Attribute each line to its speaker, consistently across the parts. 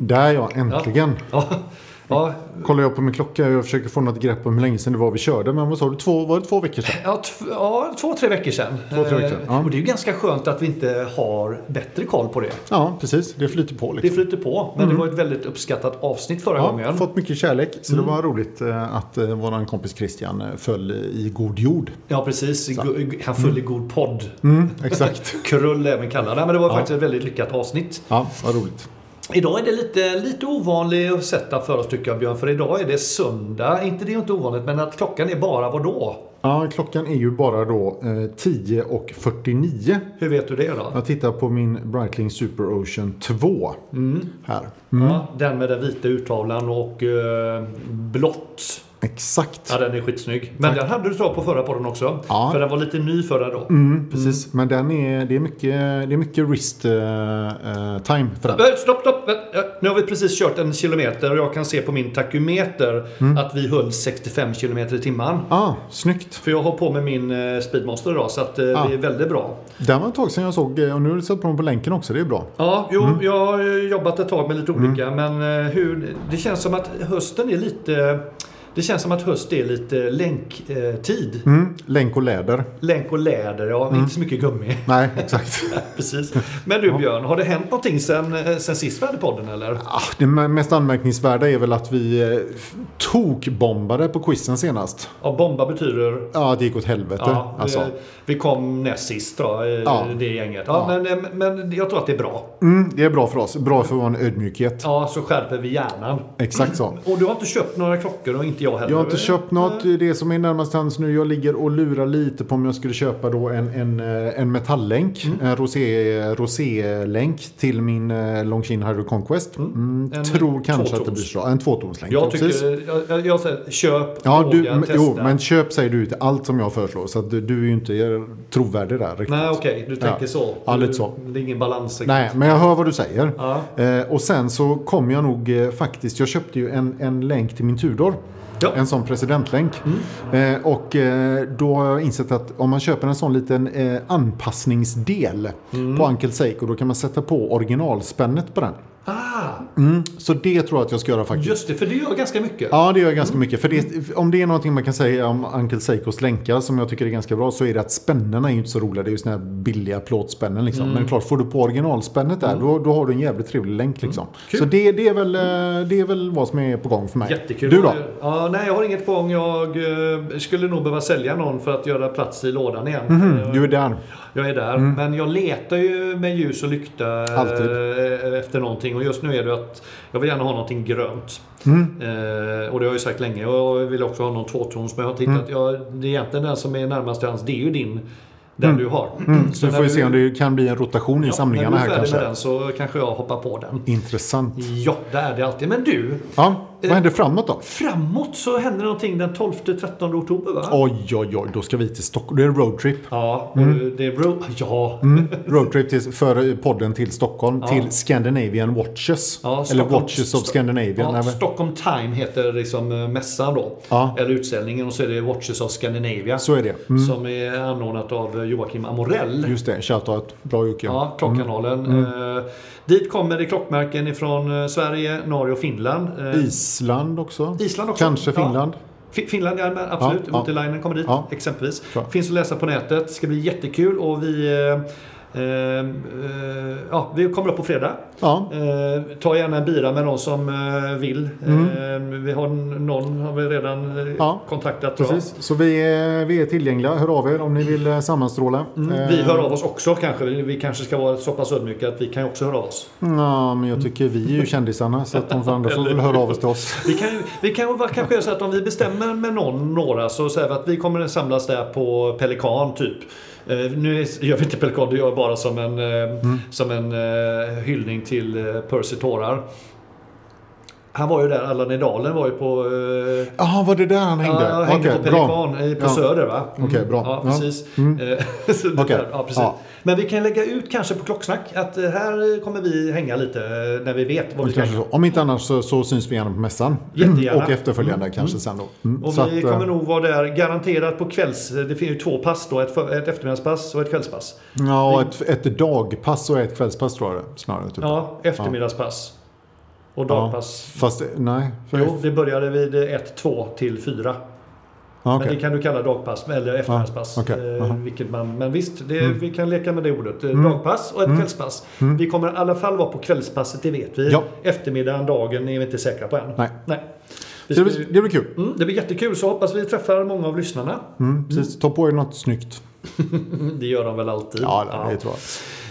Speaker 1: Där ja, äntligen.
Speaker 2: Ja, ja,
Speaker 1: Kollar jag på min klocka och försöker få något grepp om hur länge sedan det var vi körde. Men vad sa du? Två, var det två veckor sedan?
Speaker 2: ja, tv- ja två, tre veckor sedan.
Speaker 1: Två, tre veckor sedan,
Speaker 2: Eh,
Speaker 1: ja.
Speaker 2: Och det är ju ganska skönt att vi inte har bättre koll på det.
Speaker 1: Ja, precis. Det flyter på
Speaker 2: Det
Speaker 1: liksom.
Speaker 2: flyter på, men det var ett väldigt uppskattat avsnitt förra
Speaker 1: Ja,
Speaker 2: gången.
Speaker 1: fått mycket kärlek. Så det var roligt eh, att eh, våran kompis Christian eh, föll i god jord.
Speaker 2: Ja, precis. Gu- Han föll i god podd.
Speaker 1: Mm, exakt.
Speaker 2: Krull även kallad. Nej, men det var faktiskt ett väldigt lyckat avsnitt.
Speaker 1: Ja, vad roligt.
Speaker 2: Idag är det lite, lite ovanlig setup för oss tycker jag Björn. För idag är det söndag. Inte det är inte ovanligt, men att klockan är bara vad då?
Speaker 1: Ja, klockan är ju bara då eh, 10.49.
Speaker 2: Hur vet du det då?
Speaker 1: Jag tittar på min Breitling Super Ocean 2 här.
Speaker 2: Ja, den med den vita urtavlan och eh, blått.
Speaker 1: Exakt.
Speaker 2: Ja, den är skitsnygg. Men den hade du svar på förra podden också.
Speaker 1: Ja.
Speaker 2: För den var lite ny förra då.
Speaker 1: Mm, precis. Men den är, det, är mycket, det är mycket wrist eh, eh, time för den.
Speaker 2: Eh, Stopp, stopp! vänta. Nu har vi precis kört en kilometer och jag kan se på min takymeter
Speaker 1: Mm.
Speaker 2: att vi höll 65 kilometer i timmen.
Speaker 1: Ah, snyggt.
Speaker 2: För jag har på mig min eh, Speedmaster idag så att eh,
Speaker 1: Ah.
Speaker 2: det är väldigt bra.
Speaker 1: Den var ett tag sedan jag såg eh, och nu har du satt på den på länken också. Det är bra.
Speaker 2: Ja, jo,
Speaker 1: Mm.
Speaker 2: jag har eh, jobbat ett tag med lite olika men eh, hur, det känns som att hösten är lite... Det känns som att höst är lite länktid.
Speaker 1: Mm, länk och läder.
Speaker 2: Länk och läder, ja. Inte så mycket gummi.
Speaker 1: Nej, exakt.
Speaker 2: Precis. Men du Björn, har det hänt någonting sen, eh, sen sist vi hade podden eller?
Speaker 1: ah, det me- mest anmärkningsvärda är väl att vi eh, f- tokbombade på quizen senast.
Speaker 2: Ja, bomba betyder...
Speaker 1: Ja, det gick åt helvete.
Speaker 2: Ja,
Speaker 1: alltså.
Speaker 2: eh, Vi kom näst sist då, eh,
Speaker 1: Ja.
Speaker 2: det gänget. Ja,
Speaker 1: Ja.
Speaker 2: Men, eh, men jag tror att det är bra.
Speaker 1: mm, det är bra för oss. Bra för vår ödmjukhet.
Speaker 2: Ja, så skärper vi hjärnan.
Speaker 1: Exakt så.
Speaker 2: Och du har inte köpt några klockor och inte jag heller.
Speaker 1: Jag har inte köpt något. Det är Det som är närmast hands nu. Jag ligger och lurar lite på om jag skulle köpa då en, en, eh, en metalllänk.
Speaker 2: Mm.
Speaker 1: En rosé, rosé-länk till min eh, Longshin Hydro Conquest. Mm,
Speaker 2: En
Speaker 1: tror kanske att det
Speaker 2: tvåtons.
Speaker 1: blir så. En tvåtonslänk.
Speaker 2: Jag
Speaker 1: ja, precis.
Speaker 2: tycker, jag, jag, jag säger köp,
Speaker 1: Ja, du,
Speaker 2: våga,
Speaker 1: men-
Speaker 2: testa.
Speaker 1: jo, men köp säger du till allt som jag föreslår. Så att du, du är ju inte trovärdig där riktigt.
Speaker 2: Nej, okej, du tänker så.
Speaker 1: Ja, lite
Speaker 2: Du-
Speaker 1: så.
Speaker 2: Det är ingen balans. riktigt.
Speaker 1: Nej, men jag hör vad du säger.
Speaker 2: Ja.
Speaker 1: Eh, och sen så kom jag nog eh, faktiskt, jag köpte ju en, en länk till min Tudor.
Speaker 2: Ja.
Speaker 1: En sån presidentlänk. Eh, och eh, då har jag insett att om man köper en sån liten eh, anpassningsdel på Uncle Seiko då kan man sätta på originalspännet på den.
Speaker 2: Ah,
Speaker 1: Mm. Så det tror jag att jag ska göra faktiskt.
Speaker 2: just det, för det gör ganska mycket.
Speaker 1: Ja, det gör jag ganska mycket. För det, om det är någonting man kan säga om Uncle Seikos länkar som jag tycker är ganska bra så är det att spännena är ju inte så roliga. Det är ju såna här billiga plåtspännen liksom.
Speaker 2: Mm.
Speaker 1: Men klart, får du på originalspännet där då, då har du en jävligt trevlig länk liksom.
Speaker 2: Mm. Kul.
Speaker 1: Så det, det, är väl, eh, det är väl vad som är på gång för mig.
Speaker 2: Jättekul.
Speaker 1: Du då?
Speaker 2: Ja, nej, jag har inget på gång. Jag eh, skulle nog behöva sälja någon för att göra plats i lådan igen. Eh,
Speaker 1: Mm, du är där.
Speaker 2: Jag är där, men jag letar ju med ljus och lykta eh,
Speaker 1: Mm. Alltid.
Speaker 2: efter någonting. Och just nu är det att jag vill gärna ha någonting grönt.
Speaker 1: Mm.
Speaker 2: Eh, och det har jag ju sagt länge. Och jag vill också ha någon tvåtons. Men jag har
Speaker 1: Mm.
Speaker 2: tittat. Jag, det är egentligen den som är närmast till hands. Det är ju din. Den du har.
Speaker 1: Mm. Så vi får ju se om det kan bli en rotation i
Speaker 2: ja,
Speaker 1: samlingarna här
Speaker 2: När du är färdig
Speaker 1: kanske.
Speaker 2: med Mm. den så kanske jag hoppar på den.
Speaker 1: Intressant.
Speaker 2: Ja, det är det alltid. Men du,
Speaker 1: Ja,
Speaker 2: Eh.
Speaker 1: vad händer framåt då?
Speaker 2: framåt så händer någonting den 12-13 oktober va?
Speaker 1: Oj, oj, oj, då ska vi till Stockholm. Det är en roadtrip.
Speaker 2: Ja, och
Speaker 1: Mm.
Speaker 2: det är bro- Ja,
Speaker 1: Roadtrip till, för podden till Stockholm, till Scandinavian Watches.
Speaker 2: Ja,
Speaker 1: Eller
Speaker 2: Stockholm-
Speaker 1: Watches of
Speaker 2: Sto-
Speaker 1: Scandinavian.
Speaker 2: Ja,
Speaker 1: eller?
Speaker 2: Stockholm Time heter liksom eh, mässan då.
Speaker 1: Ja.
Speaker 2: Eller utställningen och så är det Watches of Scandinavia.
Speaker 1: Så är det. Mm.
Speaker 2: Som är anordnat av eh, Joakim Amorell.
Speaker 1: Just det, shoutout. Bra Jocke.
Speaker 2: Ja, Klockkanalen.
Speaker 1: Mm.
Speaker 2: Eh, dit kommer det klockmärken ifrån eh, Sverige, Norge och Finland. Eh,
Speaker 1: Island också.
Speaker 2: Island också.
Speaker 1: Kanske
Speaker 2: Ja.
Speaker 1: Finland.
Speaker 2: Fi- Finland, ja, men absolut.
Speaker 1: ja.
Speaker 2: Multilinen kommer dit
Speaker 1: Ja.
Speaker 2: exempelvis.
Speaker 1: Bra.
Speaker 2: Finns att läsa på nätet. Ska bli jättekul och vi eh, eh, eh, Ja, vi kommer upp på fredag.
Speaker 1: Ja.
Speaker 2: Eh, ta gärna en bira med någon som eh, vill. Eh, vi har n- någon har vi redan eh,
Speaker 1: Mm. Ja,
Speaker 2: kontaktat. tror jag.
Speaker 1: Precis. Så vi är, vi är tillgängliga. Hör av er om ni vill eh, sammanstråla. Eh,
Speaker 2: Mm, Vi hör av oss också kanske. Vi vi kanske ska vara så pass ödmjuka att vi kan ju också höra av oss.
Speaker 1: Eh, Ja, men jag tycker vi är ju kändisarna så att de andra får väl höra av oss till oss.
Speaker 2: Vi kan, ju- vi kan ju vara- kanske göra så att om vi bestämmer med någon, några så säger vi att vi kommer att samlas där på Pelikan typ. Eh, nu är, gör vi inte Pelikan, det gör jag bara som en, eh,
Speaker 1: Mm.
Speaker 2: som en eh, hyllning till eh, Percy Tårar. Han var ju där, Allan i Dalen var ju på... Eh,
Speaker 1: Jaha, var det där han hängde?
Speaker 2: Ja, jag hängde
Speaker 1: Okej,
Speaker 2: på
Speaker 1: bra.
Speaker 2: Pelikan i- på
Speaker 1: Ja.
Speaker 2: Söder va? Mm.
Speaker 1: Okej, bra.
Speaker 2: Ja,
Speaker 1: Ja. Mm.
Speaker 2: precis. Eh, så det
Speaker 1: Okej.
Speaker 2: där, ja, precis.
Speaker 1: Ja.
Speaker 2: Men vi kan lägga ut kanske på Klocksnack att eh, här kommer vi hänga lite eh, när vi vet vad vi ska
Speaker 1: Kanske så. Om inte annars så, så syns vi gärna på mässan.
Speaker 2: Jättegärna.
Speaker 1: Och efterföljande kanske sen då. Mm.
Speaker 2: Och
Speaker 1: så
Speaker 2: vi
Speaker 1: att, eh,
Speaker 2: kommer nog vara där garanterat på kvälls... Det finns ju två pass då. Ett, för, ett eftermiddagspass och ett kvällspass.
Speaker 1: Ja, ett, ett dagpass och ett kvällspass tror jag det är, snarare. Typ.
Speaker 2: Ja, eftermiddagspass. Och dagpass.
Speaker 3: Fast nej.
Speaker 2: Jo, vi började vid 1, 2 till 4.
Speaker 3: Ja,
Speaker 2: Men
Speaker 3: okej.
Speaker 2: det kan du kalla dagpass eller eftermiddagspass.
Speaker 3: Ja, okej.
Speaker 2: Eh,
Speaker 3: Aha. Mm.
Speaker 2: vilket man, men visst, det, vi kan leka med det ordet. Eh, Dagpass och ett kvällspass. Vi kommer i alla fall vara på kvällspasset, det vet vi.
Speaker 3: Ja.
Speaker 2: Eftermiddagen, dagen är vi inte säkra på än.
Speaker 3: Nej. Det
Speaker 2: Vi ska,
Speaker 3: blir, det blir kul.
Speaker 2: mm, det blir jättekul, så hoppas vi träffar många av lyssnarna.
Speaker 3: Mm, precis. Ta på er något snyggt.
Speaker 2: Mm, Det gör de väl alltid.
Speaker 3: Ja,
Speaker 2: Ja.
Speaker 3: det tror jag.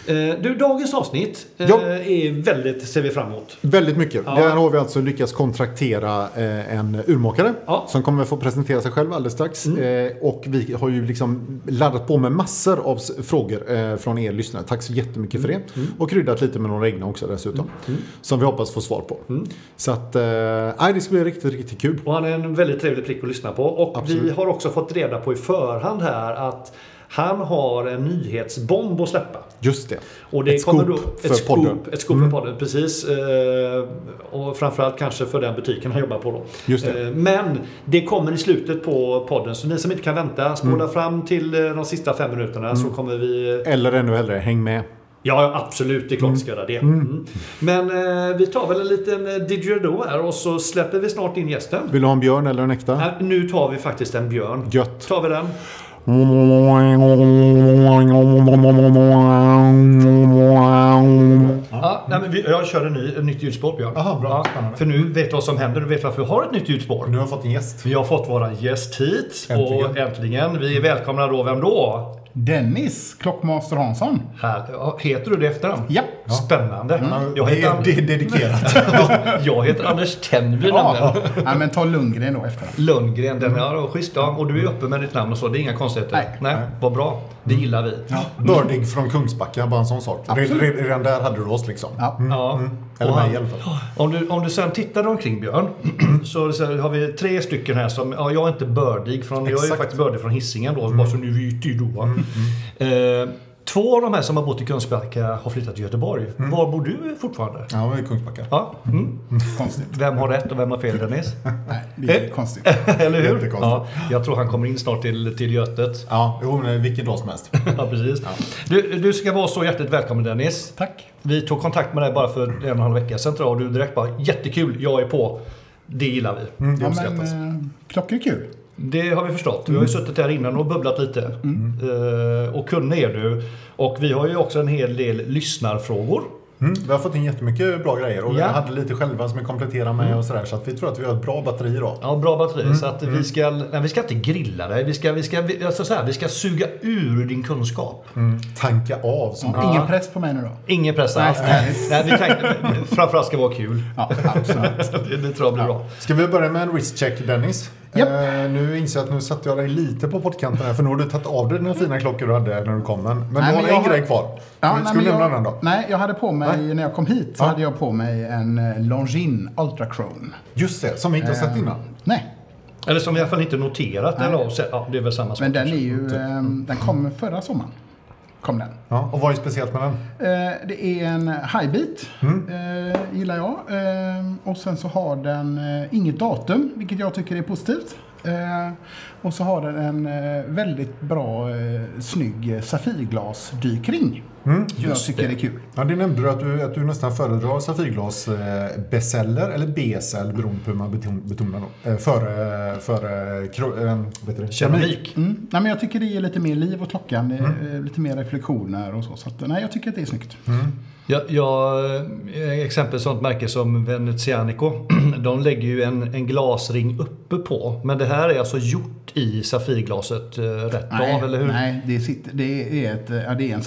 Speaker 2: Eh, Du, dagens avsnitt eh,
Speaker 3: Ja.
Speaker 2: är väldigt, ser vi fram emot.
Speaker 3: Väldigt mycket.
Speaker 2: Ja.
Speaker 3: Där har vi alltså lyckats kontraktera eh, en urmakare
Speaker 2: Ja. Mm.
Speaker 3: som kommer få presentera sig själv alldeles strax. Eh, och vi har ju liksom laddat på med massor av s- frågor eh, från er lyssnare. Tack så jättemycket
Speaker 2: Mm.
Speaker 3: för det. Och kryddat lite med några egna också dessutom. Som vi hoppas få svar på.
Speaker 2: Mm.
Speaker 3: Så att, eh, nej, det ska bli riktigt, riktigt kul.
Speaker 2: Och han är en väldigt trevlig prick att lyssna på. Och vi
Speaker 3: Absolut.
Speaker 2: har också fått reda på i förhand här att han har en nyhetsbomb att släppa.
Speaker 3: Just det.
Speaker 2: Och det
Speaker 3: Ett
Speaker 2: kommer
Speaker 3: scoop
Speaker 2: då,
Speaker 3: för
Speaker 2: ett scoop,
Speaker 3: podden. Mm.
Speaker 2: Ett scoop för podden, precis. Eh, Och framförallt kanske för den butiken han jobbar på då.
Speaker 3: Just det.
Speaker 2: Eh, Men det kommer i slutet på podden. Så ni som inte kan vänta, spola
Speaker 3: Mm.
Speaker 2: fram till eh, de sista fem minuterna så kommer vi... eh,
Speaker 3: Eller ännu hellre, häng med.
Speaker 2: Ja, ja, absolut. Det är klart vi ska göra det. Mm. Men eh, vi tar väl en liten eh, didgeridoo här och så släpper vi snart in gästen.
Speaker 3: Vill du ha en björn eller en äkta?
Speaker 2: Äh, Nu tar vi faktiskt en björn.
Speaker 3: Gött.
Speaker 2: Tar vi den? Ja, nej, men vi, jag kör en ny, ett nytt ljudspår Björn.
Speaker 3: Aha, bra.
Speaker 2: Ja, för nu vet du vad som händer. Du vet varför vi har ett nytt ljudspår.
Speaker 3: Nu har jag fått en gäst.
Speaker 2: Vi har fått våran gäst hit och
Speaker 4: Äntligen.
Speaker 2: äntligen. Vi välkomnar då, vem då?
Speaker 4: Dennis Klockmaster Hansson.
Speaker 2: Här, ja, heter du det efter namn?
Speaker 4: Ja. Mm.
Speaker 2: Spännande. Jag,
Speaker 4: Det
Speaker 2: heter
Speaker 4: är, det
Speaker 2: An-
Speaker 4: är dedikerat.
Speaker 2: jag heter Anders Tenby
Speaker 4: ja.
Speaker 2: ja.
Speaker 4: Nej, men ta Lundgren då efter.
Speaker 2: Lundgren, den
Speaker 1: Mm.
Speaker 2: är ja, schysst. Ja. Och du är uppe med ditt namn och så. Det är inga konstigheter.
Speaker 4: Nej.
Speaker 2: Nej. Vad bra. Det
Speaker 1: Mm.
Speaker 2: gillar vi.
Speaker 1: Bördig från Kungsbacka, bara en sån sak. Re-
Speaker 4: Absolut.
Speaker 1: re- Redan där hade du oss liksom.
Speaker 4: Ja.
Speaker 2: Ja.
Speaker 1: Eller
Speaker 2: Och han-
Speaker 1: mig i alla fall.
Speaker 2: Om du, om du sen tittar omkring Björn, så, så har vi tre stycken här som, ja jag är inte bördig från, jag är ju
Speaker 1: Exakt. Mm.
Speaker 2: faktiskt bördig från Hisingen då, bara så nu vet ju då. Eh, två av de här som har bott i Kungsbacka har flyttat till Göteborg.
Speaker 1: Mm.
Speaker 2: Var bor du fortfarande?
Speaker 1: Ja, men i Kungsbacka.
Speaker 2: Ja. Mm.
Speaker 4: Konstigt.
Speaker 2: Vem har rätt och vem har fel Dennis?
Speaker 4: Nej, det är
Speaker 2: Eh.
Speaker 4: konstigt.
Speaker 2: Eller hur?
Speaker 1: Jättekonstigt.
Speaker 2: Ja, jag tror han kommer in snart till, till Götet.
Speaker 1: Ja, jo, men vilken dag som helst.
Speaker 2: Ja, precis. Du, du ska vara så hjärtligt välkommen Dennis.
Speaker 4: Tack.
Speaker 2: Vi tog kontakt med dig bara för en och en halv vecka sedan tror jag, och du direkt bara jättekul, jag är på. Det gillar vi.
Speaker 4: Ja, men,
Speaker 1: Mm, uppskattas.
Speaker 4: eh, klockor är kul.
Speaker 2: Det har vi förstått. Vi har ju suttit här innan och bubblat lite. Eh, och kunnig är du. Och vi har ju också en hel del lyssnarfrågor.
Speaker 1: Mm, vi har fått in jättemycket bra grejer och
Speaker 2: Ja.
Speaker 1: jag hade lite själva som jag kompletterade
Speaker 3: Mm.
Speaker 1: med och sådär. Så att vi tror att vi har ett bra batteri idag.
Speaker 2: Ja, bra batteri. Så att vi, ska, nej, vi ska inte grilla dig. Vi ska, vi, ska, vi, alltså så här, vi ska suga ur din kunskap.
Speaker 1: Tanka av som
Speaker 4: Ja, Ingen press på mig nu då.
Speaker 2: Ingen press alls. Nej, vi tänkte, framförallt ska det vara kul.
Speaker 4: Ja, absolut.
Speaker 2: Det, det tror jag blir bra.
Speaker 1: Ska vi börja med en wrist check Dennis?
Speaker 4: Japp.
Speaker 1: Eh, nu inser jag att nu satte jag dig lite på pottkanten här för nu har du tagit av dig dina fina klockor du hade när du kom. Men, men
Speaker 4: men
Speaker 1: du har
Speaker 4: jag
Speaker 1: en
Speaker 4: har-
Speaker 1: grej kvar.
Speaker 4: Ja,
Speaker 1: Ska
Speaker 4: nej,
Speaker 1: du
Speaker 4: men
Speaker 1: nämna
Speaker 4: jag-
Speaker 1: den då?
Speaker 4: Nej, jag hade på mig,
Speaker 1: Nej.
Speaker 4: när jag kom hit, så
Speaker 1: Ja.
Speaker 4: hade jag på mig en eh, Longines Ultra Chrome.
Speaker 1: Just det, som vi inte har
Speaker 4: Eh.
Speaker 1: sett innan.
Speaker 4: Nej,
Speaker 2: Eller som vi i alla fall inte noterat. Eller, har sett. ja, det är väl samma sak.
Speaker 4: men den är
Speaker 2: kanske.
Speaker 4: ju, eh, den kom förra sommaren. Kom den.
Speaker 1: Ja, och vad är speciellt med den?
Speaker 4: Eh, Det är en highbeat, eh, gillar jag. Eh, och sen så har den eh, inget datum, vilket jag tycker är positivt. Eh, och så har den en eh, väldigt bra, eh, snygg eh, safirglasdykring. Mm, jag tycker det är kul.
Speaker 1: Ja, det nämnde du att du, att du nästan föredrar safirglas eh, beseller eller besel beroende på hur man beton- betonar dem. Eh, före före kro, eh, vad heter det?
Speaker 2: Keramik.
Speaker 4: Mm. Nej, men jag tycker det ger lite mer liv åt klockan, det är, eh, lite mer reflektioner och så. så att, nej, jag tycker att det är snyggt.
Speaker 2: Ja, ja, eh, exempel sånt märke som Venezianico. De lägger ju en, en glasring uppe på. Men det här är alltså gjort i safirglaset eh, rätt av, eller hur?
Speaker 4: nej det, sitter, det, är ett, eh, ja, det är en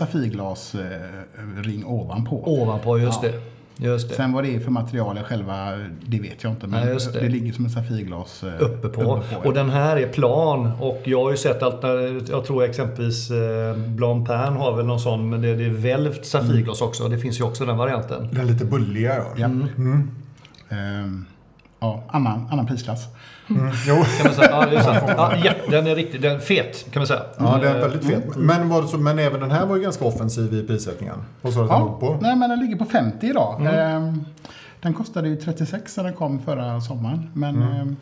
Speaker 4: safirglasring ovanpå.
Speaker 2: Ovanpå, just
Speaker 4: Ja.
Speaker 2: det. Just det.
Speaker 4: Sen vad det är för material själva, det vet jag inte. Men
Speaker 2: Nej, just det.
Speaker 4: det. ligger som ett safirglas eh,
Speaker 2: Uppe på. Och den här är plan och jag har ju sett alternativ. Jag tror exempelvis eh, Blanc Pain har väl någon sån men det, det är välvt safirglas också. Det finns ju också den varianten.
Speaker 1: Den lite bulliga ja. Mm.
Speaker 4: ja. Ehm, ja, annan, annan prisklass.
Speaker 1: Mm.
Speaker 4: Mm.
Speaker 1: Jo.
Speaker 2: Kan man säga. Ja, det är sant. Ja, ja, den är riktigt den är fet kan man säga.
Speaker 1: Ja, den är väldigt fet.
Speaker 4: Mm.
Speaker 1: Men, var det så, men även den här var ju ganska offensiv i prisökningen. Vad sa du att den
Speaker 4: Ja,
Speaker 1: låg på?
Speaker 4: nej, men den ligger på 50
Speaker 2: Mm. Mm.
Speaker 4: idag. Ehm, den kostade ju 36 när den kom förra sommaren. Men ehm,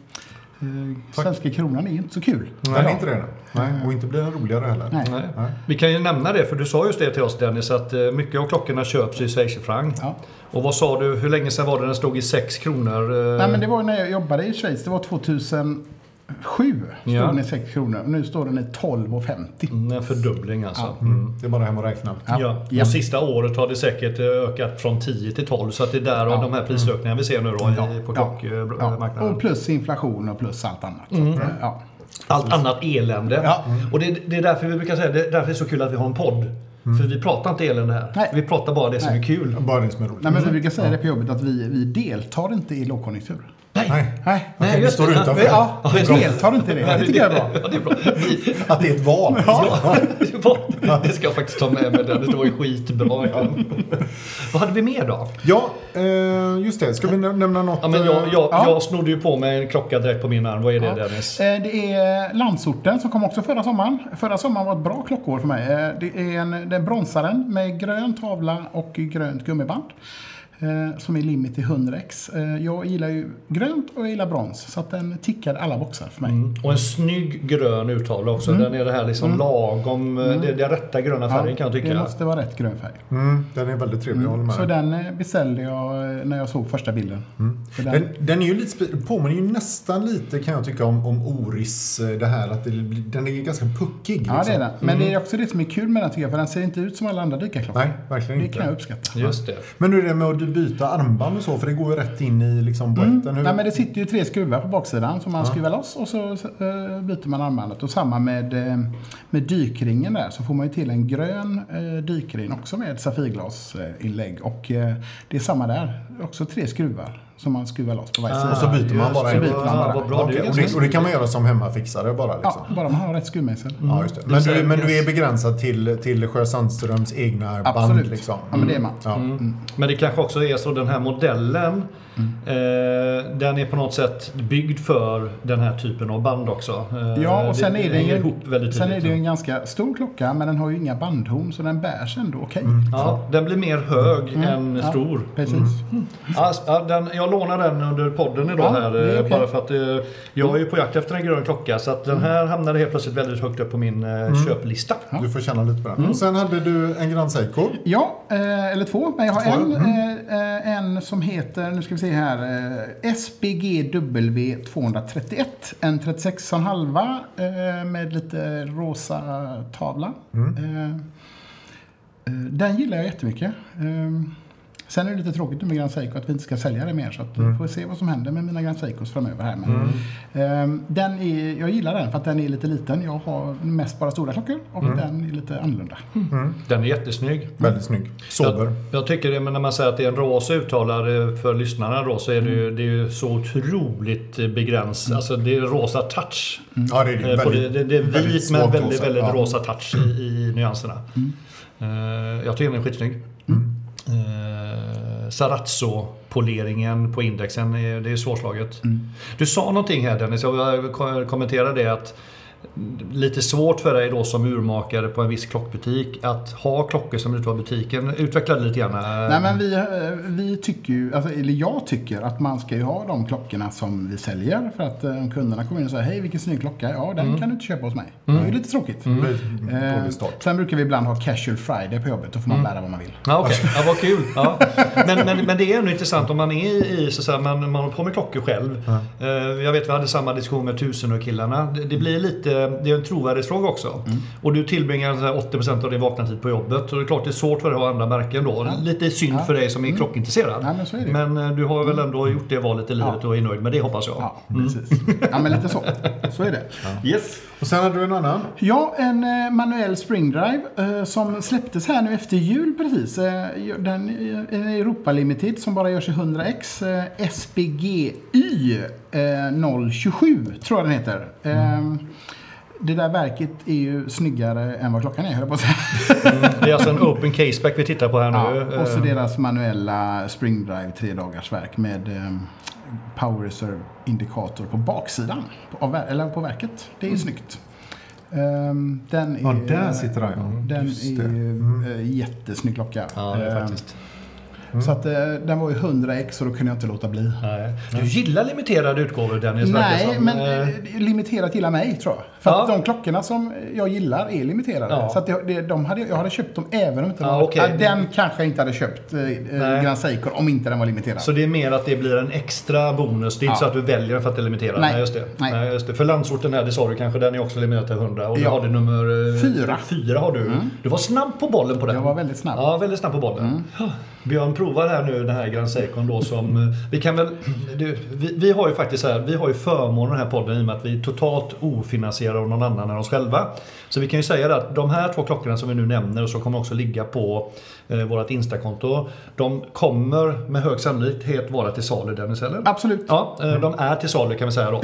Speaker 4: Eh, Svenska kronan är ju inte så kul.
Speaker 1: Nej, det är inte det. nej. Nej, och inte blir den roligare heller.
Speaker 4: Nej.
Speaker 2: Nej.
Speaker 1: Nej.
Speaker 2: Vi kan ju nämna det, för du sa just det till oss Dennis, att eh, mycket av klockorna köps i schweizerfranc.
Speaker 4: Ja.
Speaker 2: Och vad sa du, hur länge sedan var det den stod i 6 kronor? eh,
Speaker 4: Nej, men det var ju när jag jobbade i Schweiz. Det var 2007. Stod
Speaker 2: Ja.
Speaker 4: den i 6 kronor. Och nu står den i 12,50.
Speaker 2: Mm, En fördubbling alltså.
Speaker 1: Mm. Det är bara hem och räkna.
Speaker 2: Ja.
Speaker 4: Ja.
Speaker 2: Och sista året har det säkert eh, ökat från 10 till 12 så att det är där av de här prisökningarna vi ser nu då i, på
Speaker 4: Ja.
Speaker 2: klockmarknaden.
Speaker 4: Och plus inflation och plus allt annat.
Speaker 2: Mm.
Speaker 4: eh, Ja.
Speaker 2: Allt annat elände. Mm.
Speaker 4: Ja.
Speaker 2: Och det, det är därför vi brukar säga det är därför det är så kul att vi har en podd. För vi pratar inte elände här.
Speaker 4: Mm. Nej.
Speaker 2: Vi pratar bara det som
Speaker 4: Nej.
Speaker 2: är kul.
Speaker 1: Bara det som är roligt.
Speaker 4: Nej,
Speaker 2: Mm.
Speaker 4: men vi brukar säga det på jobbet att vi, vi deltar inte i lågkonjunktur.
Speaker 1: Nej.
Speaker 4: Nej.
Speaker 2: Nej,
Speaker 1: Okej, vi
Speaker 2: just
Speaker 1: står
Speaker 2: det.
Speaker 1: utanför.
Speaker 4: Ja, vi deltar inte i det. Det tycker jag är bra.
Speaker 2: Ja, det är bra. Vi-
Speaker 1: Att det är ett val.
Speaker 2: Ja, det var- det ska jag faktiskt ta med mig. Dennis. Det var ju skitbra. Vad hade vi mer då?
Speaker 1: Ja, eh, just det. Ska vi nä- nämna något?
Speaker 2: Ja, men jag, jag,
Speaker 1: eh,
Speaker 4: Ja.
Speaker 2: jag snodde ju på mig en klocka direkt på min arm. Vad är det Dennis?
Speaker 4: Eh, Det är Landsorten som kom också förra sommaren. Förra sommaren var ett bra klockår för mig. Eh, Det är en det är bronsaren med grön tavla och grönt gummiband. eh, Som är limit till 100x. Eh, Jag gillar ju grönt och jag gillar brons. Så att den tickar alla boxar för mig.
Speaker 2: Och en snygg grön urtavla också. Den är det här liksom lagom, eh, det, det är rätta gröna färgen kan jag
Speaker 4: Det
Speaker 2: tycka.
Speaker 4: måste vara rätt grön färg.
Speaker 1: Mm, den är väldigt trevlig, jag håller med.
Speaker 4: Så den eh, beställde jag eh, när jag såg första bilden.
Speaker 2: Mm.
Speaker 4: Så den-
Speaker 1: Den, den är ju lite, spe- påminner ju nästan lite kan jag tycka om, om Oris. eh, Det här att det, blir- den är ganska puckig.
Speaker 4: Ja, det är
Speaker 1: liksom.
Speaker 4: den. Men
Speaker 2: Mm.
Speaker 4: det är också det som är kul med den tycker jag, för den ser inte ut som alla andra dykarklockor.
Speaker 1: Nej, verkligen
Speaker 4: Det
Speaker 1: inte.
Speaker 4: kan jag uppskatta.
Speaker 2: Just det.
Speaker 1: Men hur är det med att byta armband och så? För det går ju rätt in i liksom boetten. Hur...
Speaker 4: Mm. Nej, men det sitter ju tre skruvar på baksidan som man skruvar loss och så eh, byter man armbandet. Och samma med, eh, med dykringen där så får man ju till en grön eh, dykring också med safirglasinlägg. Och eh, det är samma där, också tre skruvar som man skruvar loss
Speaker 2: Ah.
Speaker 4: på varje sida.
Speaker 1: Och så byter man
Speaker 2: just
Speaker 1: bara
Speaker 2: det.
Speaker 1: en.
Speaker 4: byter man bara.
Speaker 1: Ja,
Speaker 2: Vad bra, det är
Speaker 1: okej. och,
Speaker 2: ganska
Speaker 1: det, och det kan man göra som hemmafixare bara liksom.
Speaker 4: Ja, bara man har rätt skruvmejsel.
Speaker 1: Ja, just det.
Speaker 2: Det
Speaker 1: Men,
Speaker 2: säger-
Speaker 1: du, men du är begränsad till, till Sjö Sandströms egna
Speaker 4: Absolut.
Speaker 1: band liksom?
Speaker 4: Ja, men det är Mm. man.
Speaker 1: Ja.
Speaker 2: Men det kanske också är så den här modellen.
Speaker 4: Mm.
Speaker 2: Eh, den är på något sätt byggd för den här typen av band också. Eh,
Speaker 4: Ja, och sen är det,
Speaker 2: hänger
Speaker 4: ju,
Speaker 2: ihop väldigt
Speaker 4: sen är
Speaker 2: tydligt.
Speaker 4: det ju en ganska stor klocka men den har ju inga bandhorn så den bärs ändå okej.
Speaker 2: Ja, den blir mer hög än
Speaker 4: Mm. Ja,
Speaker 2: stor.
Speaker 4: Precis.
Speaker 2: Ja, s- ja, den, jag lånar den under podden idag
Speaker 4: Ja,
Speaker 2: här.
Speaker 4: det är
Speaker 2: eh,
Speaker 4: okej. Mm.
Speaker 2: Bara för att eh, jag är ju på jakt efter en grön klocka. Så att den här hamnade helt plötsligt väldigt högt upp på min eh, köplista.
Speaker 1: Du får känna lite på den.
Speaker 4: Mm.
Speaker 1: Sen hade du en Grand Seiko.
Speaker 4: Ja, eh, eller två. Men jag har
Speaker 1: Två,
Speaker 4: en, eh, eh, en som heter, nu ska vi se här, eh, SBGW 231. En 36,5 eh, med lite rosa tavla. Eh, eh, den gillar jag jättemycket. Eh, sen är det lite tråkigt nu med Grand Seiko att vi inte ska sälja det mer. Så att vi får se vad som händer med mina Grand Seicos framöver här. Men, eh, den är, jag gillar den för att den är lite liten. Jag har mest bara stora klockor och den är lite annorlunda.
Speaker 2: Den är jättesnygg.
Speaker 1: Väldigt snygg. Sober.
Speaker 2: Jag, jag tycker det, men när man säger att det är en rosa uttalare för lyssnarna då, så är det ju, det är ju så otroligt begränsat. Alltså det är rosa touch.
Speaker 1: Ja, det är
Speaker 2: Eh,
Speaker 1: ju
Speaker 2: på det,
Speaker 1: väldigt,
Speaker 2: det, det är
Speaker 1: väldigt
Speaker 2: vit men
Speaker 1: svagt
Speaker 2: väldigt,
Speaker 1: rosa.
Speaker 2: väldigt
Speaker 1: Ja. Mm.
Speaker 2: rosa touch i, i nyanserna. Eh, jag tycker den är skitsnygg. Eh, Sarazzo-poleringen på indexen, är, det är svårslaget.
Speaker 1: Mm.
Speaker 2: Du sa någonting här Dennis, jag vill ko- kommentera det. att Lite svårt för dig då som urmakare på en viss klockbutik att ha klockor som utav butiken. Utveckla det lite gärna.
Speaker 4: Nej men vi, eh, vi tycker ju, alltså, eller jag tycker att man ska ju ha de klockorna som vi säljer. För att eh, om kunderna kommer in och säger hej vilken snygg klocka, ja den kan du inte köpa hos mig. Det är ju lite tråkigt.
Speaker 1: Väldigt
Speaker 4: Eh,
Speaker 1: Mm. Dålig start.
Speaker 4: sen brukar vi ibland ha casual friday på jobbet, då får man bära vad man vill.
Speaker 2: Ja, okej. Ja, vad kul. Ja. Men, men, men det är ändå intressant om man är i, så att säga, man, man håller på med klockor själv. Eh, Jag vet vi hade samma diskussion med tusenårkillarna. Det, det blir lite, det är en trovärdighetsfråga också.
Speaker 4: Mm.
Speaker 2: Och du tillbringar så här 80% av din vakna tid på jobbet. Så det är klart det är svårt för dig att ha andra märken då. Lite synd för dig som är klockintresserad.
Speaker 4: Mm. Ja, men så är det. Mm.
Speaker 2: Men eh, du har väl ändå gjort det valet i livet och är nöjd med det hoppas jag.
Speaker 4: Ja, precis. Ja men lite så. Så är det.
Speaker 2: Yes.
Speaker 1: Och sen hade du en annan.
Speaker 4: Ja, en eh, manuell springdrive eh, som släpptes här nu efter jul precis. Eh, ju- den eh, är Europa Limited som bara görs i 100X. Eh, SBGY eh, 027 tror jag den heter. Eh, Det där verket är ju snyggare än vad klockan är, höll jag på att säga.
Speaker 2: Det är alltså en open caseback vi tittar på här nu.
Speaker 4: Ja, och så
Speaker 2: Eh,
Speaker 4: deras manuella springdrive tredagarsverk med eh, power reserve indikator på baksidan av, ver- eller på verket. Det är ju snyggt. Ehm, den är,
Speaker 1: Mm. Ja,
Speaker 2: Mm,
Speaker 1: där sitter den. ja.
Speaker 4: den
Speaker 1: Just
Speaker 4: är
Speaker 1: det.
Speaker 4: eh, jättesnygg klocka.
Speaker 2: Ja, det är
Speaker 4: Ehm,
Speaker 2: faktiskt. Mm.
Speaker 4: Så att, eh, den var ju 100x och då kunde jag inte låta bli.
Speaker 2: eh, Nej. Du gillar limiterade utgåvor Dennis verkar
Speaker 4: Nej,
Speaker 2: som.
Speaker 4: men
Speaker 2: Eh,
Speaker 4: eh, limiterat gillar mig tror jag. För att
Speaker 2: Ja.
Speaker 4: de klockorna som jag gillar är limiterade.
Speaker 2: Ja.
Speaker 4: Så att jag, det- de hade, jag hade köpt dem även om inte de
Speaker 2: Ja,
Speaker 4: var-
Speaker 2: okej.
Speaker 4: ja, Den kanske jag inte hade köpt, eh, eh,
Speaker 2: Nej.
Speaker 4: Grand Seiko, om inte den var limiterad.
Speaker 2: Så det är mer att det blir en extra bonus. Det är inte
Speaker 4: Ja.
Speaker 2: så att du väljer för att det är limiterat.
Speaker 4: Nej.
Speaker 2: Nej, just det.
Speaker 4: Nej.
Speaker 2: just det. För landsorten här, det sa du kanske, den är också limiterad till 100. Och du
Speaker 4: Ja.
Speaker 2: har det nummer... eh,
Speaker 4: Fyra. Mm.
Speaker 2: Fyra har du. Du var snabb på bollen på den.
Speaker 4: Jag var väldigt snabb. Mm.
Speaker 2: Ja, väldigt snabb på bollen. Björn provar här nu den här Grand Seikon då som... eh, Vi kan väl... Du, vi, vi har ju faktiskt så här, vi har ju förmånen i den här podden i och med att vi är totalt ofinansierade av någon annan än oss själva. Så vi kan ju säga det att de här två klockorna som vi nu nämner och som kommer också ligga på eh, vårt Instakonto. De kommer med hög sannolikhet vara till salu Dennis, eller?
Speaker 4: Absolut. Mm.
Speaker 2: Ja, eh, de är till salu kan vi säga då.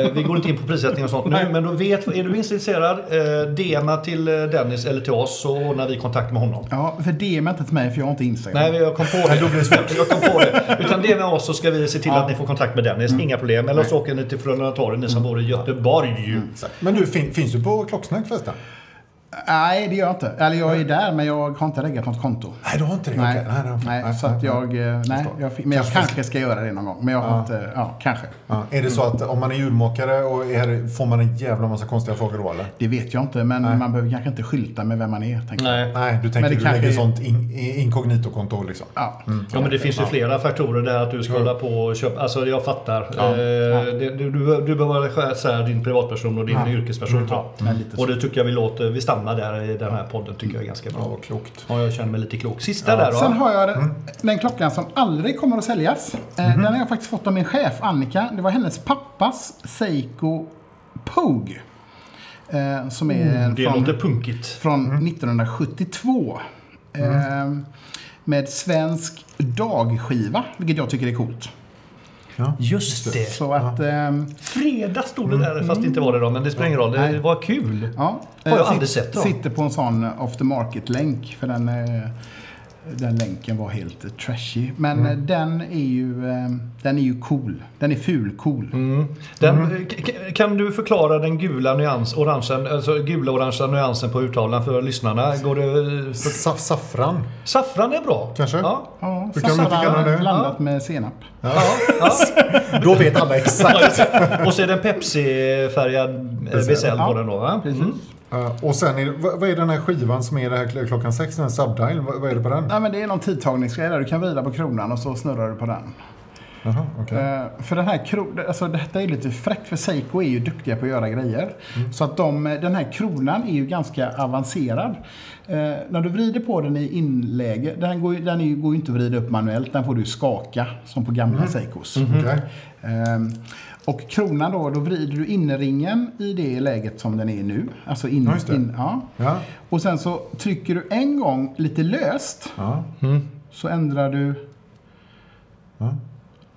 Speaker 2: Eh, Vi går inte in på prissättning och sånt nu, men då vet, är du minst intresserad, eh, DMa till eh, Dennis eller till oss så ordnar vi kontakt med honom.
Speaker 4: Ja, för DMa inte till mig för jag har inte Instagram.
Speaker 2: Nej, jag kom på det. Jag kom på det. Utan det är med oss så ska vi se till att ni får kontakt med Dennis. Inga problem. Eller så åker ni till Frölunda Torg, ni som bor i Göteborg.
Speaker 1: Men du, fin, finns du på Klocksnack förresten?
Speaker 4: Nej, det gör jag inte. Eller jag är där, men jag har inte reggat något konto.
Speaker 1: Nej, du har inte det?
Speaker 4: Nej,
Speaker 1: Okej. det har jag inte.
Speaker 4: nej, så att jag... eh, Nej,
Speaker 1: Förstår.
Speaker 4: jag fi- men jag
Speaker 1: Kanske-
Speaker 4: kanske ska göra det någon gång. Men jag har inte... Ja, kanske.
Speaker 1: Ja, är det så att om man är djurmakare och är, får man en jävla massa konstiga frågor då eller?
Speaker 4: Det vet jag inte, men man behöver kanske inte skylta med vem man är. Tänker jag.
Speaker 2: Nej.
Speaker 1: Nej, du tänker
Speaker 4: det
Speaker 1: du
Speaker 4: kanske
Speaker 1: lägger
Speaker 4: är-
Speaker 1: sånt in, i- inkognito-konto liksom?
Speaker 4: Ja.
Speaker 2: Ja, men det finns ju flera faktorer där att du ska hålla på och köpa. Alltså jag fattar. Eh, det- Du, du, du behöver skära isär din privatperson och din yrkesperson. tror jag.
Speaker 4: men lite så.
Speaker 2: och det tycker jag vi låter, vi stannar där i den här podden tycker jag är ganska bra.
Speaker 1: Ja, vad klokt.
Speaker 2: Ja, jag känner mig lite klok. Sista där då. Mm.
Speaker 4: Sen har jag den, den klockan som aldrig kommer att säljas. Eh,
Speaker 2: Mhm.
Speaker 4: Den har jag faktiskt fått av min chef Annika. Det var hennes pappas Seiko Pogue. Eh, som är
Speaker 2: Mm. det
Speaker 4: från,
Speaker 2: låter Mm. punkigt.
Speaker 4: från 1972.
Speaker 2: Mm.
Speaker 4: Eh, med svensk dagskiva, vilket jag tycker är coolt.
Speaker 2: Just det. Mm.
Speaker 4: Så att... ehm,
Speaker 2: Fredag stod det där, fast det inte var det då. Men det spelar ingen roll. Det
Speaker 4: Nej.
Speaker 2: var kul.
Speaker 4: Ja,
Speaker 2: Har jag
Speaker 4: eh,
Speaker 2: aldrig sett dem.
Speaker 4: Sitter på en sån off the market-länk. För den, eh, den länken var helt eh, trashy. Men eh, den är ju eh, den är ju cool. Den är ful-cool.
Speaker 2: Den, k- k- Kan du förklara den gula nyans, orangen, alltså gula orangea nyansen på urtavlan för lyssnarna? Går det,
Speaker 1: Sa- saffran?
Speaker 2: saffran är bra.
Speaker 1: Kanske?
Speaker 2: Ja.
Speaker 4: Ja,
Speaker 1: Hur kan man inte kalla det?
Speaker 4: blandat med senap.
Speaker 2: Ja, ja.
Speaker 1: Då vet alla exakt.
Speaker 2: Och så är det en Pepsi-färgad eh, bezel på
Speaker 4: Ja,
Speaker 2: den då va? Mm.
Speaker 1: Ja, och sen, är, det- vad, vad är den här skivan som är det här kl- klockan sex? Den här Subdial? Vad, vad är det på den?
Speaker 4: Nej, men det är någon tidtagningsgrej där. Du kan vrida på kronan och så snurrar du på den.
Speaker 1: Jaha, okej.
Speaker 4: Eh, För den här kro- alltså detta är lite fräckt för Seiko är ju duktiga på att göra grejer.
Speaker 1: Mm.
Speaker 4: Så att de, eh, den här kronan är ju ganska avancerad. Eh, när du vrider på den i inläge, den, går, ju- den är ju, går ju inte att vrida upp manuellt, den får du skaka som på gamla
Speaker 1: Mm.
Speaker 4: Seikos.
Speaker 1: Okej.
Speaker 4: Ehm, och kronan då, då vrider du innerringen i det läget som den är nu. Alltså in,
Speaker 1: Ja, just det.
Speaker 4: in, ja.
Speaker 1: Ja.
Speaker 4: Och sen så trycker du en gång lite löst
Speaker 1: Ja.
Speaker 4: så ändrar du...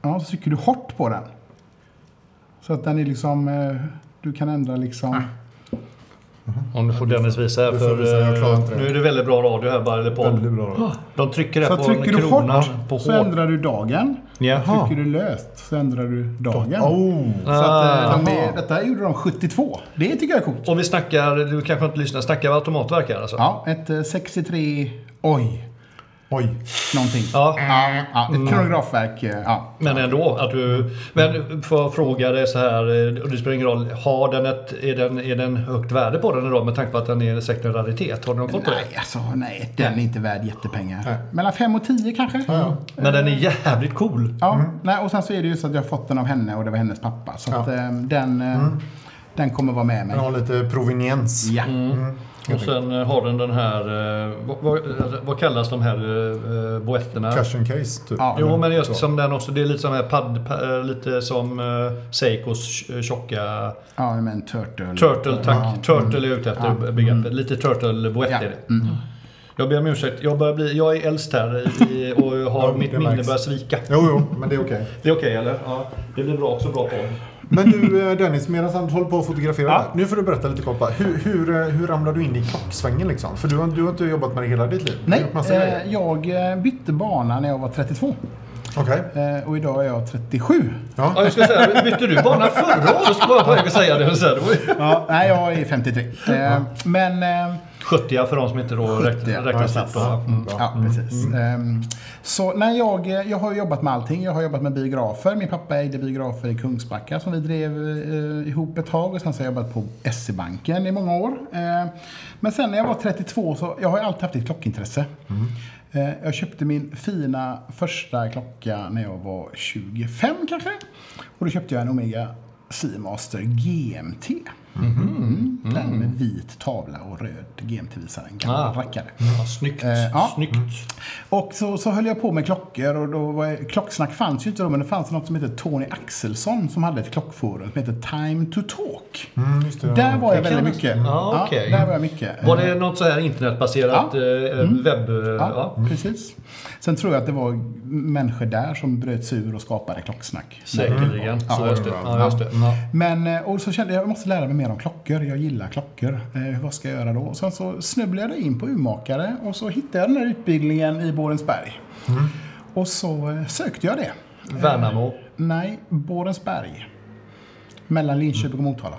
Speaker 4: Ja, så trycker du hårt på den. Så att den är liksom... eh, Du kan ändra liksom...
Speaker 2: Ah, Om du får Dennis visa här
Speaker 1: Du får
Speaker 2: för
Speaker 1: visa, jag klarar inte
Speaker 2: eh,
Speaker 1: det.
Speaker 2: nu är det väldigt bra radio här bara, eller
Speaker 1: Väldigt
Speaker 2: på. Ah.
Speaker 1: bra. då.
Speaker 2: De trycker här
Speaker 4: Så
Speaker 2: på
Speaker 4: trycker du
Speaker 2: kronan
Speaker 4: hårt
Speaker 2: på
Speaker 4: så
Speaker 2: hårt.
Speaker 4: ändrar du dagen.
Speaker 2: Jaha.
Speaker 4: Trycker du löst så ändrar du dagen.
Speaker 1: Oh.
Speaker 4: Så
Speaker 2: Ah.
Speaker 4: att, eh, de är,
Speaker 1: Jaha.
Speaker 4: detta gjorde de 72. Det tycker jag är coolt.
Speaker 2: Och vi snackar, du kanske inte lyssnar, snackar vi automatverk här alltså?
Speaker 4: Ja, ett eh, 63... Oj.
Speaker 1: Oj.
Speaker 4: Någonting.
Speaker 2: Ja. Mm.
Speaker 4: Ja, ett kronografverk. eh, Ja.
Speaker 2: Men ändå, att du... Men får jag fråga dig så här, eh, och det spelar ingen roll. Har den ett, är, den, är den högt värde på den idag med tanke på att den är säkert en raritet? Har du någon koll på det?
Speaker 4: Nej, alltså nej. Den är inte värd jättepengar. Mellan 5 och 10 kanske.
Speaker 2: Men den är jävligt cool.
Speaker 4: Ja, nej, och sen så är det ju så att jag har fått den av henne och det var hennes pappa. Så att, eh, den, eh, den kommer vara med mig.
Speaker 1: Den har lite proveniens.
Speaker 4: Ja.
Speaker 2: Och sen eh, har den den här... eh, Vad, vad, vad kallas de här eh, eh, boetterna?
Speaker 1: Cash and case typ.
Speaker 4: Ja.
Speaker 2: Jo, men just som den också. Det är lite som här padd... pa- eh, Lite som eh, Seikos tj- tjocka...
Speaker 4: ja, men Turtle.
Speaker 2: Turtle, tack. Turtle är jag ute efter begreppet. Lite turtle-boett
Speaker 4: Mm.
Speaker 2: är det.
Speaker 4: Ja. Mm.
Speaker 2: Jag ber om ursäkt. Jag, börjar bli, jag är äldst här i- i, och jag har
Speaker 1: Ja,
Speaker 2: mitt
Speaker 1: det
Speaker 2: minne
Speaker 1: märks.
Speaker 2: börjar svika.
Speaker 1: Jo, jo, men det är okej.
Speaker 2: Det är okej eller? Ja. Det blir bra också bra på.
Speaker 1: Men du eh, Dennis, medan han håller på att fotografera. där, Nu får du berätta lite kort bara. Hur, hur, eh, hur ramlade du in i klocksvängen liksom? För du, har- du har inte jobbat med det hela ditt liv? Du har
Speaker 4: Nej,
Speaker 1: gjort massa grejer.
Speaker 4: eh, jag eh, bytte bana när jag var 32.
Speaker 1: Okej.
Speaker 4: Eh, och idag är jag 37.
Speaker 2: Ja, jag ska säga, bytte du bana förra året? Så var jag på väg att säga det. Så här, det var ju-
Speaker 4: Ja, nej, jag är 53. Eh, men eh,
Speaker 2: 70 för de som inte då räknar,
Speaker 4: Ja,
Speaker 2: räknar
Speaker 4: precis.
Speaker 2: snabbt. Då.
Speaker 4: Mm, ja, precis. Ehm, så när jag, jag har jobbat med allting. Jag har jobbat med biografer. Min pappa ägde biografer i Kungsbacka som vi drev eh, ihop ett tag. Och sen så har jag jobbat på SE-banken i många år. Ehm, men sen när jag var 32 så, jag har ju alltid haft ett klockintresse. Ehm, jag köpte min fina första klocka när jag var 25 kanske. Och då köpte jag en Omega Seamaster GMT. Mm, Den med vit tavla och röd GMT-visare. En gammal
Speaker 2: Ah.
Speaker 4: rackare.
Speaker 2: Ja, snyggt.
Speaker 4: Eh, ja.
Speaker 2: snyggt.
Speaker 4: Och så, så höll jag på med klockor och då var, jag- klocksnack fanns ju inte då men det fanns något som hette Tony Axelsson som hade ett klockforum som hette Time to Talk.
Speaker 1: Mm, just det.
Speaker 4: Där var jag
Speaker 2: Det
Speaker 4: väldigt
Speaker 2: kan-
Speaker 4: mycket.
Speaker 2: Ja, okej. Mm.
Speaker 4: där var jag mycket. Eh,
Speaker 2: Var det något så här internetbaserat
Speaker 4: Ja.
Speaker 2: eh, webb...
Speaker 4: Ja, Mm.
Speaker 2: Ja. Mm.
Speaker 4: precis. Sen tror jag att det var människor där som bröt sig ur och skapade klocksnack.
Speaker 2: Säkerligen. Så
Speaker 1: det
Speaker 2: just det.
Speaker 1: var bra.
Speaker 2: Ja, just det. Ja.
Speaker 4: Men, eh, och så kände jag, jag måste lära mig mer om klockor. Jag gillar klockor. Eh, vad ska jag göra då? Och sen så snubblade jag in på urmakare och så hittade jag den här utbildningen i Borensberg.
Speaker 2: Mm.
Speaker 4: Och så eh, sökte jag det.
Speaker 2: Värnamo.
Speaker 4: Nej, Borensberg. Mellan Linköping och Motala.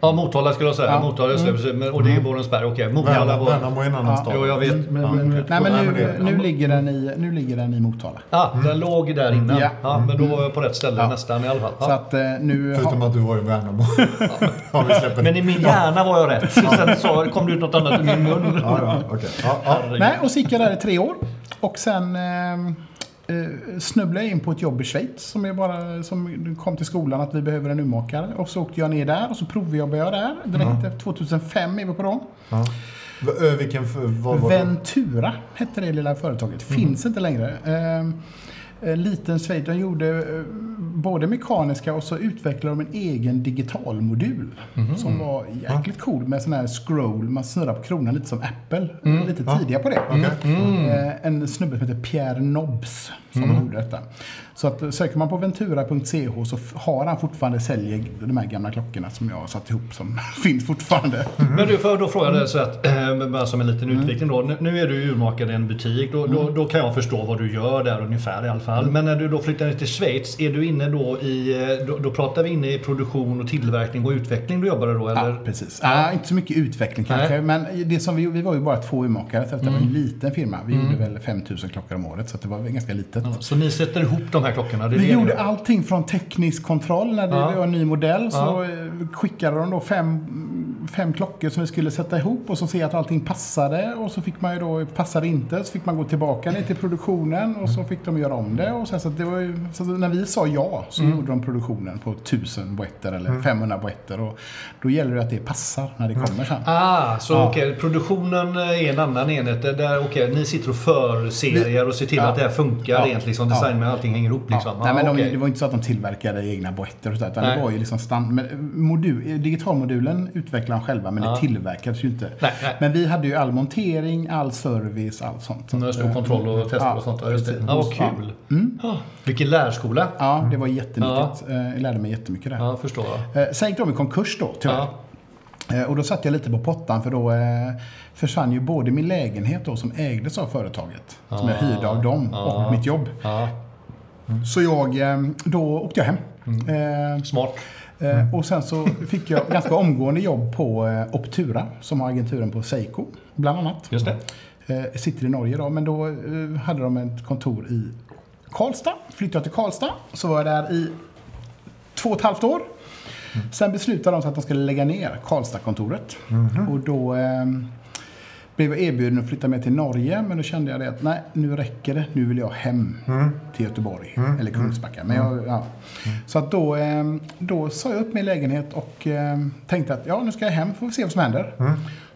Speaker 2: Ja, Motala skulle jag säga.
Speaker 4: Ja.
Speaker 2: Motala, just det. precis. Men- Och det är Borensberg. Okej, Motala
Speaker 1: Värnamo
Speaker 2: var...
Speaker 1: Värnamo är en annan
Speaker 4: Ja.
Speaker 1: stad.
Speaker 2: Jo, jag vet. Men,
Speaker 4: Mm.
Speaker 2: men,
Speaker 4: Nej,
Speaker 1: nej,
Speaker 4: men
Speaker 1: men
Speaker 4: nu,
Speaker 1: det-
Speaker 4: nu, ligger, den i, nu ligger den i Motala.
Speaker 2: ah, den låg där innan.
Speaker 4: Mm. Ja.
Speaker 2: Ja. men då var jag på rätt ställe nästan i alla fall.
Speaker 4: Så
Speaker 2: Ja.
Speaker 4: att eh, nu...
Speaker 1: Förutom
Speaker 4: har-
Speaker 1: att du var i Värnamo. Om vi släpper
Speaker 2: Men i min hjärna var jag rätt. Sen så kom det ut något annat ur min mun.
Speaker 1: Ja, ja, okej. Ja, ja.
Speaker 4: Nej, och så gick jag där i tre år. Och sen eh, eh, snubblade jag in på ett jobb i Schweiz som, är bara, som kom till skolan att vi behöver en urmakare. Och så åkte jag ner där och så provjobbade jag där direkt. efter 2005 är vi på dem.
Speaker 1: Ja. V- ö, Vilken, f- vad var det?
Speaker 4: Ventura hette det lilla företaget. Finns inte längre. Ehm, en liten Schweiz. De gjorde eh, både mekaniska och så utvecklade de en egen digital modul. Som var jäkligt cool med sån här scroll. Man snurrar på kronan lite som Apple. Lite tidiga på det. Eh, en snubbe som heter Pierre Nobs som gjorde detta. Så att, eh, söker man på ventura.ch så f- har han fortfarande säljer de här gamla klockorna som jag har satt ihop som finns fortfarande.
Speaker 2: Men du, får jag då fråga dig så att, eh, bara som en liten
Speaker 4: Mm.
Speaker 2: utvikning då. Nu- Nu är du urmakare i en butik. Då, då, då kan jag förstå vad du gör där ungefär i alla fall.
Speaker 4: Mm.
Speaker 2: Men när du då flyttar ner till Schweiz, är du inne då i... eh, Då, då pratar vi inne i produktion och tillverkning och utveckling du jobbade då, eller?
Speaker 4: Ja, precis. Ja, inte så mycket utveckling kanske.
Speaker 2: Nej.
Speaker 4: Men det som vi, gjorde- vi var ju bara två urmakare, så att det var en liten firma. Vi gjorde väl 5000 klockor om året, så att det var väl ganska litet.
Speaker 2: Så ni sätter ihop de här klockorna? Det är
Speaker 4: Vi
Speaker 2: det ni
Speaker 4: gjorde
Speaker 2: gör.
Speaker 4: allting från teknisk kontroll när det
Speaker 2: Ja.
Speaker 4: var en ny modell. Så
Speaker 2: Ja.
Speaker 4: eh, skickade de då fem, fem klockor som vi skulle sätta ihop och så se att allting passade. Och så fick man ju då, passade inte, så fick man gå tillbaka ner till produktionen och så fick de göra om det. Och sen, så att det var ju, så att när vi sa ja så
Speaker 2: Mm.
Speaker 4: gjorde de produktionen på 1000 boetter eller 500 boetter. Och då gäller det att det passar när det kommer sen.
Speaker 2: Ah, så okej, produktionen är en annan enhet. Där- Där, okej, ni sitter och för serier och ser till
Speaker 4: Ja.
Speaker 2: att det här funkar
Speaker 4: Ja.
Speaker 2: rent liksom, design med allting hänger ihop liksom.
Speaker 4: Nej,
Speaker 2: Ah,
Speaker 4: men de,
Speaker 2: okej.
Speaker 4: Det var inte så att de tillverkade egna boetter och sådär, utan
Speaker 2: Nej.
Speaker 4: det var ju liksom stand, men modul, digitalmodulen utvecklade de själva men det tillverkades ju inte.
Speaker 2: Nej, nej.
Speaker 4: Men vi hade ju all montering, all service, allt sånt. Så
Speaker 2: När det
Speaker 4: att,
Speaker 2: stod
Speaker 4: eh,
Speaker 2: kontroll och tester
Speaker 4: ja,
Speaker 2: och sånt. Ja, just det.
Speaker 4: precis. Mm.
Speaker 2: Ja, vad kul. Ah, vilken lärskola.
Speaker 4: Ja, det var jättenyttigt. Eh, Jag lärde mig jättemycket där.
Speaker 2: Ja, förstår jag.
Speaker 4: Eh, Sen gick de i konkurs då tyvärr.
Speaker 2: Ja.
Speaker 4: Eh, Och då satt jag lite på pottan för då eh, försvann ju både min lägenhet då som ägdes av företaget, som
Speaker 2: Ah.
Speaker 4: jag hyrde av dem, och mitt jobb.
Speaker 2: Ja,
Speaker 4: Så jag, eh, då åkte jag hem.
Speaker 2: Mm.
Speaker 4: Eh,
Speaker 2: smart.
Speaker 4: Eh, Och sen så fick jag ganska omgående jobb på eh, Optura som har agenturen på Seiko bland annat.
Speaker 2: Just det.
Speaker 4: Eh, Sitter i Norge då, men då eh, hade de ett kontor i Karlstad. Flyttade jag till Karlstad, så var jag där i två och ett halvt år. Sen beslutade de sig att de skulle lägga ner Karlstadkontoret. Och då eh, blev jag erbjuden att flytta med till Norge, men då kände jag det att nej, nu räcker det. Nu vill jag hem till Göteborg eller Kungsbacka. Men jag, ja. Så att då, eh, då sa jag upp min lägenhet och eh, tänkte att ja, nu ska jag hem, får vi se vad som händer.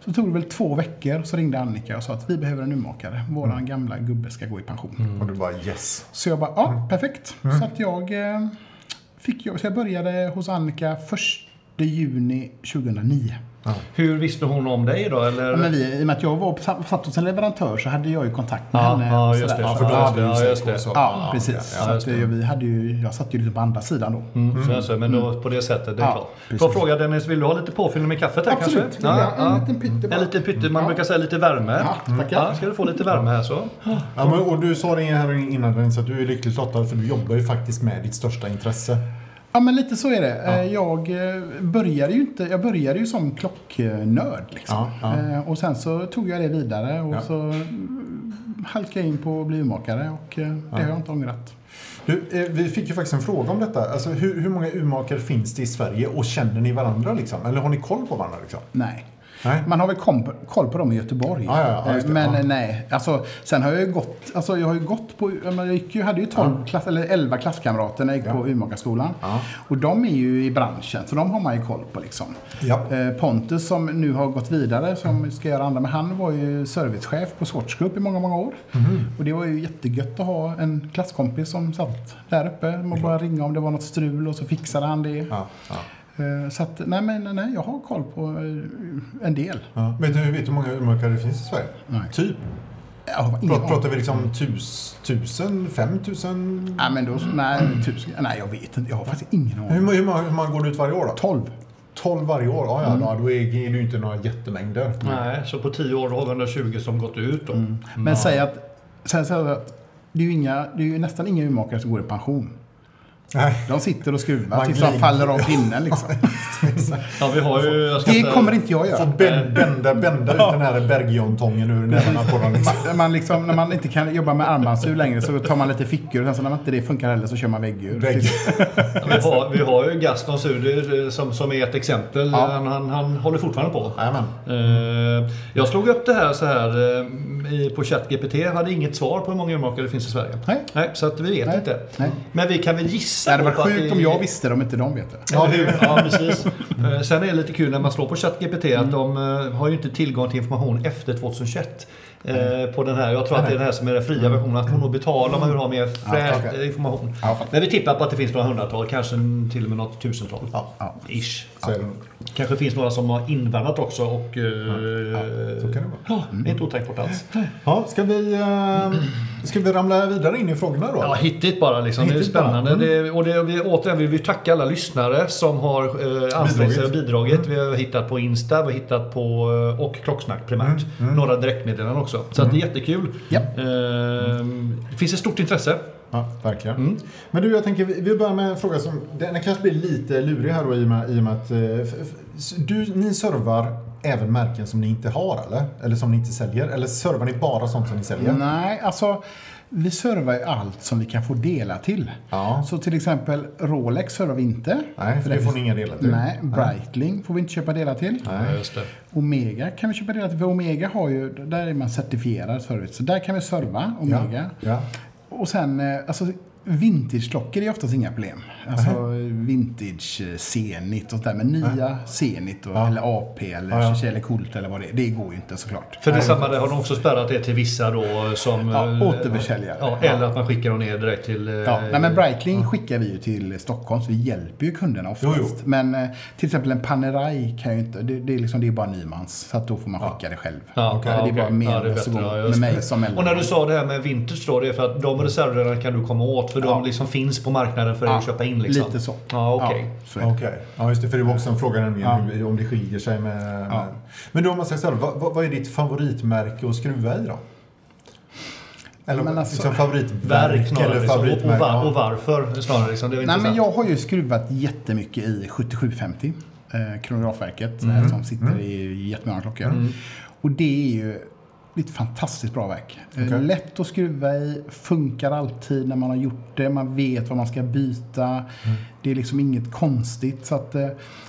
Speaker 4: Så tog det väl två veckor, så ringde Annika och sa att vi behöver en urmakare. Våran gamla gubbe ska gå i pension.
Speaker 1: Och du bara yes.
Speaker 4: Så jag bara, ja, perfekt. Så att jag eh, fick jobb. Så jag började hos Annika 1 juni 2009.
Speaker 2: Hur visste hon om dig då? Eller?
Speaker 4: Ja, men vi, I och med att jag var på, satt hos en leverantör så hade jag ju kontakt med
Speaker 2: ja,
Speaker 4: henne.
Speaker 2: ja,
Speaker 4: och sådär.
Speaker 2: just det.
Speaker 4: Ja,
Speaker 1: för då
Speaker 2: Ja,
Speaker 1: hade du
Speaker 2: ja,
Speaker 1: ju
Speaker 2: just det.
Speaker 1: Seiko, så-
Speaker 4: ja,
Speaker 1: ja,
Speaker 4: precis.
Speaker 1: ja,
Speaker 4: så att, eh, vi hade ju, jag satt ju liksom på andra sidan då.
Speaker 2: Mm, så jag säger, men då, på det sätttet, det är
Speaker 4: Ja,
Speaker 2: klart.
Speaker 4: precis.
Speaker 2: Får jag fråga Dennis, vill du ha lite påfyllning med kaffet här
Speaker 4: Absolut.
Speaker 2: kanske? Ja,
Speaker 4: en,
Speaker 2: ja.
Speaker 4: liten pytte bara.
Speaker 2: En liten pytte, man
Speaker 4: Ja.
Speaker 2: brukar säga lite värme.
Speaker 4: Ja, tackar.
Speaker 2: ska du få lite värme här så.
Speaker 1: Ja, men, och du sa det här innan Dennis, att du är lyckligt lottad för du jobbar ju faktiskt med ditt största intresse.
Speaker 4: Ja men lite så är det. Eh, Jag eh, började ju, inte, jag började ju som klocknörd. Liksom.
Speaker 1: Ja, ja.
Speaker 4: Eh, Och sen så tog jag det vidare och
Speaker 1: Ja.
Speaker 4: så mm, halkade jag in på att bli urmakare och eh, det har jag inte ångrat.
Speaker 1: Du, eh, vi fick ju faktiskt en fråga om detta. Alltså, hur, hur många urmakare finns det i Sverige och känner ni varandra? Liksom? Eller har ni koll på varandra? Liksom?
Speaker 4: Nej.
Speaker 1: Nej.
Speaker 4: Man har väl kom, koll på dem i Göteborg.
Speaker 1: Ja, ja, ja,
Speaker 4: Eh,
Speaker 1: just det.
Speaker 4: men
Speaker 1: Ja.
Speaker 4: eh, nej, alltså, sen har jag ju gått, alltså, jag har ju gått på, ja, men jag gick ju, hade ju 12 klass, eller 11 klasskamrater när jag gick
Speaker 1: Ja.
Speaker 4: på Umeåskolan.
Speaker 1: Ja.
Speaker 4: Och de är ju i branschen, så de har man ju koll på liksom.
Speaker 1: Ja.
Speaker 4: Eh, Pontus som nu har gått vidare, som ska göra andra, men han var ju servicechef på Swatch Group i många, många år.
Speaker 1: Mhm.
Speaker 4: Och det var ju jättegött att ha en klasskompis som satt där uppe. Man bara ringa om det var något strul och så fixade han det.
Speaker 1: Ja, ja,
Speaker 4: Eh, Så att, nej, men nej, nej, jag har koll på eh, en del.
Speaker 1: ja. Vet, du, vet du hur många urmakare det finns i Sverige?
Speaker 4: Nej.
Speaker 1: Typ?
Speaker 4: Jag har ingen
Speaker 1: Pratar,
Speaker 4: aning.
Speaker 1: pratar vi liksom tus, tusen, femtusen?
Speaker 4: Nej, men då, nej, tusen, nej, jag vet inte. Jag har faktiskt ingen
Speaker 1: Hur,
Speaker 4: aning.
Speaker 1: må- hur, många, hur många går det ut varje år då? Mm.
Speaker 4: 12.
Speaker 1: 12 varje år? Ja, ja, ja då är det ju inte några jättemängder.
Speaker 4: Mm.
Speaker 2: Nej, så på 10 år har vi 120 som gått ut då.
Speaker 4: Men säg att, säg så här att det är ju, inga, det är ju nästan inga urmakare som går i pension.
Speaker 1: Nej.
Speaker 4: De sitter och skruvar
Speaker 1: Man
Speaker 4: tills de
Speaker 1: glider.
Speaker 4: faller av pinnen liksom.
Speaker 2: Ja, vi har ju... Jag ska
Speaker 4: Det
Speaker 2: inte-
Speaker 4: kommer inte jag göra.
Speaker 1: Får bän- bända, bända ut den här Bergiontången ur nävarna på dem. Liksom.
Speaker 4: Man, man liksom, när man inte kan jobba med armbandsur längre så tar man lite fickor och sen så när man inte det funkar heller så kör man väggur. Typ.
Speaker 1: Vägg.
Speaker 2: Ja, Vi har, vi har ju Gaston Suder eh, som, som är ett exempel.
Speaker 4: Ja.
Speaker 2: Han, han, han håller fortfarande på.
Speaker 1: Jajamän.
Speaker 2: Eh, Jag slog upp det här så här eh, i- på ChatGPT. Jag hade inget svar på hur många urmakare det finns i Sverige.
Speaker 4: Nej.
Speaker 2: så att vi vet
Speaker 4: Nej.
Speaker 2: inte.
Speaker 4: Nej.
Speaker 2: Men vi kan väl gissa
Speaker 4: Det hade
Speaker 2: på
Speaker 4: varit
Speaker 2: att
Speaker 4: sjukt
Speaker 2: det-
Speaker 4: om jag visste det om inte de vet det.
Speaker 2: Ja, hur? ja precis. Eh, Sen är det lite kul när man slår på ChatGPT
Speaker 1: Mm.
Speaker 2: att de eh, har ju inte tillgång till information efter 2021. eh,
Speaker 1: Mm.
Speaker 2: På den här. Jag tror att det är den här som är den fria versionen. Att man nog betalar om man vill ha mer fräsch
Speaker 1: Ja, okej.
Speaker 2: eh, information.
Speaker 1: Ja, fattar.
Speaker 2: Men vi tippar på att det finns några hundratal, kanske till och med något tusental. Ish.
Speaker 1: Så är det nog.
Speaker 2: Kanske finns några som har invandrat också och... eh,
Speaker 1: Ja, så kan det vara. Mm.
Speaker 2: Ja, det är inte otänkbart alls.
Speaker 1: Ja, ska, vi, eh, ska vi ramla vidare in i frågorna då?
Speaker 2: Ja, hittigt bara liksom. det är
Speaker 1: Hittigt
Speaker 2: spännande.
Speaker 4: Mm.
Speaker 1: bara.
Speaker 2: Det, och det, vi, återigen vill vi tacka alla lyssnare som har eh, ansträngt sig och bidragit.
Speaker 4: Mm.
Speaker 2: Vi har hittat på Insta, vi har hittat på eh, och Klocksnack primärt.
Speaker 4: Mm,
Speaker 2: Några direktmeddelanden också. Så att det är jättekul.
Speaker 4: Japp.
Speaker 2: Ehm, det finns ett stort intresse.
Speaker 1: Ja, verkligen. Mm. Men du, jag tänker, vi vi börjar med en fråga som den kanske blir lite lurig här då, i och med, i och med att eh, f- f- du, ni servar även märken som ni inte har eller? Eller som ni inte säljer? Eller servar ni bara sånt som ni säljer?
Speaker 4: Nej, alltså vi servar ju allt som vi kan få dela till.
Speaker 1: Ja.
Speaker 4: Så till exempel Rolex servar vi inte.
Speaker 1: Nej, för det får
Speaker 4: den finns-
Speaker 1: ni inga delar till.
Speaker 4: Nej, Breitling får vi inte köpa delar till.
Speaker 2: Ja, just det.
Speaker 4: Omega kan vi köpa delar till. För Omega har ju, där är man certifierad service. Så där kan vi serva
Speaker 1: Ja.
Speaker 4: Omega.
Speaker 1: Ja.
Speaker 4: Och sen, eh, alltså Vintageklockor är oftast inga problem. Alltså vintage eh, Zenit och sådär. Men nya Zenit och, eller AP eller
Speaker 1: Ja, ja.
Speaker 4: Cheche eller Colt eller vad det är. Det går ju inte såklart.
Speaker 2: För det samma där har de också spärrat det till vissa då som...
Speaker 4: Ja,
Speaker 2: eh,
Speaker 4: återförsäljare.
Speaker 2: Ja, eller att man skickar dem ner direkt till... eh,
Speaker 4: Ja, nej, men Breitling skickar vi ju till Stockholm, så vi hjälper ju kunderna oftast.
Speaker 1: Jo, jo.
Speaker 4: Men eh, till exempel en Panerai kan jag ju inte, det, det, är liksom, det är bara Nymans, så att då får man skicka det själv.
Speaker 2: Ja,
Speaker 4: det är
Speaker 2: okej.
Speaker 4: bara
Speaker 2: Ja, det är
Speaker 4: meningslöst
Speaker 2: bättre.
Speaker 4: att
Speaker 2: Ja,
Speaker 4: gå
Speaker 2: just
Speaker 4: med
Speaker 2: det.
Speaker 4: mig som
Speaker 2: Och när
Speaker 4: mellanhand.
Speaker 2: du sa det här med vintage då, det är för att de reservdelarna kan du komma åt för de
Speaker 4: Ja.
Speaker 2: liksom finns på marknaden för dig
Speaker 4: Ja,
Speaker 2: att köpa in liksom.
Speaker 4: Lite så.
Speaker 2: Ja, okej.
Speaker 4: Ja, så är det.
Speaker 1: Okej, ja just det. För det var också en fråga nämligen hur, om det skiljer sig med... med. Men då om man säger så här, vad, vad- vad är ditt favoritmärke att skruva i då? Eller
Speaker 4: Men alltså-
Speaker 1: liksom
Speaker 2: Verk
Speaker 1: favoritverk
Speaker 2: snarare. Liksom.
Speaker 1: eller
Speaker 2: Och, och,
Speaker 1: favoritmärke?
Speaker 2: var, och
Speaker 1: Ja.
Speaker 2: varför snarare. Liksom. Det är
Speaker 4: Nej,
Speaker 2: intressant.
Speaker 4: men jag har ju skruvat jättemycket i 7750, eh, kronografverket,
Speaker 2: Mm.
Speaker 4: eh, som sitter i jättemånga klockor. Och det är ju ett fantastiskt bra verk. Eh,
Speaker 1: Okej.
Speaker 4: Lätt att skruva i, funkar alltid när man har gjort det, man vet vad man ska byta.
Speaker 2: Mm.
Speaker 4: Det är liksom inget konstigt. Så att, eh,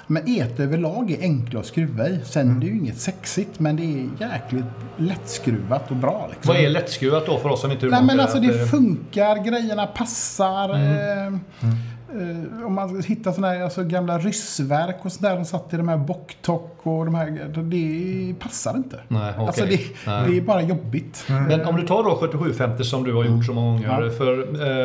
Speaker 4: men et överlag är enkla att skruva i. Sen
Speaker 2: Mm.
Speaker 4: är det ju inget sexigt, men det är jäkligt lättskruvat och bra. Liksom.
Speaker 2: Vad är lättskruvat då för oss som inte är
Speaker 4: Nej men
Speaker 2: urmakare?
Speaker 4: alltså
Speaker 2: Att,
Speaker 4: det
Speaker 2: eh,
Speaker 4: funkar, grejerna passar.
Speaker 2: Mm.
Speaker 4: Eh, Eh, om man hittar sådana här alltså, gamla ryssverk och sådär. De satt i de här bocktock och de här. Det passar inte.
Speaker 2: Nej, Mm, okej. Mm.
Speaker 4: Alltså det,
Speaker 2: Nej.
Speaker 4: det är bara jobbigt.
Speaker 2: Men om du tar då 7750 som du har gjort så många gånger.
Speaker 4: Ja. Mm.
Speaker 2: För,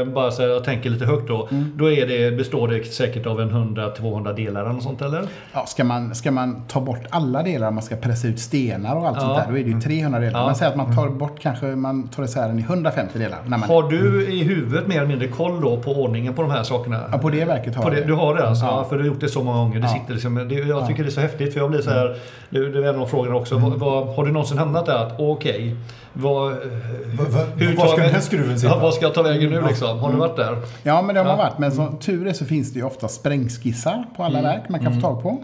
Speaker 2: eh, bara så här, jag tänker lite högt då. Då är det, består det säkert av en 100-200 delar eller något sånt eller?
Speaker 4: Ja, ska, man, ska man ta bort alla delar, man ska pressa ut stenar och allt
Speaker 2: Ja. Mm.
Speaker 4: sånt där, då är det ju 300 delar.
Speaker 2: Ja. Mm.
Speaker 4: Man säger att man tar bort kanske, man tar isär den i 150 delar. När man,
Speaker 2: Har du i huvudet mer eller mindre koll då på ordningen på de här sakerna?
Speaker 4: Ja, på det verket har
Speaker 2: På
Speaker 4: jag
Speaker 2: det,
Speaker 4: det.
Speaker 2: du har det alltså?
Speaker 4: Ja.
Speaker 2: Ja. För du har gjort det så många gånger. Det
Speaker 4: Ja. Mm.
Speaker 2: sitter liksom, det, jag tycker det är så häftigt för jag blir så här. Det, det är en av frågorna också. Vad, vad, har du någonsin hamnat där att okej, vad,
Speaker 1: Va- va-
Speaker 2: hur
Speaker 1: Var
Speaker 2: tar
Speaker 1: ska
Speaker 2: vi-
Speaker 1: den här skruven
Speaker 2: ja,
Speaker 1: sitta?
Speaker 2: vad ska jag ta vägen
Speaker 4: Mm.
Speaker 2: nu liksom? Har du varit där?
Speaker 4: Ja, men det har man varit. Men som tur är så finns det ju ofta sprängskissar på alla verk man kan få tag på.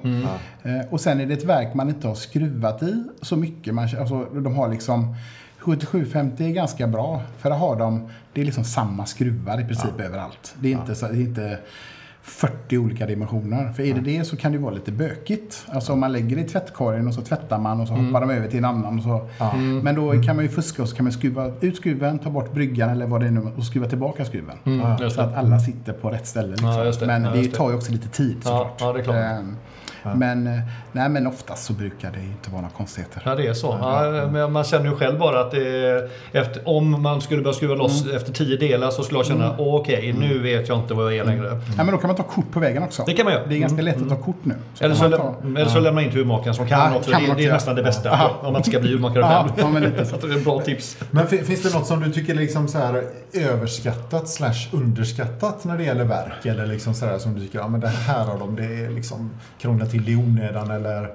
Speaker 4: Eh, och sen är det ett verk man inte har skruvat i så mycket. Man, alltså, de har liksom 7750 är ganska bra. För där har de, det är liksom samma skruvar i princip överallt. Det är, inte, så, det är inte 40 olika dimensioner. För är det det så kan det ju vara lite bökigt. Alltså om man lägger det i tvättkorgen och så tvättar man och så hoppar de över till en annan. Och så. Men då kan man ju fuska och så kan man skruva ut skruven, ta bort bryggan eller vad det är nu och skruva tillbaka skruven.
Speaker 2: Ja, just
Speaker 4: Så
Speaker 2: det.
Speaker 4: att alla sitter på rätt ställe. Liksom.
Speaker 2: Ja, just det.
Speaker 4: Men
Speaker 2: Ja,
Speaker 4: det
Speaker 2: just det.
Speaker 4: tar ju också lite tid såklart.
Speaker 2: ja, det är klart.
Speaker 4: Ehm, Men, eh, nej, men oftast så brukar det inte vara några konstigheter.
Speaker 2: Ja, det är
Speaker 4: Mm.
Speaker 2: så. Ja, men man känner ju själv bara att det är, efter, om man skulle börja skruva loss
Speaker 4: Mm.
Speaker 2: efter tio delar så skulle jag känna okej, nu vet jag inte vad jag är längre.
Speaker 4: Ja, men då kan man ta kort på vägen också.
Speaker 2: Det kan man göra.
Speaker 4: Mm.
Speaker 2: Mm.
Speaker 4: Det är ganska lätt att ta kort nu. Så
Speaker 2: Eller så,
Speaker 4: kan man
Speaker 2: lä-
Speaker 4: ta-
Speaker 2: eller så lämnar man in till urmakaren som kan
Speaker 4: Ja,
Speaker 2: också.
Speaker 4: kan
Speaker 2: det,
Speaker 4: man
Speaker 2: det
Speaker 4: också
Speaker 2: är
Speaker 4: göra.
Speaker 2: nästan det bästa. Om man inte ska bli urmakare
Speaker 4: Ja,
Speaker 2: själv.
Speaker 4: ja, men lite
Speaker 2: så. det är ett bra tips.
Speaker 1: Men fin- finns det något som du tycker är liksom så här överskattat slash underskattat när det gäller verk? Eller liksom så här som du tycker, ja men det här har de, det är liksom krånglar till det i onödan eller?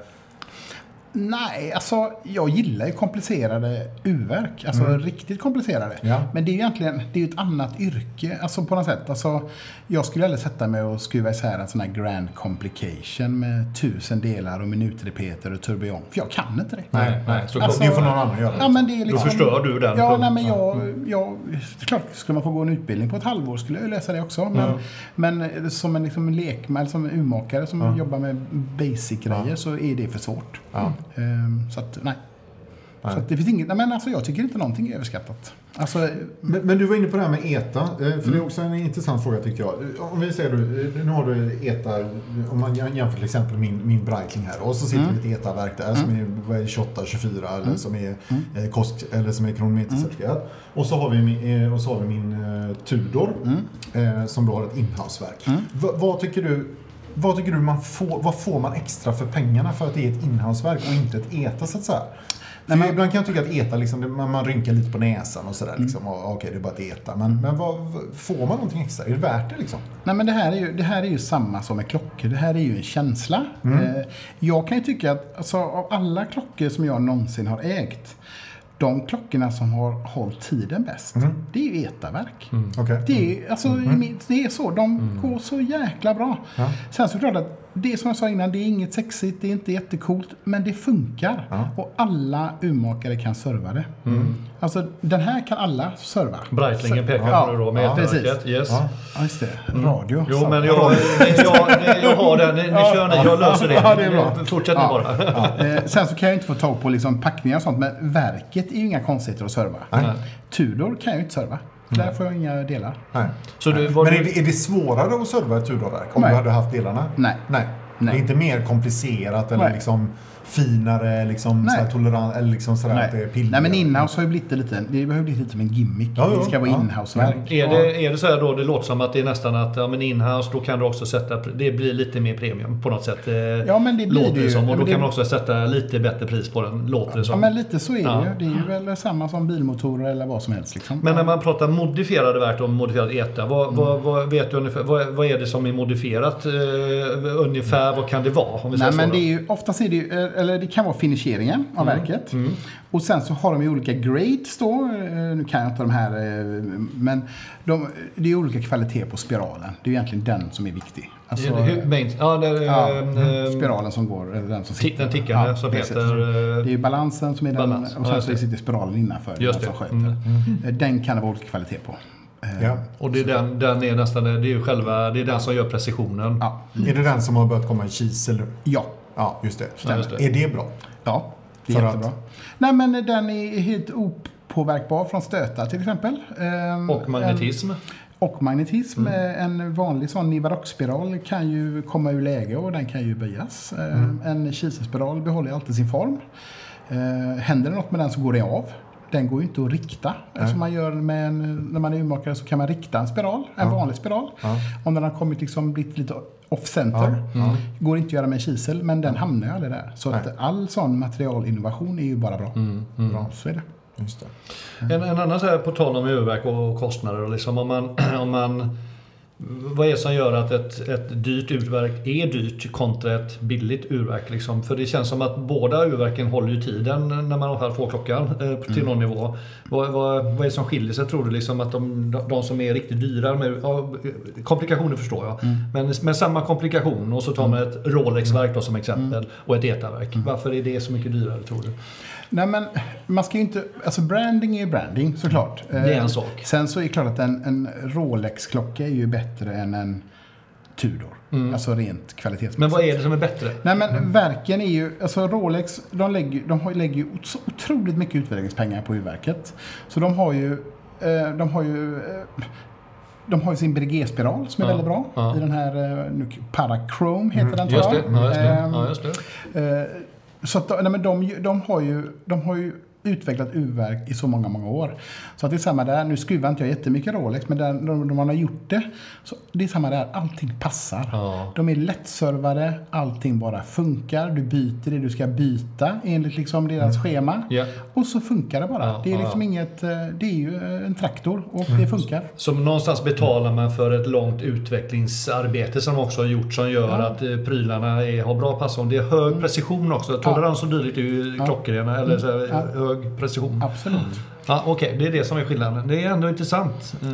Speaker 4: Nej, alltså jag gillar ju komplicerade urverk. Alltså
Speaker 2: Mm.
Speaker 4: riktigt komplicerade.
Speaker 1: Ja.
Speaker 4: Men det är ju egentligen det är ju ett annat yrke alltså, på något sätt. Alltså, jag skulle aldrig sätta mig och skruva isär en sån här grand complication med tusen delar och minutrepeter och tourbillon. För jag kan inte det.
Speaker 1: Nej, nej.
Speaker 2: såklart.
Speaker 4: Alltså-
Speaker 1: det får någon annan göra.
Speaker 4: Ja, men det är liksom,
Speaker 2: förstör du den punkten.
Speaker 4: Ja,
Speaker 2: Mm.
Speaker 4: nej, men jag, jag, det är klart, skulle man få gå en utbildning på ett halvår skulle jag ju läsa det också. Men, men som en liksom, lekman, eller som en urmakare som jobbar med basic-grejer så är det för svårt. Ehm, så att, nej. Så att det finns inget, nej, men alltså, jag tycker inte någonting är överskattat. Alltså,
Speaker 1: Men, men du var inne på det här med ETA, eh, för det är också en intressant fråga tycker jag. Eh, Om vi säger då, eh, nu har du ETA, eh, om man jäm- jämför till exempel min, min Breitling här och så sitter det ett ETA-verk där som är vad är det, 28, 24 eller som är eh, kosk, eller som är kronometercertifierat. Och så har vi min, eh, och så har vi min eh, Tudor eh, som då har ett inhouse-verk. Va, vad tycker du vad tycker du man får, vad får man extra för pengarna för att det är ett inhouse-verk och inte ett ETA så att säga? För ibland kan jag tycka att ETA, liksom, det- man, man rynkar lite på näsan och sådär. Liksom, och, Okej, det är bara ett ETA. Men, men vad, vad- får man någonting extra? Är det värt det liksom?
Speaker 4: Nej, men det, här är ju, det här är ju samma som med klockor. Det här är ju en känsla. Eh, jag kan ju tycka att alltså, av alla klockor som jag någonsin har ägt, de klockorna som har hållit tiden bäst, det är ju etaverk.
Speaker 1: Okej.
Speaker 4: Det, är, alltså, i mitt- det är så. De går så jäkla bra. Sen så är det klart att det som jag sa innan, det är inget sexigt, det är inte jättecoolt, men det funkar. Och alla urmakare kan serva det. Alltså, den här kan alla serva.
Speaker 2: Breitlingen pekar
Speaker 4: Ja,
Speaker 2: på det då med
Speaker 4: ja,
Speaker 2: ett
Speaker 4: precis.
Speaker 2: raket. Yes.
Speaker 4: Ja, just det. Radio.
Speaker 2: Jo, men jag, det- jag, det- jag har den. Ni, ni kör ni, jag löser det.
Speaker 4: Ja, det är bra.
Speaker 2: Fortsätt nu
Speaker 4: Ja.
Speaker 2: bara.
Speaker 4: Eh, sen så kan jag ju inte få tag på liksom packningar och sånt, men verket är ju inga konstigheter att serva. Tudor kan jag ju inte serva. Där får jag inga delar.
Speaker 1: Nej.
Speaker 2: Så du, var
Speaker 1: Men är
Speaker 2: du,
Speaker 1: det, är det svårare att serva ett Tudorverk om
Speaker 4: Nej.
Speaker 1: du hade haft delarna?
Speaker 4: Nej.
Speaker 1: Nej.
Speaker 4: Nej.
Speaker 1: Det är inte mer komplicerat eller
Speaker 4: Nej.
Speaker 1: liksom finare, liksom,
Speaker 4: Nej.
Speaker 1: sådär tolerant, eller liksom sådär att det är
Speaker 4: Nej.
Speaker 1: piller.
Speaker 4: Nej, men inhouse har ju blivit lite, det har ju blivit lite som en gimmick.
Speaker 1: Ja, ja,
Speaker 4: det ska vara
Speaker 1: ja.
Speaker 4: inhouseverk.
Speaker 2: är, det, är det så här då, det låter som att det är nästan att ja, men inhouse, då kan du också sätta, pr- det blir lite mer premium på något sätt. eh,
Speaker 4: Ja, men det blir
Speaker 2: låter
Speaker 4: det ju.
Speaker 2: som.
Speaker 4: Ja,
Speaker 2: Och då
Speaker 4: men det-
Speaker 2: kan man också sätta lite bättre pris på den, låter det
Speaker 4: Ja,
Speaker 2: som.
Speaker 4: men lite så är
Speaker 2: Ja.
Speaker 4: det ju. Det är ju väl samma som bilmotorer eller vad som helst. Liksom.
Speaker 2: Men när man pratar modifierade verk och modifierat ETA, vad,
Speaker 4: Mm.
Speaker 2: vad, vad vet du ungefär? Vad, vad är det som är modifierat eh, ungefär? Vad kan det vara? Om vi säger
Speaker 4: Nej,
Speaker 2: så
Speaker 4: men
Speaker 2: då? Mm.
Speaker 4: det är ju, oftast är det ju, eh, eller det kan vara finisheringen av verket. Och sen så har de ju olika grades då. Eh, Nu kan jag inte de här, eh, men de, det är olika kvaliteter på spiralen. Det är ju egentligen den som är viktig. Alltså,
Speaker 2: Hur- main- ja, det,
Speaker 4: ja,
Speaker 2: ehm,
Speaker 4: mm,
Speaker 2: ehm,
Speaker 4: spiralen som går, eller den som
Speaker 2: Ti-
Speaker 4: sitter.
Speaker 2: den tickande som
Speaker 4: precis.
Speaker 2: heter, eh,
Speaker 4: Det är ju balansen som är den
Speaker 2: balans.
Speaker 4: och
Speaker 2: Ja,
Speaker 4: sen
Speaker 2: just
Speaker 4: så
Speaker 2: det.
Speaker 4: sitter spiralen innanför.
Speaker 2: Just
Speaker 4: den
Speaker 2: det. Mm,
Speaker 4: som sköter. Eh, Den kan det vara olika kvalitet på. Eh,
Speaker 1: Ja.
Speaker 2: Och det är den, den är nästan, det är ju själva, det är den som gör precisionen.
Speaker 4: Ja.
Speaker 1: Är det den som har börjat komma i kisel nu?
Speaker 4: ja.
Speaker 1: Ja, just det.
Speaker 2: Ja, just det.
Speaker 1: Är det bra?
Speaker 4: Ja, det är
Speaker 1: För
Speaker 4: jättebra. Nej, men den är helt opåverkbar från stötar till exempel. Ehm,
Speaker 2: Och magnetism.
Speaker 4: En, och magnetism.
Speaker 2: Mm.
Speaker 4: Eh, En vanlig sån Nivarock-spiral kan ju komma ur läge och den kan ju böjas. Ehm,
Speaker 2: Mm.
Speaker 4: En kiselspiral behåller ju alltid sin form. Ehm, Händer det något med den så går den av. Den går ju inte att rikta. Som man gör med en, när man är urmakare så kan man rikta en spiral, en vanlig spiral. Om den har kommit liksom blivit lite off center. Går inte att göra med en kisel, men den hamnar ju aldrig där. Så att all sån materialinnovation är ju bara bra.
Speaker 2: Mm,
Speaker 4: bra så är det.
Speaker 1: Just det.
Speaker 2: En, en annan så här på tal om urverk och kostnader. och Liksom om man, om man vad är det som gör att ett, ett dyrt urverk är dyrt kontra ett billigt urverk? Liksom? För det känns som att båda urverken håller ju tiden när man har får klockan eh, till någon nivå. Vad, vad, vad är det som skiljer sig tror du? Liksom att de, de som är riktigt dyra, med, ja, komplikationer förstår jag, men med samma komplikation och så tar man ett Rolex-verk då som exempel och ett ETA-verk. Varför är det så mycket dyrare tror du?
Speaker 4: Nej men man ska ju inte, alltså branding är ju branding såklart. Eh,
Speaker 2: Det är en sak.
Speaker 4: Sen så är det klart att en, en Rolex-klocka är ju bättre än en Tudor. Alltså rent kvalitetsmässigt.
Speaker 2: Mm. Men vad är det som är Mm. bättre?
Speaker 4: Nej men verken är ju, alltså Rolex, de lägger, de har, lägger ju så otroligt mycket utvärderingspengar på urverket. Så de har ju, eh, de har ju, eh, de har ju sin Breguet-spiral som är
Speaker 2: Ja,
Speaker 4: väldigt bra.
Speaker 2: ja. Mm.
Speaker 4: I den här, eh, nu, Parachrome heter den tror
Speaker 2: Just
Speaker 4: jag.
Speaker 2: det, ja, just det.
Speaker 4: Ehm,
Speaker 2: Ja, just det.
Speaker 4: Eh, Så att, nej, men de, de, har ju, de har ju utvecklat urverk i så många, många år. Så att det är samma där, nu skruvar inte jag jättemycket Rolex, men där, när man har gjort det, så det är samma där, allting passar.
Speaker 2: Ja.
Speaker 4: De är lättservade, allting bara funkar, du byter det du ska byta enligt liksom deras schema.
Speaker 2: Mm. Ja.
Speaker 4: Och så funkar det bara.
Speaker 2: Ja,
Speaker 4: det
Speaker 2: ja,
Speaker 4: är
Speaker 2: Mm.
Speaker 4: liksom
Speaker 2: ja.
Speaker 4: inget, eh, det är ju eh, en traktor och det funkar.
Speaker 2: Som någonstans betalar man för ett långt utvecklingsarbete som de också har gjort som gör att eh, prylarna är, har bra passform. Det är hög precision också. Tolerans och dylikt är ju klockrena, eller så här, hög precision. Ja.
Speaker 4: Absolut.
Speaker 2: Okej, det är det som är skillnaden. Det är ändå intressant. Eh,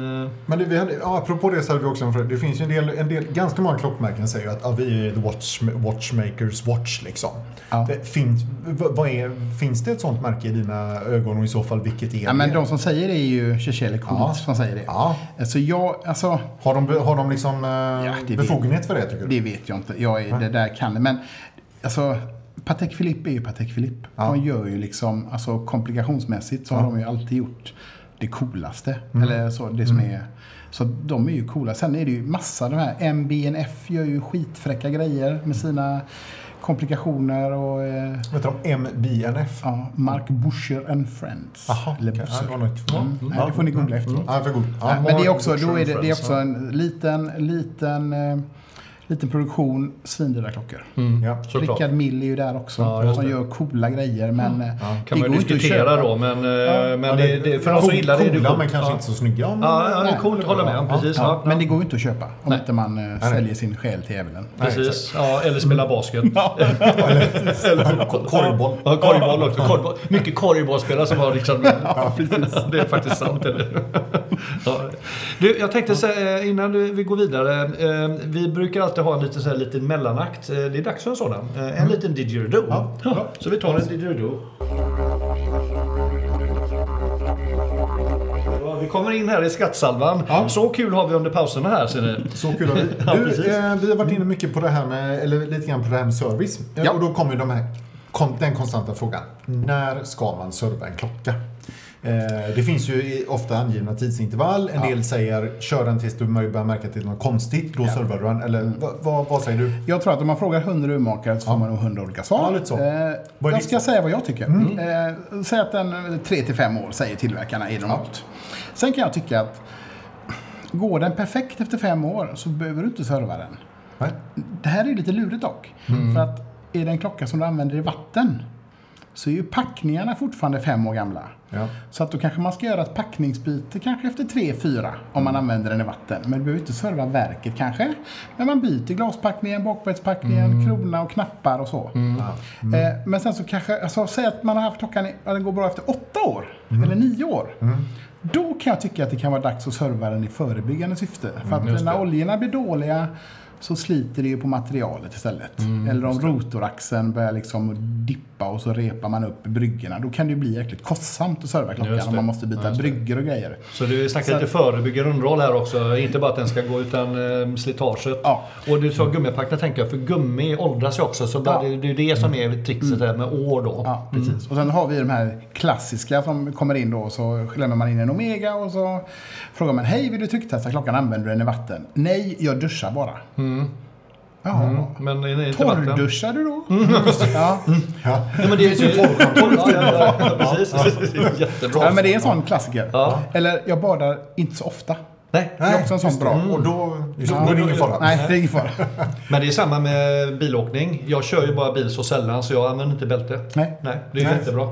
Speaker 1: Men det, vi hade, ja, apropå det så hade vi också en fråga. Det finns ju en del, en del ganska många klockmärken säger ju att ja, vi är the watch, watchmakers watch liksom.
Speaker 4: Ja.
Speaker 1: Det, finns, v- vad är, finns det ett sånt märke i dina ögon och i så fall vilket är
Speaker 4: Ja, men
Speaker 1: det?
Speaker 4: de som säger det är ju Shisheli Kult
Speaker 1: Ja.
Speaker 4: som säger det.
Speaker 1: Ja.
Speaker 4: Så jag, alltså,
Speaker 1: Har de, har de liksom eh,
Speaker 4: det
Speaker 1: befogenhet för det tycker du?
Speaker 4: Det vet jag inte. Jag är, det där kan det. Men alltså, Patek Philippe är ju Patek Philippe. De gör ju liksom, alltså komplikationsmässigt så har de ju alltid gjort det coolaste.
Speaker 1: Mm.
Speaker 4: Eller så, det som är... Så de är ju coola. Sen är det ju massa de här. MBNF gör ju skitfräcka grejer med sina komplikationer och... Eh,
Speaker 1: Vet du de MBNF?
Speaker 4: ja, Mark Busher and Friends.
Speaker 1: Jaha,
Speaker 4: Eller
Speaker 1: okej. Ja,
Speaker 4: Busher.
Speaker 1: det var nog ett-
Speaker 4: Mm. Nej, det får ni googla efteråt.
Speaker 1: Ja, för god. Ja.
Speaker 4: Nej, men det är också,
Speaker 2: Market
Speaker 4: då är det, det är
Speaker 2: reference,
Speaker 4: också en liten, liten, eh, liten produktion, svindyra
Speaker 1: Mm.
Speaker 4: klockor.
Speaker 1: Ja.
Speaker 2: såklart.
Speaker 4: Rickard Mill är ju där också,
Speaker 2: Ja, just
Speaker 4: som
Speaker 2: det. Mm.
Speaker 4: gör coola grejer. Men eh,
Speaker 2: kan man ju
Speaker 4: inte att köpa.
Speaker 2: diskutera då, men, eh, men det, det, för de som
Speaker 1: Cool-
Speaker 2: gillar det är det
Speaker 1: alltså, coola,
Speaker 2: coolt.
Speaker 1: men kanske
Speaker 2: ja.
Speaker 1: inte så snygga. om-
Speaker 2: Ja, ja, det är
Speaker 4: Nej.
Speaker 2: coolt. Håller med. Precis.
Speaker 4: Ja,
Speaker 2: Ja,
Speaker 4: Men det går ju inte att köpa om
Speaker 2: Nej.
Speaker 4: inte man eh, säljer sin själ till djävulen.
Speaker 2: Precis. Ja, eller spela basket. eller fotboll.
Speaker 1: korvboll.
Speaker 2: Ja, korvboll också. Korvboll. Mycket korvbollsspelare som har liksom... ja, det är faktiskt sant. Eller? ja. du, jag tänkte säga eh, innan du, vi går vidare. eh, Vi brukar alltid ha en liten, så här, liten mellanakt. Eh, Det är dags för en sådan. Eh, En liten didgeridoo. Ja. Så vi tar en didgeridoo. Ja, Vi kommer in här i skattsalvan. Så kul har vi under pauserna här ser ni.
Speaker 1: Så kul har vi. Du,
Speaker 2: Ja, precis.
Speaker 1: eh, vi har varit inne mycket på det här med, eller lite grann på det här med service. Eh,
Speaker 4: Ja.
Speaker 1: Och då kommer ju de här, kon- den konstanta frågan. När ska man serva en klocka? Eh, Det finns ju i- ofta angivna tidsintervall. En del säger kör den tills du mör- börjar märka att det är något konstigt. Då servar du den. Eller
Speaker 2: Mm.
Speaker 1: vad, vad, vad säger du?
Speaker 4: Jag tror att om man frågar 100 urmakare så får man nog 100 olika svar.
Speaker 1: Ja, lite så.
Speaker 4: Eh,
Speaker 1: Vad är
Speaker 4: jag
Speaker 1: ditt?
Speaker 4: ska säga vad jag tycker.
Speaker 2: Mm.
Speaker 4: Eh, säg att den 3-5 år säger tillverkarna är det något. Sen kan jag tycka att går den perfekt efter fem år så behöver du inte serva den.
Speaker 1: Nej?
Speaker 4: Det här är lite lurigt dock.
Speaker 2: Mm.
Speaker 4: För att är det en klocka som du använder i vatten så är ju packningarna fortfarande fem år gamla.
Speaker 1: Ja.
Speaker 4: Så att då kanske man ska göra ett packningsbyte kanske efter tre fyra om man använder den i vatten. Men du behöver inte serva verket kanske. Men man byter glaspackningen, bakbetspackningen, krona och knappar och så.
Speaker 1: Mm.
Speaker 2: Mm.
Speaker 4: Eh, men sen så kanske, alltså, säg att man har haft klockan, i- ja, den går bra efter åtta år
Speaker 2: Mm.
Speaker 4: eller nio år. Då kan jag tycka att det kan vara dags att serva den i förebyggande syfte.
Speaker 2: Mm,
Speaker 4: För att när oljorna blir dåliga så sliter det ju på materialet istället.
Speaker 2: Mm,
Speaker 4: Eller om rotoraxeln börjar liksom dippa och så repar man upp bryggorna. Då kan det ju bli jäkligt kostsamt att serva klockan
Speaker 2: Just
Speaker 4: om
Speaker 2: det.
Speaker 4: man måste byta bryggor och grejer.
Speaker 2: Så du snackar lite förebyggande underhåll här också. Inte bara att den ska gå utan eh, slitaget.
Speaker 4: Ja.
Speaker 2: Och du sa gummipackning tänker jag, för gummi åldras ju också. Så
Speaker 4: Ja. Mm.
Speaker 2: det, det är ju det som är trickset här med år då.
Speaker 4: Ja, precis. Och sen har vi de här klassiska som kommer in då. och Så lämnar man in en Omega och så frågar man Hej, vill du trycktesta klockan? Använder du den i vatten? Nej, jag duschar bara. Mm. Jaha.
Speaker 2: Men är det inte vatten?
Speaker 4: Torrduschar du då? Ja.
Speaker 1: Ja.
Speaker 2: Ja, men det finns ju torrkontroll. Ja, ja, ja, precis. Jättebra.
Speaker 4: ja, men det är en sån klassiker.
Speaker 2: Ja.
Speaker 4: Eller, jag badar inte så ofta.
Speaker 2: Nej.
Speaker 4: Det är också en sån
Speaker 1: just det. Mm.
Speaker 4: bra.
Speaker 1: Och då, just,
Speaker 4: Ja.
Speaker 1: då är det ingen fara.
Speaker 4: Nej, det är ingen fara.
Speaker 2: Men det är samma med bilåkning. Jag kör ju bara bil så sällan så jag använder inte bälte.
Speaker 4: Nej.
Speaker 2: Nej, det är
Speaker 1: Nej.
Speaker 2: jättebra.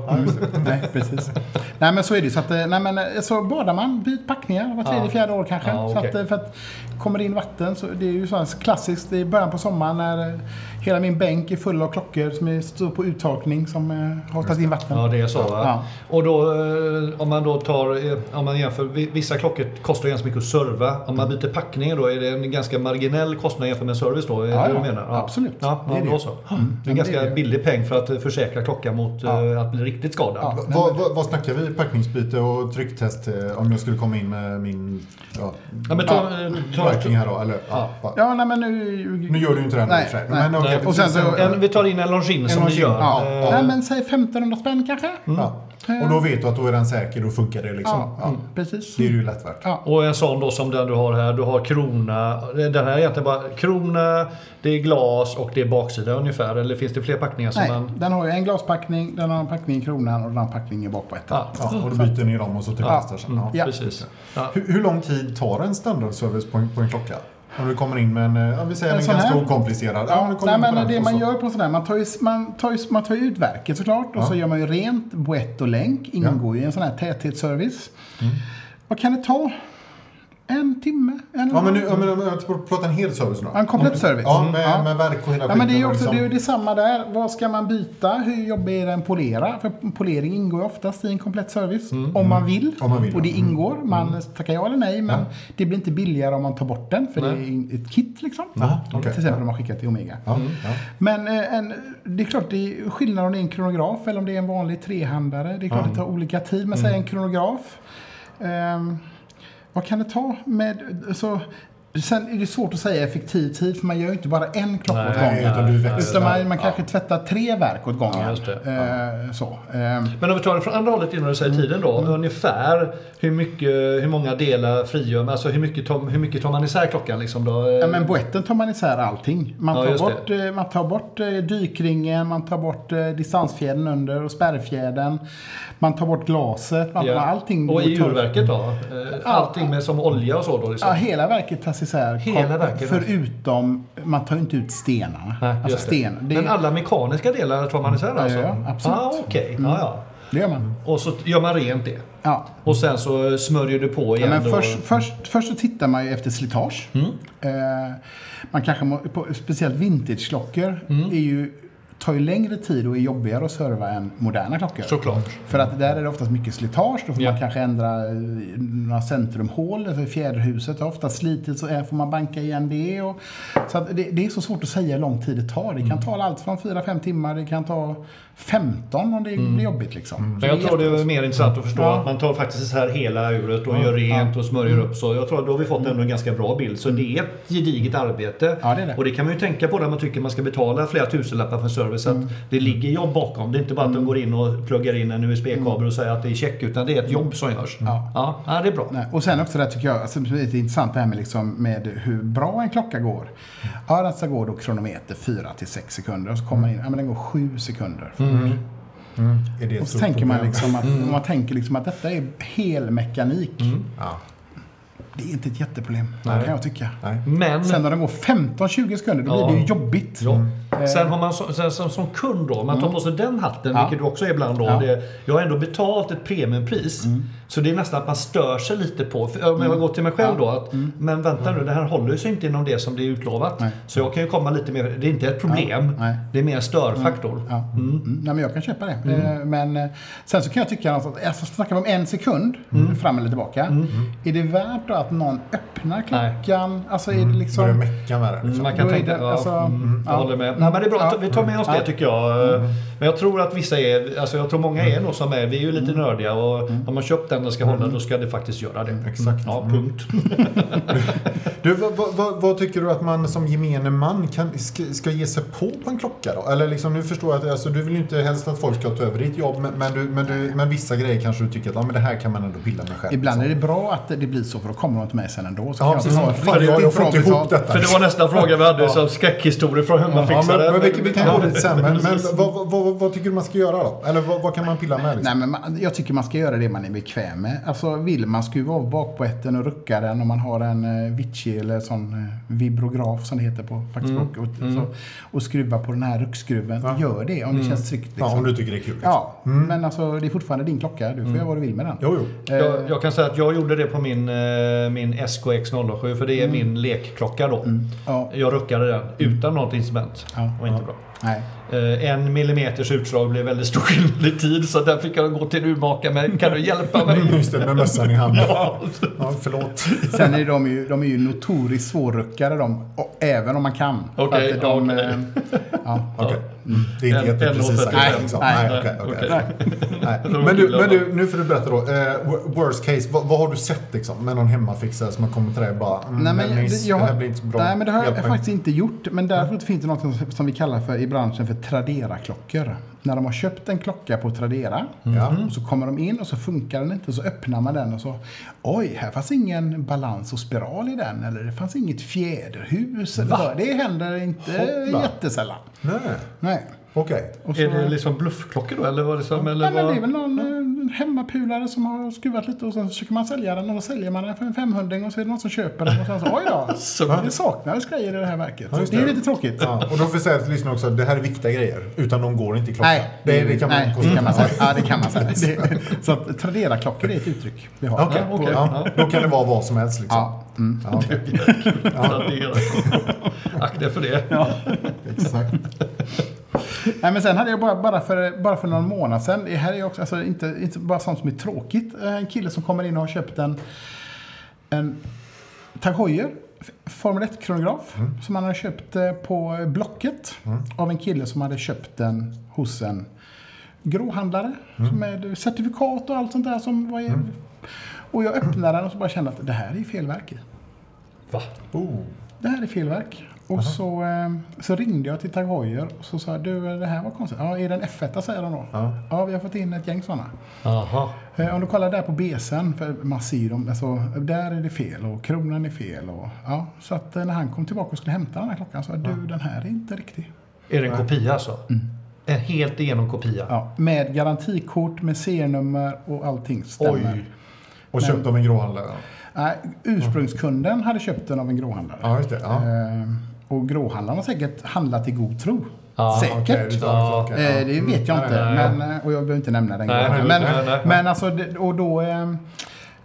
Speaker 4: Nej, precis. Nej, men så är det ju. Så att, eh, nej, men, eh, så badar man, byt packningar var tredje,
Speaker 2: Ja.
Speaker 4: fjärde år kanske.
Speaker 2: Ja,
Speaker 4: så att,
Speaker 2: okej.
Speaker 4: eh, för att kommer det in vatten, så det är ju så här klassiskt i början på sommaren när eh, hela min bänk är full av klockor som är- står på uttorkning som eh, har tagit in vatten.
Speaker 2: Ja,
Speaker 4: Ja,
Speaker 2: det är så va?
Speaker 4: Ja.
Speaker 2: Och då eh, om man då tar, eh, om man jämför, vi- vissa klockor kostar ganska mycket att serva. Om man byter packningar då är det en ganska marginell kostnad jämfört med service då? Är det
Speaker 4: Ja,
Speaker 2: det du
Speaker 4: ja.
Speaker 2: menar?
Speaker 4: Absolut.
Speaker 2: Ja,
Speaker 4: Det är
Speaker 2: ja,
Speaker 4: det. Mm.
Speaker 2: då så. Det är
Speaker 4: men
Speaker 2: en
Speaker 4: det
Speaker 2: ganska
Speaker 4: är det.
Speaker 2: billig peng för att eh, försäkra klockan mot eh, att bli riktigt skadad.
Speaker 4: Ja.
Speaker 1: Vad, vad, vad snackar vi packningsbyte och trycktest eh, om jag skulle komma in med min ja,
Speaker 2: Ja, men ta, eh, ta,
Speaker 1: Viking här då? Eller, ja. va-
Speaker 4: nej, men nu...
Speaker 1: Nu gör du ju inte det här
Speaker 4: Nej,
Speaker 1: i och för sig,
Speaker 4: nej.
Speaker 1: men okej,
Speaker 2: Nej.
Speaker 4: Och sen så...
Speaker 2: en, vi tar in en Longines som du
Speaker 1: Longines,
Speaker 2: gör.
Speaker 4: ja.
Speaker 2: Eh,
Speaker 4: Nej, men säg 1500 spänn kanske?
Speaker 1: Ja. Och då vet du att då är den säker, då funkar det liksom.
Speaker 4: Ja,
Speaker 1: Ja.
Speaker 4: mm, precis.
Speaker 1: Det är ju lätt värt.
Speaker 4: Ja.
Speaker 2: Och en sån då som den du har här. Du har krona. Eh, Den här är egentligen bara krona, det är glas och det är baksida ungefär. Eller finns det fler packningar som
Speaker 4: Nej,
Speaker 2: man...
Speaker 4: den har ju en glaspackning, den har en packning i kronan och den har en packning i bakbätet.
Speaker 2: Ja,
Speaker 1: Ja, och då byter ni dem och så trycktestar sen. Ja.
Speaker 4: Ja.
Speaker 2: precis. Ja.
Speaker 1: Hur, hur lång tid tar en standardservice på en, på en klocka? Om du kommer in med en, eh, ja, vi säger
Speaker 4: En
Speaker 1: en,
Speaker 4: sån
Speaker 1: ganska
Speaker 4: här?
Speaker 1: okomplicerad. Ja, du
Speaker 4: Ja,
Speaker 1: kommer
Speaker 4: nej,
Speaker 1: in på
Speaker 4: men
Speaker 1: den
Speaker 4: det
Speaker 1: och
Speaker 4: man
Speaker 1: så-
Speaker 4: gör på sådär, man tar ju, man tar ju, man tar ju ut verket såklart och så gör man ju rent, boett och länk ingår ju i en sån här täthetsservice.
Speaker 1: Mm.
Speaker 4: Vad kan det ta? En timme? En
Speaker 1: Ja, men nu, ja, men, om jag pratar en hel service nu.
Speaker 4: Ja, en komplett service.
Speaker 1: Ja,
Speaker 4: Mm.
Speaker 1: med,
Speaker 4: Ja.
Speaker 1: med verk och hela
Speaker 4: Ja, men det är ju
Speaker 1: skiten och
Speaker 4: också
Speaker 1: liksom-
Speaker 4: det är ju detsamma där. Vad ska man byta? Hur jobbig är den polera? För polering ingår ju oftast i en komplett service. Om, man vill,
Speaker 1: Mm. Om man vill,
Speaker 4: Och det
Speaker 1: ja. Mm.
Speaker 4: ingår. Man tackar ja eller nej. Men det blir inte billigare om man tar bort den. För det är ett kit liksom.
Speaker 1: Aha, okej.
Speaker 4: Till exempel om man skickar till Omega.
Speaker 1: Ja, ja.
Speaker 4: Men eh, en, det är klart det är skillnad om det är en kronograf eller om det är en vanlig trehandare. Det är klart det tar olika tid. Men
Speaker 2: Mm.
Speaker 4: säg en kronograf. Ehm, vad kan det ta med... Så, sen är det svårt att säga effektiv tid för man gör ju inte bara en klocka åt
Speaker 1: Nej,
Speaker 4: gången.
Speaker 1: utan du växlar.
Speaker 4: Utan man, man kanske tvättar tre verk åt gången.
Speaker 2: Ja, just det.
Speaker 4: Ehm, så. Ehm,
Speaker 2: Men om vi tar det från andra hållet innan du säger tiden då. Ungefär hur, mycket, hur många delar frigör man? Alltså hur mycket, tar- hur mycket tar man isär klockan liksom då?
Speaker 4: Ja, men boetten tar man isär allting. Man
Speaker 2: Ja,
Speaker 4: tar,
Speaker 2: just
Speaker 4: bort, eh, man tar bort eh, dykringen, man tar bort eh, distansfjädern under och spärrfjädern. Man tar bort glaset, man
Speaker 2: Ja.
Speaker 4: tar allting.
Speaker 2: Och i
Speaker 4: tar-
Speaker 2: urverket då? Eh, Allting med som olja och så då liksom?
Speaker 4: Ja, hela verket tas isär.
Speaker 2: Hela
Speaker 4: kom-
Speaker 2: verket.
Speaker 4: Förutom, man tar ju inte ut stenarna.
Speaker 2: Nej,
Speaker 4: alltså
Speaker 2: just det.
Speaker 4: sten. Det,
Speaker 2: Men alla mekaniska delar tar man isär alltså?
Speaker 4: ja, absolut. Mm.
Speaker 2: Ah, Okej, ja, ja.
Speaker 4: det gör man.
Speaker 2: Och så gör man rent det.
Speaker 4: Ja.
Speaker 2: Och sen så smörjer du på
Speaker 4: Ja,
Speaker 2: igen
Speaker 4: men
Speaker 2: då.
Speaker 4: först, först, först så tittar man ju efter slitage.
Speaker 2: Mm.
Speaker 4: Eh, man kanske, må, på, speciellt vintageklockor
Speaker 2: Mm.
Speaker 4: är ju, tar ju längre tid och är jobbigare att serva än moderna klockor.
Speaker 2: Såklart.
Speaker 4: För att där är det oftast mycket slitage. Då får
Speaker 2: Ja.
Speaker 4: man kanske ändra eh, några centrumhål. Alltså fjäderhuset har ofta slitit så här får man banka igen det. Och, så att det, det är så svårt att säga hur lång tid det tar. Det kan
Speaker 2: Mm.
Speaker 4: ta allt från 4-5 timmar. Det kan ta 15 om det blir jobbigt. Liksom. Så
Speaker 2: Men Mm. jag
Speaker 4: det är
Speaker 2: tror det är mer intressant att förstå
Speaker 4: Ja. Mm.
Speaker 2: att man tar faktiskt isär hela uret och gör rent och smörjer upp. Så jag tror att då har vi fått ändå en ganska bra bild. Så det är ett gediget arbete.
Speaker 4: Ja, det är det.
Speaker 2: Och det kan man ju tänka på när man tycker man ska betala flera tusenlappar för service.
Speaker 4: Mm.
Speaker 2: Att det ligger jobb bakom. Det är inte bara att de går in och pluggar in en USB-kabel och säger att det är check. Utan det är ett jobb som görs.
Speaker 4: Mm. Ja.
Speaker 2: Ja, ja, det är bra.
Speaker 4: Nej, och sen också det här tycker jag alltså, det är lite intressant det här med, liksom, med hur bra en klocka går.
Speaker 2: Mm.
Speaker 4: Ja, den ska gå då kronometer 4 till 6 sekunder och så kommer man in, ja men den går 7 sekunder.
Speaker 2: Mm.
Speaker 1: Är det ett
Speaker 4: Och så
Speaker 1: stort
Speaker 4: tänker man
Speaker 1: problem?
Speaker 4: liksom att, om man tänker liksom att detta är helmekanik.
Speaker 2: Mm.
Speaker 1: Ja.
Speaker 4: Det är inte ett jätteproblem, kan jag tycka.
Speaker 1: Nej.
Speaker 2: Men...
Speaker 4: Sen när den går 15-20 sekunder, då
Speaker 2: Ja.
Speaker 4: blir det ju jobbigt.
Speaker 2: Ja. Sen har man så, sen, som, som kund då, om man tar på sig den hatten,
Speaker 4: Mm. Eh. Ja.
Speaker 2: vilket du också är ibland då.
Speaker 4: Ja. Mm.
Speaker 2: Det, jag har ändå betalt ett premiumpris. Så det är nästan att man stör sig lite på. För om jag går till mig själv då, att, men vänta nu, det här håller ju sig inte inom det som det är utlovat.
Speaker 4: Mm. Nej.
Speaker 2: Så jag kan ju komma lite mer, det är inte ett problem,
Speaker 4: Ja. Nej.
Speaker 2: det är mer en störfaktor.
Speaker 4: Ja. Mm. Nej, men jag kan köpa det.
Speaker 2: Mm.
Speaker 4: Eh, Men eh, sen så kan jag tycka att alltså, snackar vi om en sekund
Speaker 2: Mm.
Speaker 4: fram eller tillbaka. Är det värt då att någon öppnar
Speaker 2: Nej.
Speaker 4: klockan? Alltså är det liksom...
Speaker 1: Börjar mecka med den. Liksom.
Speaker 2: Man kan
Speaker 4: Då är
Speaker 2: tänka,
Speaker 4: det,
Speaker 2: ja,
Speaker 4: alltså,
Speaker 2: mm, jag
Speaker 4: ja.
Speaker 2: håller med. Nej, men det är bra, att
Speaker 4: Ja.
Speaker 2: vi tar med oss det
Speaker 4: Ja. Mm.
Speaker 2: tycker jag. Eh, Men jag tror att vissa är, alltså jag tror många är nog som är, vi är ju
Speaker 4: Mm.
Speaker 2: lite nördiga och har man köpt den och ska hålla då ska det faktiskt göra det.
Speaker 4: Mm.
Speaker 1: Exakt.
Speaker 2: Ja, punkt.
Speaker 1: Du, vad, vad- vad, vad tycker du att man som gemene man kan, ska, ska ge sig på på en klocka då? Eller liksom, nu förstår jag att alltså, du vill ju inte helst att folk ska ta över ditt jobb, men, men, du, men, du, men vissa grejer kanske du tycker att ja, men det här kan man ändå pilla med själv.
Speaker 4: Ibland är
Speaker 1: liksom.
Speaker 4: det bra att det blir så för då kommer de till mig sen ändå. Så
Speaker 1: Ja,
Speaker 4: kan
Speaker 1: precis.
Speaker 4: jag
Speaker 1: Fan, jag- jag får inte ihop detta.
Speaker 2: För det var nästa fråga vi hade, som skräckhistorier från hur man
Speaker 1: liksom. Ja,
Speaker 2: fixar
Speaker 1: men,
Speaker 2: det.
Speaker 1: men vi, vi kan gå dit sen, men, men
Speaker 2: Precis.
Speaker 1: vad, vad, vad, vad tycker du man ska göra då? Eller vad, vad kan man pilla med? Liksom?
Speaker 4: Nej, men man, jag tycker man ska göra det man är bekväm är med. Alltså vill man skruva av bakboetten och rucka den om man har en eh, Vici eller sån eh, vibrograf som det heter på
Speaker 1: Mm.
Speaker 4: fackspråk. Och, så, och skruva på den här ruckskruven. Gör det om det känns tryggt. Liksom.
Speaker 1: Mm. Ja, om du tycker det är Mm. kul. liksom.
Speaker 4: Ja, men alltså det är fortfarande din klocka. Du får göra vad du vill med den.
Speaker 1: Jo, jo.
Speaker 2: Jag, jag kan säga att jag gjorde det på min, eh, min SKX007 för det
Speaker 1: Mm.
Speaker 2: är min lekklocka då.
Speaker 4: Ja,
Speaker 2: Jag ruckade den utan något instrument.
Speaker 4: Ja.
Speaker 2: Det var inte bra.
Speaker 4: nej.
Speaker 2: Eh, En millimeters utslag blev väldigt stor skillnad i tid så där fick jag gå till urmakaren. Men Kan du hjälpa mig?
Speaker 1: Just det, med mössan i handen. Ja, förlåt.
Speaker 4: Sen är de ju, de är ju notoriskt svårruckade de. Och, även om man kan. För
Speaker 2: Okej,
Speaker 4: att de,
Speaker 2: ja, okej.
Speaker 4: eh, ja.
Speaker 1: Okej. Mm. Det är inte
Speaker 2: En-
Speaker 1: jätteprecis sagt.
Speaker 2: 1,85.
Speaker 1: Nej, liksom.
Speaker 4: Nej,
Speaker 1: nej, okej, okej.
Speaker 2: okej.
Speaker 1: Nej. Men, du, men du, nu får du berätta då. Eh, wor- worst case, vad, vad har du sett liksom, med någon hemmafixare som har kommit till dig och bara mm,
Speaker 4: Nej, men,
Speaker 1: Dennis,
Speaker 4: det, jag,
Speaker 1: det här blir inte så bra.
Speaker 4: nej, men det har jag
Speaker 1: Hjälp mig."
Speaker 4: faktiskt inte gjort. Men däremot finns det något som, som vi kallar för i branschen för Tradera-klockor. När de har köpt en klocka på Tradera
Speaker 1: Ja.
Speaker 4: och så kommer de in och så funkar den inte och så öppnar man den och så oj, här fanns ingen balans och spiral i den eller det fanns inget fjäderhus. Eller så. Det händer inte
Speaker 1: Hoppla.
Speaker 4: jättesällan.
Speaker 1: Nej,
Speaker 4: Nej.
Speaker 1: okej.
Speaker 4: Och så,
Speaker 2: Är det liksom bluffklockor då eller vad det som? Eller
Speaker 4: Nej, men det är
Speaker 2: vad?
Speaker 4: väl någon eh, hemmapulare som har skruvat lite och sen försöker man sälja den och då säljer man den för en 500 och så är det någon som köper den och sen så oj då.
Speaker 2: Så-
Speaker 4: Det saknades grejer i det här verket.
Speaker 1: Ja, just
Speaker 4: det
Speaker 1: det.
Speaker 4: är lite tråkigt.
Speaker 1: Ja, och då får jag säga till lyssnarna också att det här är viktiga grejer. Utan de går inte i klockan.
Speaker 4: Nej,
Speaker 1: det, det kan man
Speaker 4: nej, det
Speaker 1: konstatera.
Speaker 4: kan man säga. Ja, det kan man säga. Det, så att Tradera-klockor är ett uttryck vi har.
Speaker 1: Okej,
Speaker 2: Ja, okej.
Speaker 1: ja, då kan det vara vad som helst. Liksom.
Speaker 4: Ja, mm.
Speaker 1: Ja, okej.
Speaker 2: Tradera. Akta er för det.
Speaker 1: Exakt.
Speaker 4: Nej, men sen hade jag bara, bara, för, bara för någon månad sedan, det här är ju också, alltså, inte, inte bara sånt som är tråkigt, Eh, en kille som kommer in och har köpt en, en Tag Heuer f- Formel 1-kronograf som han hade köpt eh, på eh, Blocket av en kille som hade köpt den hos en gråhandlare med certifikat och allt sånt där. Som var, Och jag öppnade den och så bara kände att det här är ju fel verk i.
Speaker 2: Va?
Speaker 1: Oh.
Speaker 4: Det här är fel verk. Och så, eh, så ringde jag till Tag Heuer och så sa jag, du det här var konstigt. Ja, är det en F1 säger de då?
Speaker 1: Ja.
Speaker 4: ja, vi har fått in ett gäng sådana.
Speaker 2: Aha.
Speaker 4: Eh, Om du kollar där på BSen, för man ser ju dem, alltså, där är det fel och kronan är fel. Och, ja, så att eh, när han kom tillbaka och skulle hämta den här klockan sa jag, du den här är inte riktig.
Speaker 2: Är det en kopia alltså? En helt igenom kopia?
Speaker 4: Mm. Ja, med garantikort, med serienummer och allting stämmer.
Speaker 2: Oj.
Speaker 1: Och köpt av en gråhandlare.
Speaker 4: Nej, ursprungskunden hade köpt den av en gråhandlare.
Speaker 1: Ja, just det. Ja.
Speaker 4: Eh, Och gråhandlaren har säkert handlat i god tro.
Speaker 2: Ja,
Speaker 4: säkert.
Speaker 1: Okej, vi tar det för-
Speaker 4: Eh,
Speaker 1: okej,
Speaker 4: Det vet jag inte,
Speaker 2: mm. nej, nej.
Speaker 4: Men, eh, och jag behöver inte nämna den
Speaker 2: Nej,
Speaker 4: gången.
Speaker 2: nej,
Speaker 4: Men,
Speaker 2: nej, nej.
Speaker 4: men alltså, det- och då... eh,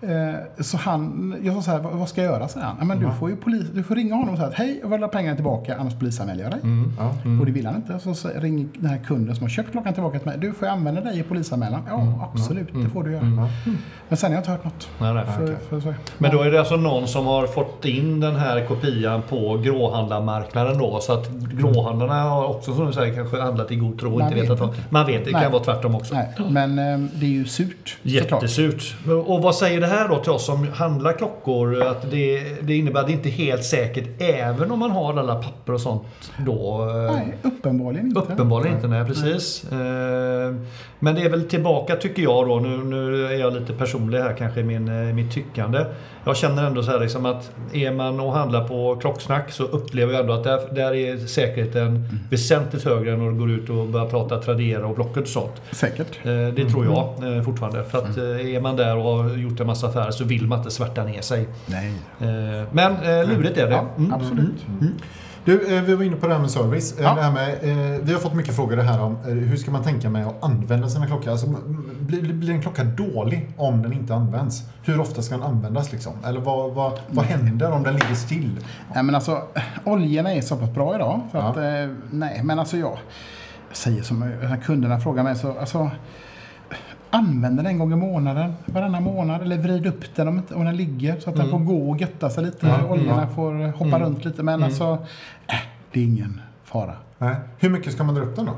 Speaker 4: eh, Så han, jag sa så här, vad vad ska jag göra? säger han. "Ja, Men
Speaker 2: Mm.
Speaker 4: du, får ju polis, du får ringa honom och säga att hej, jag vill ha pengarna tillbaka annars polisanmäler jag dig.
Speaker 2: Mm,
Speaker 1: ja.
Speaker 4: Och det vill han inte. Så sa- ring den här kunden som har köpt klockan tillbaka till mig. Du, får jag använda dig i polisanmälan? Ja,
Speaker 2: Mm,
Speaker 4: absolut, det får du göra. Men sen har jag inte hört något.
Speaker 2: Nej, mm, nej.
Speaker 4: För, för, så-
Speaker 2: Men då är det alltså någon som har fått in den här kopian på gråhandlarmarknaden då så att gråhandlarna har också som du säger kanske handlat i god tro och
Speaker 4: Man
Speaker 2: inte
Speaker 4: vet
Speaker 2: vetat vad. Man vet, det
Speaker 4: Nej.
Speaker 2: kan vara tvärtom också.
Speaker 4: Nej, men eh, det är ju surt såklart.
Speaker 2: Jättesurt. Och vad säger det här då till oss som handlar klockor? Att det, det innebär att det inte är helt säkert även om man har alla papper och sånt då? eh,
Speaker 4: Nej, uppenbarligen inte.
Speaker 2: Uppenbarligen inte, nej precis. Eh, Men det är väl tillbaka tycker jag då, nu, nu är jag lite personlig här kanske i min, eh, mitt tyckande. Jag känner ändå så här liksom att är man och handlar på klocksnack så upplever jag ändå att där, där är säkerheten
Speaker 4: Mm.
Speaker 2: väsentligt högre än när du går ut och börjar prata Tradera och Blocket och sånt.
Speaker 4: Säkert.
Speaker 2: Eh, Det
Speaker 4: Mm.
Speaker 2: tror jag eh, fortfarande. För att eh, är man där och har gjort en massa affärer så vill man inte svärta ner sig.
Speaker 4: Nej.
Speaker 2: Eh, Men eh, lurigt är det.
Speaker 4: Ja,
Speaker 2: Mm.
Speaker 4: absolut.
Speaker 1: Du, eh, vi var inne på det här med service. Eh,
Speaker 4: Ja.
Speaker 1: Det här med, eh, vi har fått mycket frågor det här om eh, hur ska man tänka med att använda sina klockor? Alltså, m- m- blir, blir en klocka dålig om den inte används? Hur ofta ska den användas liksom? Eller vad, vad, vad
Speaker 2: Mm.
Speaker 1: händer om den ligger still?
Speaker 4: Nej, men alltså, oljorna är så pass bra idag. Så
Speaker 1: Ja.
Speaker 4: att, eh, nej, men alltså jag säger som eh, när kunderna frågar mig. Så, alltså, använd den en gång i månaden, varannan månad. Eller vrid upp den om, inte- om den ligger så att
Speaker 1: Mm.
Speaker 4: den får gå och götta sig lite. oljorna får hoppa runt lite. Men
Speaker 1: Mm.
Speaker 4: alltså, eh, det är ingen fara.
Speaker 1: Nej. Eh, Hur mycket ska man dra upp den då?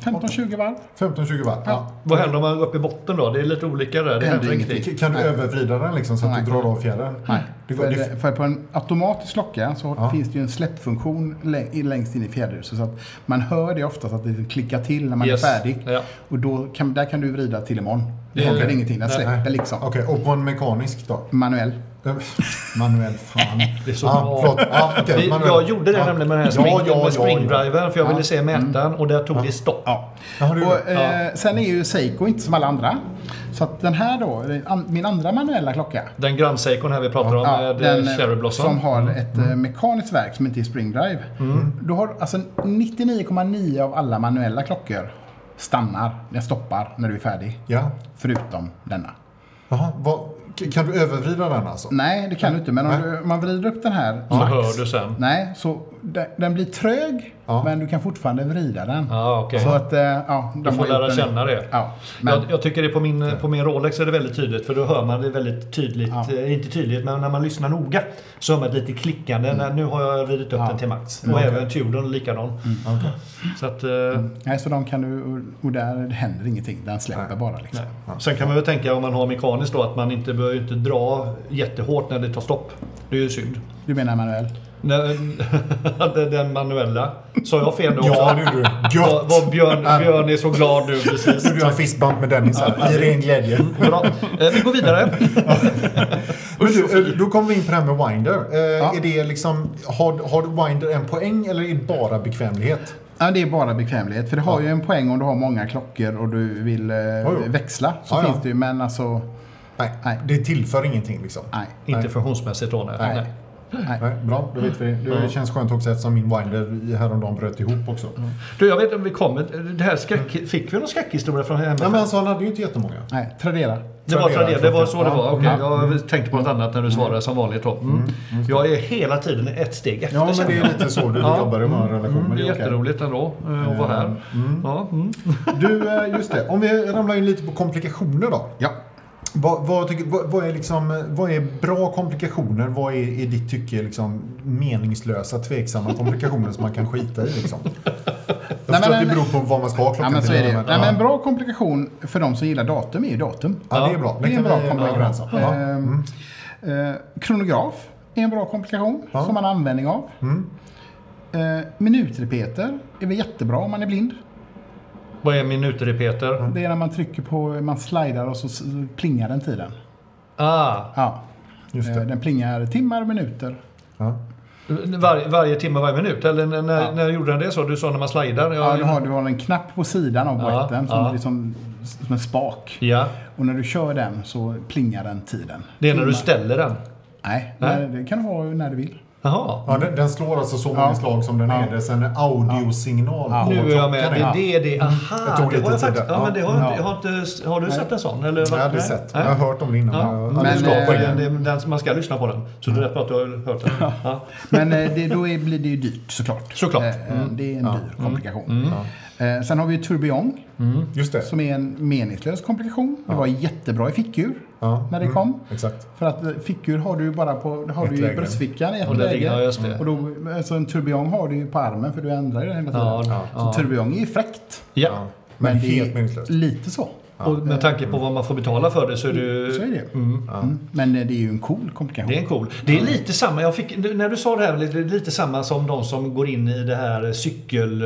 Speaker 4: 15-20 varv.
Speaker 1: 15-20 watt? Ja.
Speaker 2: Vad händer om man går upp i botten då? Det är lite olika där. Det händer
Speaker 4: ingenting.
Speaker 2: ingenting.
Speaker 1: K- Kan du övervrida den liksom så att
Speaker 4: Nej.
Speaker 1: du drar av fjärren?
Speaker 4: Nej.
Speaker 1: Det går,
Speaker 4: För,
Speaker 1: det,
Speaker 4: för på en automatisk klocka så
Speaker 1: Ja.
Speaker 4: finns det ju en släppfunktion lä- i- längst in i fjäderhuset. Så att man hör det oftast att det klickar till när man
Speaker 2: Yes.
Speaker 4: är färdig.
Speaker 2: Ja.
Speaker 4: Och då kan, där kan du vrida till imorgon. Det
Speaker 2: Det-
Speaker 4: händer ingenting, den
Speaker 2: Nej.
Speaker 4: släpper liksom.
Speaker 1: Okej, och på en mekanisk då? Eh,
Speaker 4: Manuell.
Speaker 1: Manuell, fan.
Speaker 2: Det är så
Speaker 1: Ja,
Speaker 2: bra.
Speaker 1: förlåt. Ja, okej,
Speaker 2: Vi,
Speaker 1: manuell.
Speaker 2: jag gjorde det
Speaker 1: Ja.
Speaker 2: nämligen med den här
Speaker 1: Ja,
Speaker 2: spring,
Speaker 1: ja, ja, ja.
Speaker 2: med springdrivern för jag ville se mätaren och där tog det stopp.
Speaker 4: Mm. Ja.
Speaker 1: Ja, har du-
Speaker 4: Och, eh, sen är ju Seiko inte som alla andra. Så att den här då, an, min andra manuella klocka.
Speaker 2: Den grannseikon här vi pratar om
Speaker 4: ja,
Speaker 2: med
Speaker 4: den, eh,
Speaker 2: den, Cherry Blossom. Mm.
Speaker 4: som har ett eh, mekaniskt verk som inte är springdrive. Du har alltså 99,9 av alla manuella klockor stannar, den stoppar när du är färdig.
Speaker 1: Ja.
Speaker 4: Förutom denna.
Speaker 1: Jaha, vad, k- kan du övervrida den alltså?
Speaker 4: Nej, det kan du inte. Men om,
Speaker 1: Nej.
Speaker 4: du, om man vrider upp den här
Speaker 2: Så
Speaker 4: max.
Speaker 2: hör du sen.
Speaker 4: Nej, så den, den blir trög.
Speaker 1: Ja.
Speaker 4: Men du kan fortfarande vrida den.
Speaker 2: Ja, okej.
Speaker 4: Så att, eh, ja, de
Speaker 2: Du får
Speaker 4: har gjort
Speaker 2: lära
Speaker 4: en-
Speaker 2: känna det.
Speaker 4: Ja, men,
Speaker 2: Jag, jag tycker det på min, på min Rolex är det väldigt tydligt för då hör man det väldigt tydligt,
Speaker 4: Ja.
Speaker 2: eh, inte tydligt men när man lyssnar noga så hör man ett lite klickande. När, nu har jag ridit upp
Speaker 4: Mm. Ja. Mm,
Speaker 2: den till max. Och även Tudorn är likadan. Så att, eh,
Speaker 4: Nej, så de kan du... och- Och där händer ingenting. Den släpper bara liksom.
Speaker 2: nej. Sen kan man väl tänka om man har mekaniskt då att man inte behöver ju inte dra jättehårt när det tar stopp. Det är ju synd.
Speaker 4: Du menar manuell?
Speaker 2: När- Den, den manuella. Sa jag fel då
Speaker 1: Ja,
Speaker 2: också?
Speaker 1: det gjorde du.
Speaker 2: Vad-
Speaker 1: Gött!
Speaker 2: vad Björn, Björn är så glad nu precis.
Speaker 1: Nu gör en fistbump med Dennis här, i ren glädje.
Speaker 2: Bra. Eh, Vi går vidare.
Speaker 1: Men du, eh, då kommer vi in på det här med Winder. Eh,
Speaker 4: Ja.
Speaker 1: Är det liksom, har, har Winder en poäng eller är det bara bekvämlighet?
Speaker 4: Ja, det är bara bekvämlighet. För det har ju en poäng om du har många klockor och du vill eh,
Speaker 1: jo.
Speaker 4: växla. Så
Speaker 1: Ja, ja.
Speaker 4: finns det ju, men alltså...
Speaker 1: Nej,
Speaker 4: Nej.
Speaker 1: det tillför ingenting liksom.
Speaker 4: Nej.
Speaker 2: Inte funktionsmässigt då. Nej.
Speaker 4: Nej. Nej.
Speaker 1: Nej, bra, då vet vi. Det känns skönt också eftersom min Winder i- häromdagen bröt ihop också.
Speaker 2: Du, jag vet inte om vi kommer... Det här skräck, fick vi någon skräckhistoria från hemma?
Speaker 1: Mm. Ja, men alltså, han hade ju inte jättemånga.
Speaker 4: Nej. Tradera.
Speaker 2: det var
Speaker 1: Tradera,
Speaker 2: Tradera, det var så det
Speaker 1: klockan.
Speaker 2: var.
Speaker 1: Ja.
Speaker 2: Okej, jag tänkte på något annat när du svarade som vanligt då. Mm. Jag är hela tiden ett steg efter.
Speaker 1: Ja, men
Speaker 2: känner
Speaker 1: det
Speaker 2: jag.
Speaker 1: är lite så du
Speaker 2: Ja.
Speaker 1: jobbar i vår relation. men
Speaker 2: det är
Speaker 1: okej.
Speaker 2: jätteroligt ändå eh, att vara här. Ja, mm.
Speaker 1: Du, eh, just det. Om vi ramlar in lite på komplikationer då.
Speaker 4: Ja.
Speaker 1: Vad, vad, tycker, vad, vad, är liksom, eh, vad är bra komplikationer? Vad är i ditt tycke liksom meningslösa, tveksamma komplikationer som man kan skita i? Liksom? Jag förstår
Speaker 4: men
Speaker 1: att det
Speaker 4: en-
Speaker 1: beror på vad man ska ha
Speaker 4: Ja,
Speaker 1: klockan
Speaker 4: men så är det ju.
Speaker 1: men-
Speaker 4: Nej,
Speaker 1: ja.
Speaker 4: men en bra komplikation för de som gillar datum är ju datum.
Speaker 1: Ja, det är bra.
Speaker 4: Det är en bra komplikation.
Speaker 1: Ja.
Speaker 4: Ehm, eh, kronograf är en bra komplikation
Speaker 1: Ja.
Speaker 4: som man har användning av. Eh, minutrepeter är väl jättebra om man är blind.
Speaker 2: Vad är
Speaker 1: Mm.
Speaker 2: minutrepeter?
Speaker 4: Det är när man trycker på, man slidar och så s- plingar den tiden.
Speaker 2: Ah,
Speaker 4: Ja.
Speaker 1: Just
Speaker 4: Eh,
Speaker 1: det.
Speaker 4: Den plingar timmar och minuter.
Speaker 1: Ja.
Speaker 2: var, varje timme, varje minut? Eller när, när, när gjorde den det så? Du sa när man slidar?
Speaker 4: Ja, du, har, du har en knapp på sidan av
Speaker 2: Ja,
Speaker 4: boetten som,
Speaker 2: ja.
Speaker 4: liksom, som en spak.
Speaker 2: ja,
Speaker 4: Och när du kör den så plingar den tiden.
Speaker 2: det är när du ställer den.
Speaker 4: Nej,
Speaker 2: Nej.
Speaker 4: det kan du ha när du vill.
Speaker 2: Jaha.
Speaker 1: Ja, den, den slår alltså så många
Speaker 4: Ja.
Speaker 1: slag som den
Speaker 4: Ja.
Speaker 1: är. Det är sen en audiosignal
Speaker 4: Ja.
Speaker 1: på
Speaker 2: Nu är jag med.
Speaker 1: klockan.
Speaker 2: Det är det, det. Aha,
Speaker 1: Det tog
Speaker 2: det har
Speaker 1: lite
Speaker 2: jag
Speaker 1: tid
Speaker 2: faktiskt.
Speaker 1: där.
Speaker 2: Ja, men det har, jag
Speaker 4: Ja.
Speaker 2: inte- jag har, inte, har du sett en sån? Eller
Speaker 1: Jag har aldrig
Speaker 2: Nej.
Speaker 1: sett.
Speaker 2: Nej.
Speaker 1: Jag har hört om det innan.
Speaker 2: Ja,
Speaker 1: men jag har
Speaker 2: men
Speaker 1: aldrig förstått
Speaker 2: eh,
Speaker 1: poängen.
Speaker 2: det är den som man ska lyssna på den. Så det är därför att du har hört den. Ja.
Speaker 4: Men eh, det, då är, blir det ju dyrt såklart.
Speaker 2: Såklart.
Speaker 4: Eh,
Speaker 1: Mm.
Speaker 4: eh, Det är en dyr komplikation. Eh, Sen har vi ju tourbillon
Speaker 1: Just det.
Speaker 4: som är en meningslös komplikation. Det var jättebra i fickur
Speaker 1: Ja. Mm.
Speaker 4: när det kom.
Speaker 1: Exakt.
Speaker 4: För att eh, fickur har du ju bara på, det har
Speaker 1: Ett
Speaker 4: du ju i
Speaker 1: läge.
Speaker 4: bröstfickan i ett
Speaker 2: Och där ligger- ja,
Speaker 4: läge.
Speaker 2: just det.
Speaker 4: Och då, alltså en tourbillon har du ju på armen för du ändrar ju den hela tiden.
Speaker 2: Ja,
Speaker 4: Så tourbillon är ju fräckt.
Speaker 2: Ja.
Speaker 1: Ja. Men,
Speaker 4: det
Speaker 1: helt
Speaker 4: är
Speaker 1: meningslöst.
Speaker 4: Lite så.
Speaker 2: Och med tanke på vad man får betala för det så är det
Speaker 4: Så är
Speaker 2: ju...
Speaker 4: det ju. Mm. Men eh, det är ju en cool
Speaker 2: Eh,
Speaker 4: komplikation.
Speaker 2: Det är en cool. Det är lite samma, jag fick, när du sa det här, det är lite samma som de som går in i det här cykel...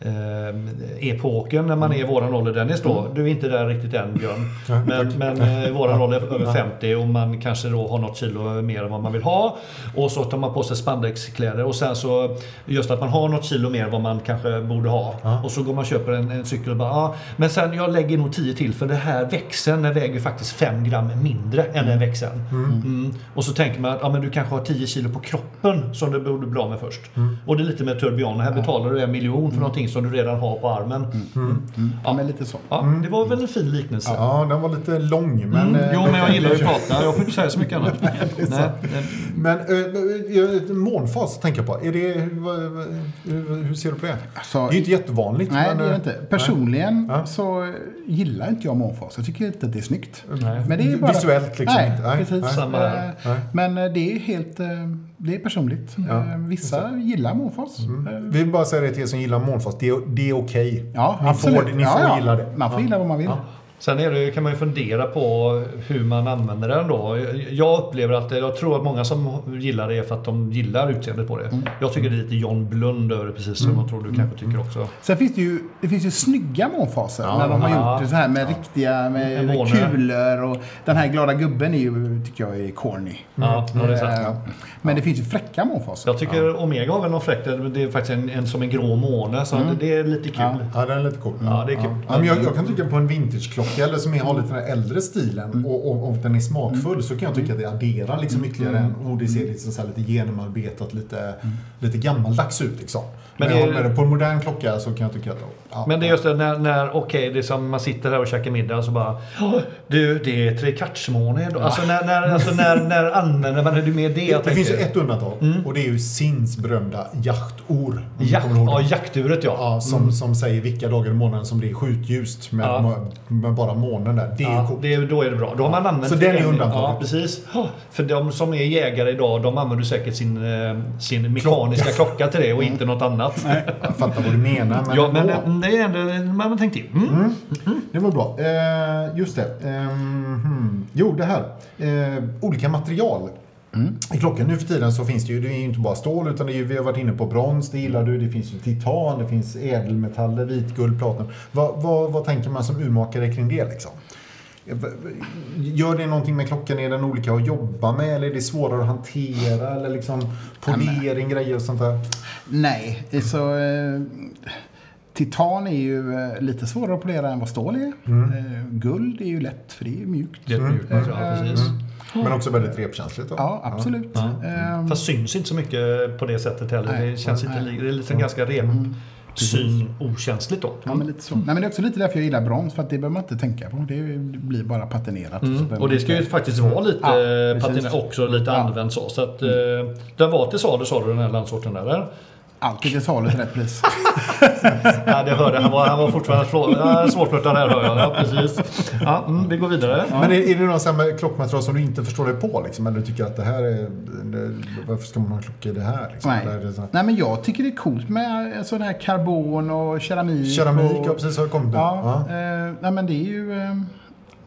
Speaker 2: Eh, eh, epoken när man är i våran ålder Dennis då. Du är inte där riktigt än Björn. Men, men eh, i våran ålder över 50 och man kanske då har något kilo mer än vad man vill ha. Och så tar man på sig spandexkläder och sen så just att man har något kilo mer än vad man kanske borde ha. Och så går man och köper en, en cykel och bara ah, men sen jag lägger nog 10 till för det här växeln den väger ju faktiskt 5 gram mindre än den växeln. Mm. Och så tänker man att ah, men du kanske har 10 kilo på kroppen som du borde bli av med först.
Speaker 1: Mm.
Speaker 2: Och det är lite med turbion. Här betalar du en miljon för någonting som du redan har på armen.
Speaker 4: Ja, men lite så.
Speaker 2: Ja, det var väl en fin liknelse.
Speaker 1: Mm.
Speaker 2: Mm.
Speaker 1: Ja, den var lite
Speaker 4: Mm.
Speaker 1: lång. Men, eh,
Speaker 2: Jo,
Speaker 1: den-
Speaker 2: men jag gillar ju att prata. Jag får inte säga så mycket annat. Nej, eh,
Speaker 1: Men eh, eh, månfas tänker jag på. Är det, hur, hur, hur ser du på det?
Speaker 4: Alltså-
Speaker 1: det är ju inte jättevanligt.
Speaker 4: Nej,
Speaker 1: men,
Speaker 4: det är det
Speaker 1: eh,
Speaker 4: inte. Personligen
Speaker 1: Ja.
Speaker 4: så gillar inte jag månfas. Jag tycker inte att det är snyggt.
Speaker 2: Nej.
Speaker 4: Men det är bara...
Speaker 1: Visuellt liksom
Speaker 4: Nej,
Speaker 1: inte. Nej,
Speaker 4: precis.
Speaker 1: nej.
Speaker 2: Samma här.
Speaker 4: Eh,
Speaker 1: Nej.
Speaker 4: Men eh, det är helt... eh, Det är personligt.
Speaker 1: Ja. Mm.
Speaker 4: Eh, Vissa gillar månfas. Eh,
Speaker 1: Vi vill bara säga det till er som gillar månfas. Det, är- det är okej.
Speaker 4: Ja,
Speaker 1: ni
Speaker 4: absolut.
Speaker 1: får, ni
Speaker 4: ja,
Speaker 1: får
Speaker 4: ja.
Speaker 1: gilla det.
Speaker 4: Man får gilla vad man vill.
Speaker 2: Sen är det, ju- kan man ju fundera på hur man använder den då. Jag upplever att, jag tror att många som gillar det är för att de gillar utseendet på det.
Speaker 1: Mm.
Speaker 2: Jag tycker det är lite John Blund över det, precis som jag tror du kanske tycker
Speaker 1: Mm.
Speaker 2: också.
Speaker 4: Sen finns det ju, det finns ju snygga månfaser när de har
Speaker 2: ja.
Speaker 4: gjort det så här med riktiga med
Speaker 2: Månar.
Speaker 4: kulor och den här glada gubben är ju, tycker jag är corny.
Speaker 1: Mm.
Speaker 2: Ja, ja, det är sant.
Speaker 4: Eh, Men det finns ju fräcka månfaser.
Speaker 2: Jag tycker Omega har väl någon fläkt, där det är faktiskt en, en som en grå måne, så
Speaker 1: Mm.
Speaker 2: det, det är lite kul. Ja.
Speaker 1: Ja, den är lite cool.
Speaker 2: det är kul.
Speaker 1: Ja, men jag, jag kan tycka på en vintageklocka eller som är- har lite den här äldre stilen
Speaker 2: Mm.
Speaker 1: och, och, och den är smakfull så kan jag tycka att det adderar liksom ytterligare en
Speaker 2: Mm.
Speaker 1: och det ser liksom så här lite genomarbetat, lite, lite gammaldags ut liksom. Men,
Speaker 2: Men
Speaker 1: jag
Speaker 2: det-
Speaker 1: håller med dig, på en modern klocka så kan jag tycka att ja,
Speaker 2: Men det är just det när, när okej, det är som man sitter här och käkar middag så bara "Ja, Du, det är trekvartsmåne idag. Alltså när, när, alltså när, när använder man det? Det är mer det jag
Speaker 1: det
Speaker 2: tänker. Mm.
Speaker 1: finns ju ett undantag och det är ju Sins berömda jaktor.
Speaker 2: Jakt,
Speaker 1: Kommer du ihåg
Speaker 2: ja,
Speaker 1: det?
Speaker 2: jakturet ja.
Speaker 1: Ja, som, som säger vilka dagar i månaden som det är skjutljust med,
Speaker 2: Ja.
Speaker 1: må- med bara månen där. Det är ju
Speaker 2: Ja,
Speaker 1: coolt.
Speaker 2: det, är- då är det bra. Då har man använt
Speaker 1: Så den är
Speaker 2: en-
Speaker 1: undantagen.
Speaker 2: Ja, precis. Ja, För de som är jägare idag, de använder säkert sin, eh, sin mekaniska klocka till det och inte något annat.
Speaker 1: Jag fattar vad du menar. Men
Speaker 2: Ja, men
Speaker 1: ändå.
Speaker 2: eh, det är ändå, man har tänkt till. Mm.
Speaker 1: Det var bra. Eh, just det. Ehm, hmm. Jo, det här. Eh, olika material.
Speaker 4: Mm.
Speaker 1: I klockan nu för tiden så finns det ju, det är ju inte bara stål utan det är ju, vi har varit inne på brons, det gillar du, det finns ju titan, det finns ädelmetaller, vitguld, platina. Vad, vad, vad tänker man som urmakare kring det liksom? Eh, v- v- Gör det någonting med klockan? Är den olika att jobba med eller är det svårare att hantera? Eller liksom polering, grejer och sånt där?
Speaker 4: Nej, så eh, titan är ju eh, lite svårare att polera än vad stål är.
Speaker 2: Mm.
Speaker 4: Eh, guld är ju lätt för det är ju mjukt.
Speaker 2: Det är ett mjukt material, precis.
Speaker 1: Men också väldigt repkänsligt. då.
Speaker 4: Ja, absolut. Eh,
Speaker 2: Mm. Fast syns inte så mycket på det sättet heller.
Speaker 4: Nej.
Speaker 2: Det känns lite, det är lite ganska rep. Syn okänsligt då.
Speaker 4: Ja, men lite så. Nej, men det är också lite därför jag gillar brons, för att det behöver man inte tänka på. Det blir bara patinerat. så behöver
Speaker 2: Mm. Och
Speaker 4: man
Speaker 2: det ska ju
Speaker 4: inte-
Speaker 2: faktiskt vara lite
Speaker 4: Ja,
Speaker 2: ja,
Speaker 4: precis.
Speaker 2: patina också, lite
Speaker 4: Ja.
Speaker 2: använt så. så att, eh, den var till salu sa du den här landsorten där? eller?
Speaker 4: Alltid till salu till rätt pris.
Speaker 2: Ja, det hörde jag. han var, han var fortfarande frå- ja, svårflörtad här hör jag. Ja, precis. Ja, mm, vi går vidare.
Speaker 1: Men är, är det några så här med klockmaterial som du inte förstår dig på? Liksom? Eller du tycker att det här är... Det, varför ska man ha en klocka i det här? Liksom?
Speaker 4: Nej.
Speaker 1: Eller är det så här,
Speaker 4: Nej, men jag tycker det är coolt med sån här karbon och keramik.
Speaker 1: keramik
Speaker 4: och,
Speaker 1: har precis har kommit nu.
Speaker 4: Ja,
Speaker 1: Ja.
Speaker 4: Eh, nej, men det är ju... Eh,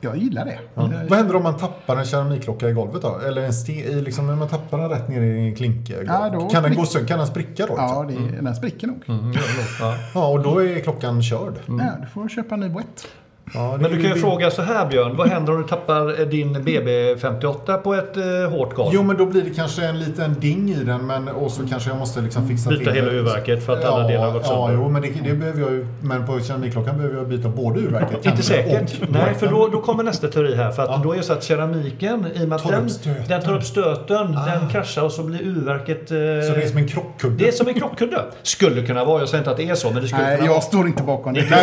Speaker 4: jag gillar det.
Speaker 1: Ja.
Speaker 4: Eh,
Speaker 1: Vad händer om man tappar en keramikklocka i golvet då? Eller en ste, i liksom, när man tappar den rätt ner i en klinke?
Speaker 4: Ja, då
Speaker 1: kan, den gå
Speaker 4: sprick-
Speaker 1: sönder? kan den spricka då?
Speaker 4: Ja,
Speaker 1: liksom?
Speaker 4: det, den spricker nog.
Speaker 2: Mm, ja, ja.
Speaker 1: ja, och då är klockan körd.
Speaker 4: Ja, du får köpa en ny boett.
Speaker 1: Ja, det
Speaker 2: Men du
Speaker 1: är
Speaker 2: kan ju
Speaker 1: det-
Speaker 2: fråga så här Björn, vad händer om du tappar eh, din BB58 på ett eh, hårt golv?
Speaker 1: Jo, men då blir det kanske en liten ding i den men, och så kanske jag måste liksom fixa
Speaker 2: Byta
Speaker 1: till
Speaker 2: hela
Speaker 1: det.
Speaker 2: urverket för att alla delar har gått
Speaker 1: Ja,
Speaker 2: sönder.
Speaker 1: jo, men det, det behöver jag ju. Men på keramikklockan behöver jag byta både urverket
Speaker 2: Inte
Speaker 1: kanske,
Speaker 2: säkert.
Speaker 1: och-
Speaker 2: Nej, för då, då kommer nästa teori här. För att
Speaker 1: Ja.
Speaker 2: då är det så att keramiken, i och med att
Speaker 1: Tar upp
Speaker 2: den,
Speaker 1: stöten. Ah.
Speaker 2: den tar upp stöten, den kraschar och så blir urverket... Eh,
Speaker 1: Så det är som en krockkudde.
Speaker 2: det är som en krockkudde. Skulle kunna vara, jag säger inte att det är så, men det skulle
Speaker 4: Nej,
Speaker 2: kunna
Speaker 4: jag står inte bakom det.
Speaker 2: vara.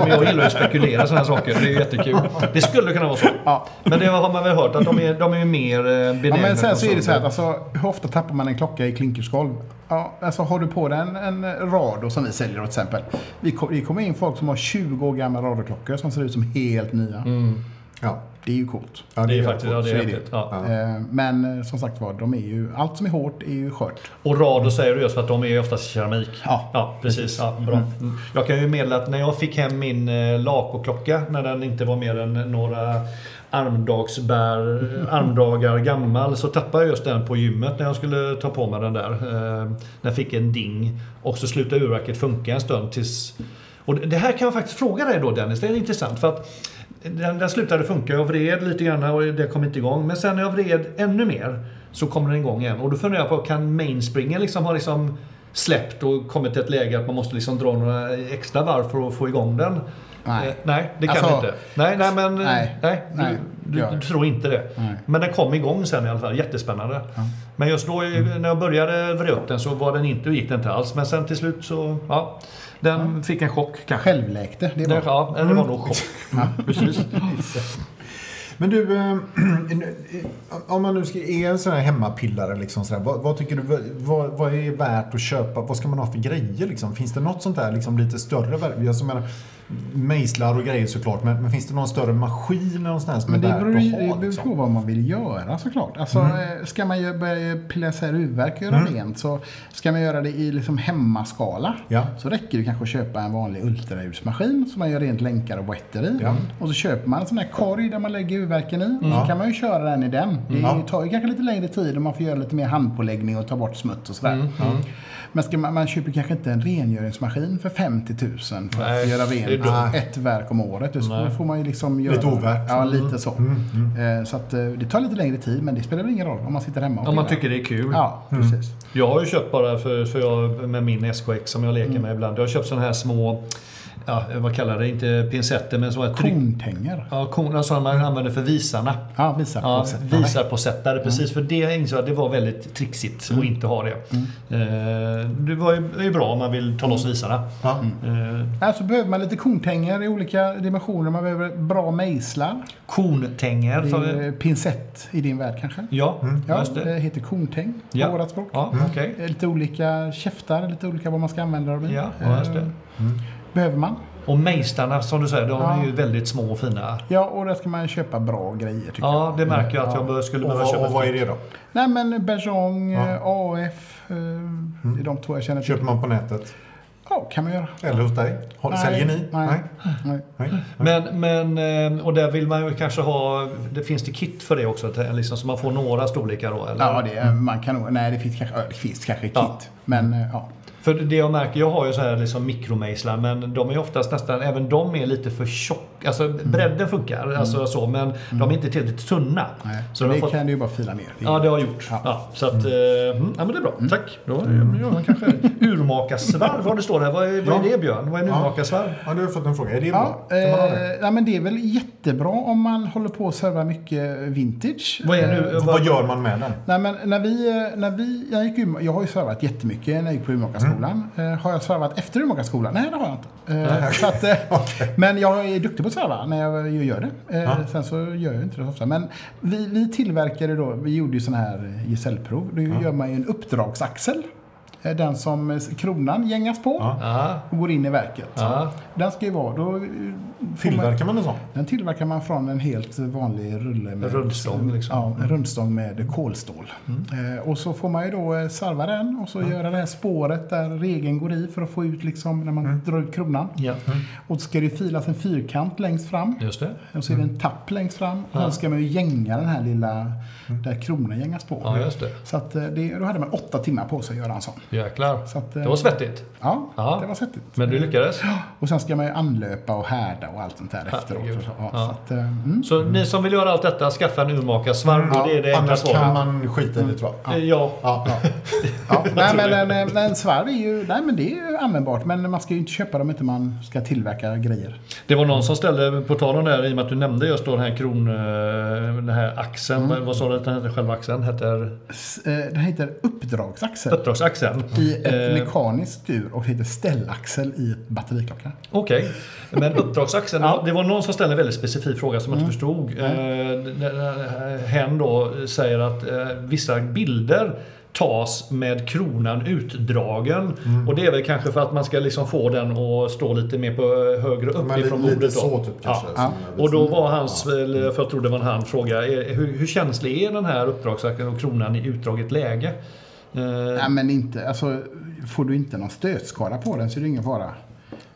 Speaker 2: Men jag gillar ju att spekulera sådana saker, det är ju jättekul. Det skulle kunna vara så.
Speaker 4: Ja.
Speaker 2: Men det har man väl hört, att de är, de är ju mer eh, benägna
Speaker 4: Ja, men sen
Speaker 2: att
Speaker 4: så är det så
Speaker 2: sönder.
Speaker 4: här, att, alltså, hur ofta tappar man en klocka i klinkersgolv? Ja, alltså, har du på dig en, en radio som vi säljer till exempel. Vi kom- det kommer in folk som har 20 år gamla radioklockor som ser ut som helt nya.
Speaker 1: Ja.
Speaker 4: Mm. Det är ju coolt.
Speaker 1: Ja,
Speaker 2: Det är faktiskt, ja, det
Speaker 4: Så
Speaker 2: är
Speaker 4: är det.
Speaker 2: häftigt. Ja.
Speaker 4: Eh, Men eh, som sagt var, de är ju, allt som är hårt är ju skört.
Speaker 2: Och rado säger du just för att de är ju oftast keramik.
Speaker 4: Ja.
Speaker 2: precis. Ja, bra. Mm. Jag kan ju meddela att när jag fick hem min eh, Laco-klocka när den inte var mer än några armdagsbär, armdagar gammal så tappade jag just den på gymmet när jag skulle ta på mig den där. Eh, Den fick en ding och så slutade urverket funka en stund tills... Och det här kan jag faktiskt fråga dig då Dennis, det är intressant för att den, den slutade funka. Jag vred lite grann och det kom inte igång. Men sen när jag vred ännu mer så kom den igång igen. Och då funderar jag på, kan mainspringen liksom ha liksom släppt och kommit till ett läge att man måste liksom dra några extra varv för att få igång den?
Speaker 4: Nej.
Speaker 2: Eh, nej, det kan
Speaker 4: Alltså-
Speaker 2: inte. Nej, nej, men, nej,
Speaker 4: Nej.
Speaker 2: nej, du,
Speaker 4: Nej,
Speaker 2: du,
Speaker 4: gör
Speaker 2: du
Speaker 4: det.
Speaker 2: tror inte det.
Speaker 4: Nej.
Speaker 2: Men den kom igång sen i alla fall. Jättespännande. Men just då eh, när jag började vrida upp den så var den inte, gick den inte alls. Men sen till slut så, ja. Den fick en chock kanske.
Speaker 4: Självläkte, det är
Speaker 2: Den,
Speaker 4: bra.
Speaker 2: ja, det var nog chock. Precis.
Speaker 1: Men du, eh, om man nu ska, är en sån här hemmapillare, liksom sådär, vad, vad tycker du vad, vad är värt att köpa? Vad ska man ha för grejer? Liksom? Finns det något sånt där liksom, lite större? verk- Jag som menar, mejslar och grejer såklart. Men, men finns det någon större maskin eller någonstans som
Speaker 4: Men det
Speaker 1: är värt
Speaker 4: beror, ju-
Speaker 1: att ha,
Speaker 4: det beror på
Speaker 1: liksom? Mm.
Speaker 4: vad man vill göra såklart. Alltså, eh, Ska man ju börja pilla isär huvudvärk och göra rent så ska man göra det i liksom hemmaskala.
Speaker 1: Ja.
Speaker 4: Så räcker det kanske att köpa en vanlig ultraljudsmaskin som man gör rent länkar och boetter i.
Speaker 1: Ja. Mm.
Speaker 4: Och så köper man en sån här korg där man lägger huvudvärken i. Så kan man ju köra den i den. Det
Speaker 1: Ja.
Speaker 4: tar ju kanske lite längre tid och man får göra lite mer handpåläggning och ta bort smutt och sådär.
Speaker 1: Mm.
Speaker 4: Men ska man, man köper kanske inte en rengöringsmaskin för 50 000 för att
Speaker 5: Nej,
Speaker 4: göra
Speaker 5: det är
Speaker 4: rent
Speaker 5: dumt.
Speaker 4: ett verk om året. Då får man ju liksom göra...
Speaker 1: Lite overk.
Speaker 4: Ja, lite så. Eh, Så att eh, det tar lite längre tid, men det spelar väl ingen roll om man sitter hemma och
Speaker 2: Om man
Speaker 4: pillar.
Speaker 2: tycker det är kul.
Speaker 4: Ja, precis.
Speaker 2: Jag har ju köpt bara för, för jag, med min SKX som jag leker med ibland. Jag har köpt sådana här små, ja, vad kallar det, inte pincetter men sådana här tryck...
Speaker 4: Kontänger.
Speaker 2: Ja, kon, alltså man använder för visarna.
Speaker 4: Ja, visa
Speaker 2: Ja,
Speaker 4: på sig.
Speaker 2: visar på sättare, precis. För det insåg jag att det var väldigt trixigt att inte ha det. Eh, Det var ju, det är ju bra om man vill ta loss visarna.
Speaker 1: Ja.
Speaker 4: Mm.
Speaker 2: Eh,
Speaker 4: Nej, så behöver man lite kontänger i olika dimensioner. Man behöver bra mejslar.
Speaker 2: Kontänger
Speaker 4: Det
Speaker 2: tar
Speaker 4: är
Speaker 2: vi.
Speaker 4: eh, pincett i din värld kanske.
Speaker 2: Ja,
Speaker 4: Ja,
Speaker 2: just
Speaker 4: det
Speaker 2: det.
Speaker 4: heter kontäng på
Speaker 2: Ja.
Speaker 4: vårat språk.
Speaker 2: Ja, okej.
Speaker 4: Eh, Lite olika käftar, lite olika vad man ska använda dem i.
Speaker 2: Ja, ja, just
Speaker 4: Eh,
Speaker 2: det.
Speaker 4: Behöver man.
Speaker 2: Och mejslarna som du säger, de
Speaker 4: Ja.
Speaker 2: är ju väldigt små och fina.
Speaker 4: Ja, och där ska man köpa bra grejer tycker jag.
Speaker 2: Ja, det märker jag att jag bör- skulle
Speaker 1: Och,
Speaker 2: behöva
Speaker 1: vad-
Speaker 2: köpa.
Speaker 1: och vad är det då?
Speaker 4: Nej, men Bergeron,
Speaker 1: Ja.
Speaker 4: eh, AF, eh, det är de två jag känner till.
Speaker 1: Köper man på nätet?
Speaker 4: Ja, kan man göra.
Speaker 1: Eller hos dig? Har-
Speaker 4: Nej,
Speaker 1: Säljer ni?
Speaker 4: Nej. nej.
Speaker 1: Nej.
Speaker 2: Men, men, eh, och där vill man ju kanske ha, det finns det kit för det också? till- Liksom, så man får några storlekar då? Eller?
Speaker 4: Ja, det, är- man kan nog... Nej, det finns kanske, ja, det finns kanske kit.
Speaker 2: Ja.
Speaker 4: Men eh, ja.
Speaker 2: För det jag märker, jag har ju så här liksom mikromejslar men de är oftast nästan, även de är lite för tjocka. Alltså bredden funkar, alltså så, men de är inte tillräckligt tunna.
Speaker 4: Nej.
Speaker 2: Så
Speaker 4: Så
Speaker 2: de
Speaker 4: det
Speaker 2: har fått,
Speaker 4: kan du ju bara fila ner.
Speaker 2: ja, det har jag gjort. Ja.
Speaker 4: Ja.
Speaker 2: så att, eh, mm. ja, men det är bra. Tack. Då mm. gör man kanske urmakarsvarv, vad det står där. Vad är, vad är det Björn? Vad är en
Speaker 1: Ja.
Speaker 2: urmakarsvarv?
Speaker 1: Ja, nu har jag fått en fråga. Är det
Speaker 4: Ja,
Speaker 1: bra? Kan man ha det?
Speaker 4: eh, nej, men det är väl jättebra om man håller på att serva mycket vintage.
Speaker 2: Vad är nu?
Speaker 4: eh,
Speaker 1: Och Eh, Vad gör man med den?
Speaker 4: Nej, men när vi, när vi, jag, gick, ur- jag har ju servat jättemycket när jag gick på Umeåkarskolan.
Speaker 2: Mm.
Speaker 4: Eh, har jag servat efter Umeåkarskolan? Nej, det har jag inte. Eh, så att, eh, Men jag är duktig på att serva när jag ju gör det. Eh, Sen så gör jag inte det så ofta. Men vi, vi tillverkade då, vi gjorde ju sådana här eh, gesällprov. Då gör man ju en uppdragsaxel. Eh, Den som eh, kronan gängas på
Speaker 2: Ja.
Speaker 4: och går in i verket.
Speaker 2: Ja.
Speaker 4: Den ska ju vara... Då, eh, får man-
Speaker 1: Tillverkar man en sån?
Speaker 4: den tillverkar man från en helt vanlig rulle med
Speaker 2: Rundstång, liksom. Mm.
Speaker 4: ja, en rundstång med kolstål. Eh, och så får man ju då eh, sarva den och så göra det här spåret där regeln går i för att få ut liksom när man
Speaker 2: Mm.
Speaker 4: drar ut kronan.
Speaker 2: Ja.
Speaker 4: Och så ska det filas en fyrkant längst fram.
Speaker 2: Just det.
Speaker 4: Och så är det
Speaker 2: Mm.
Speaker 4: en tapp längst fram. Och sen ska man ju gänga den här lilla där kronan gängas på.
Speaker 2: Mm. Ja, just det.
Speaker 4: Så att eh, det, då hade man åtta timmar på sig att göra en sån.
Speaker 2: Jäklar.
Speaker 4: Så att, eh,
Speaker 2: Det var svettigt.
Speaker 4: Ja,
Speaker 2: Ja.
Speaker 4: det var svettigt.
Speaker 2: Men du lyckades.
Speaker 4: Och sen ska man ju anlöpa och härda och allt sånt där efteråt.
Speaker 2: Herregud.
Speaker 4: Ja,
Speaker 2: Ja.
Speaker 4: Så att, eh, mm.
Speaker 2: Så ni som vill göra allt detta, skaffa en urmakarsvarv.
Speaker 1: Ja,
Speaker 2: det är det enkla
Speaker 1: annars kan
Speaker 2: svaret.
Speaker 1: man skita i det tror jag.
Speaker 2: Eh, Ja.
Speaker 1: Ja.
Speaker 4: Ja, nej, men en, en, en svarv är ju, nej, men det är ju användbart, men man ska ju inte köpa dem inte man ska tillverka grejer.
Speaker 2: Det var någon som ställde, på tal om det här, i och med att du nämnde just då den här kron... eh, Den här axeln.
Speaker 1: Mm.
Speaker 2: Vad- Vad sa du att den hette? Själva axeln heter?
Speaker 4: S- eh, Den heter
Speaker 1: Äh.
Speaker 4: uppdragsaxel
Speaker 2: Uppdragsaxeln.
Speaker 4: i ett
Speaker 2: Eh,
Speaker 4: mekaniskt ur och heter ställaxel i ett batteriklocka.
Speaker 2: Okej. Men uppdragsaxeln. Det var någon som ställde en väldigt specifik fråga som jag inte
Speaker 1: Mm.
Speaker 2: förstod. Eh, den- den här Hen då säger att eh, vissa bilder tas med kronan utdragen.
Speaker 1: Mm.
Speaker 2: Och det är väl kanske för att man ska liksom få den att stå lite mer på eh, högre upp
Speaker 1: Men
Speaker 2: ifrån
Speaker 1: li-
Speaker 2: bordet.
Speaker 1: lite
Speaker 2: då.
Speaker 1: så typ kanske. Mm.
Speaker 2: Ja.
Speaker 1: som jag liksom-
Speaker 2: Och
Speaker 1: vet.
Speaker 2: då var hans, väl, för jag tror det var en han fråga, är- hur, hur känslig är den här uppdragsakten och kronan i utdraget läge? Eh,
Speaker 4: Nej, men inte, alltså, får du inte någon stötskada på den så är det ingen fara.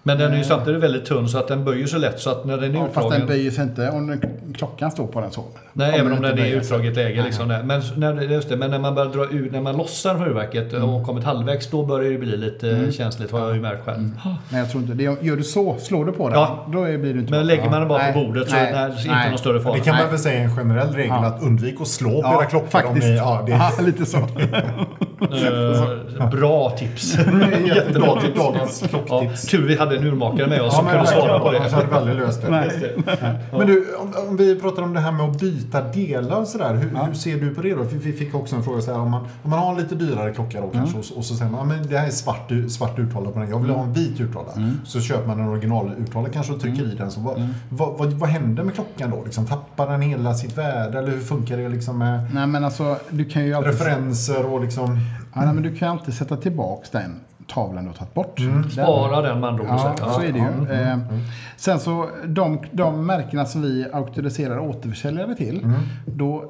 Speaker 2: men den är
Speaker 1: Eh.
Speaker 2: ju samtidigt väldigt tunn så att den böjer så lätt så att när den är
Speaker 4: Ja, fast
Speaker 2: utdragen...
Speaker 4: den böjer sig inte om den- klockan står på den så.
Speaker 2: nej,
Speaker 4: Kommer
Speaker 2: även om
Speaker 4: inte
Speaker 2: den är i
Speaker 4: böja sig.
Speaker 2: utdraget läge. Liksom, där. men, s- när, det- just det, men när man börjar dra ut, när man lossar huvudvärket
Speaker 4: Mm.
Speaker 2: och kommit halvvägs, då börjar det bli lite eh, känsligt har jag ju märkt själv. Ah,
Speaker 4: Nej, jag tror inte det. Gör du så, slår du på den,
Speaker 2: Ja.
Speaker 4: då är- blir du inte
Speaker 2: Men
Speaker 4: bra.
Speaker 2: lägger man den bara
Speaker 4: Nej,
Speaker 2: på bordet så är det inte någon större fara.
Speaker 1: Det kan man väl säga är en generell regel
Speaker 4: Ja.
Speaker 1: att undvik att slå på
Speaker 4: Ja,
Speaker 1: era klockor
Speaker 4: faktiskt.
Speaker 1: om ni... Ja, det är
Speaker 4: Ja, lite så.
Speaker 2: Eh, bra tips! Jättebra
Speaker 1: Dagens-
Speaker 2: tips!
Speaker 1: dagens
Speaker 2: Ja,
Speaker 1: klocktips.
Speaker 2: tur vi hade en urmakare med oss som
Speaker 1: men
Speaker 2: kunde svara
Speaker 1: verkligen,
Speaker 2: på
Speaker 1: Annars hade
Speaker 2: det.
Speaker 1: vi aldrig löst det.
Speaker 4: Nej.
Speaker 1: Men du, om, om vi pratar om det här med att byta delar och sådär. Hur, hur ser du på det då? För Vi fick också en fråga så här, om man, om man har en lite dyrare klocka då kanske
Speaker 4: Mm.
Speaker 1: och, så- och så säger man, "Ja, men det här är svart, u- svart urtavla på den. Jag vill ha en vit urtavla.
Speaker 4: Mm.
Speaker 1: Så köper man en originalurtavla kanske och trycker i den. Så vad, vad, vad, vad händer med klockan då? Liksom, tappar den hela sitt värde? Eller hur funkar det liksom med
Speaker 4: Nej men alltså, du kan ju alltid,
Speaker 1: referenser och liksom...
Speaker 4: ja, nej, men du kan ju alltid sätta tillbaks den. tavlan du har tagit bort.
Speaker 1: Mm.
Speaker 4: Den-
Speaker 2: Spara den med andra ord. och
Speaker 4: Ja,
Speaker 2: säga.
Speaker 4: så är det ju.
Speaker 2: Ja.
Speaker 4: Eh, Sen så de, de märkena som vi auktoriserar återförsäljare till,
Speaker 1: Mm.
Speaker 4: då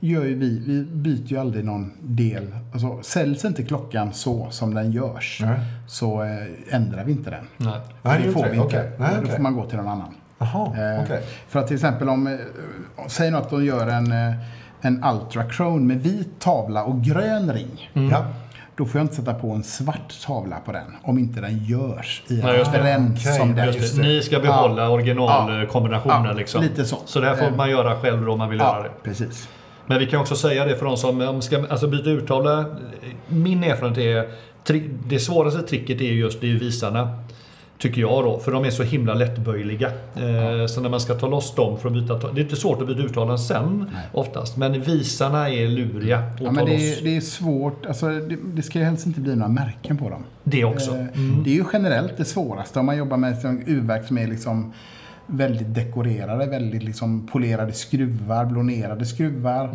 Speaker 4: gör ju vi, vi byter ju aldrig någon del. Alltså, säljs inte klockan så som den görs
Speaker 1: Nej.
Speaker 4: så eh, ändrar vi inte den.
Speaker 2: Nej.
Speaker 1: Nej,
Speaker 4: det får
Speaker 1: inte
Speaker 4: vi inte.
Speaker 1: Okej. Nej,
Speaker 4: Då
Speaker 1: okej.
Speaker 4: får man gå till någon annan.
Speaker 1: Jaha,
Speaker 4: Eh,
Speaker 1: okej.
Speaker 4: För att till exempel om, eh, säg nu att de gör en, eh, en Ultra Crone med vit tavla och grön ring.
Speaker 2: Mm.
Speaker 1: Ja.
Speaker 4: Då får jag inte sätta på en svart tavla på den om inte den görs i
Speaker 2: Nej,
Speaker 4: en
Speaker 2: just det.
Speaker 4: trend
Speaker 1: Okej,
Speaker 4: som den.
Speaker 2: Just det. Ni ska behålla originalkombinationen.
Speaker 4: Ja,
Speaker 2: liksom.
Speaker 4: lite så.
Speaker 2: så det här får
Speaker 4: Eh,
Speaker 2: man göra själv då om man vill göra
Speaker 4: Ja,
Speaker 2: det.
Speaker 4: precis.
Speaker 2: Men vi kan också säga det för de som om ska alltså byta urtavla. Min erfarenhet är tri- det svåraste tricket är just det är visarna. Tycker jag då, för de är så himla lättböjliga. Eh, så när man ska ta loss dem för att byta, ta- det är inte svårt att byta urtavlan sen oftast. Men visarna är luriga att
Speaker 4: Ja,
Speaker 2: ta
Speaker 4: men det,
Speaker 2: loss.
Speaker 4: är, det är svårt, alltså, det, det ska ju helst inte bli några märken på dem.
Speaker 2: Det också. Mm.
Speaker 4: Eh, Det är ju generellt det svåraste om man jobbar med liksom urverk som är liksom väldigt dekorerade, väldigt liksom polerade skruvar, blonerade skruvar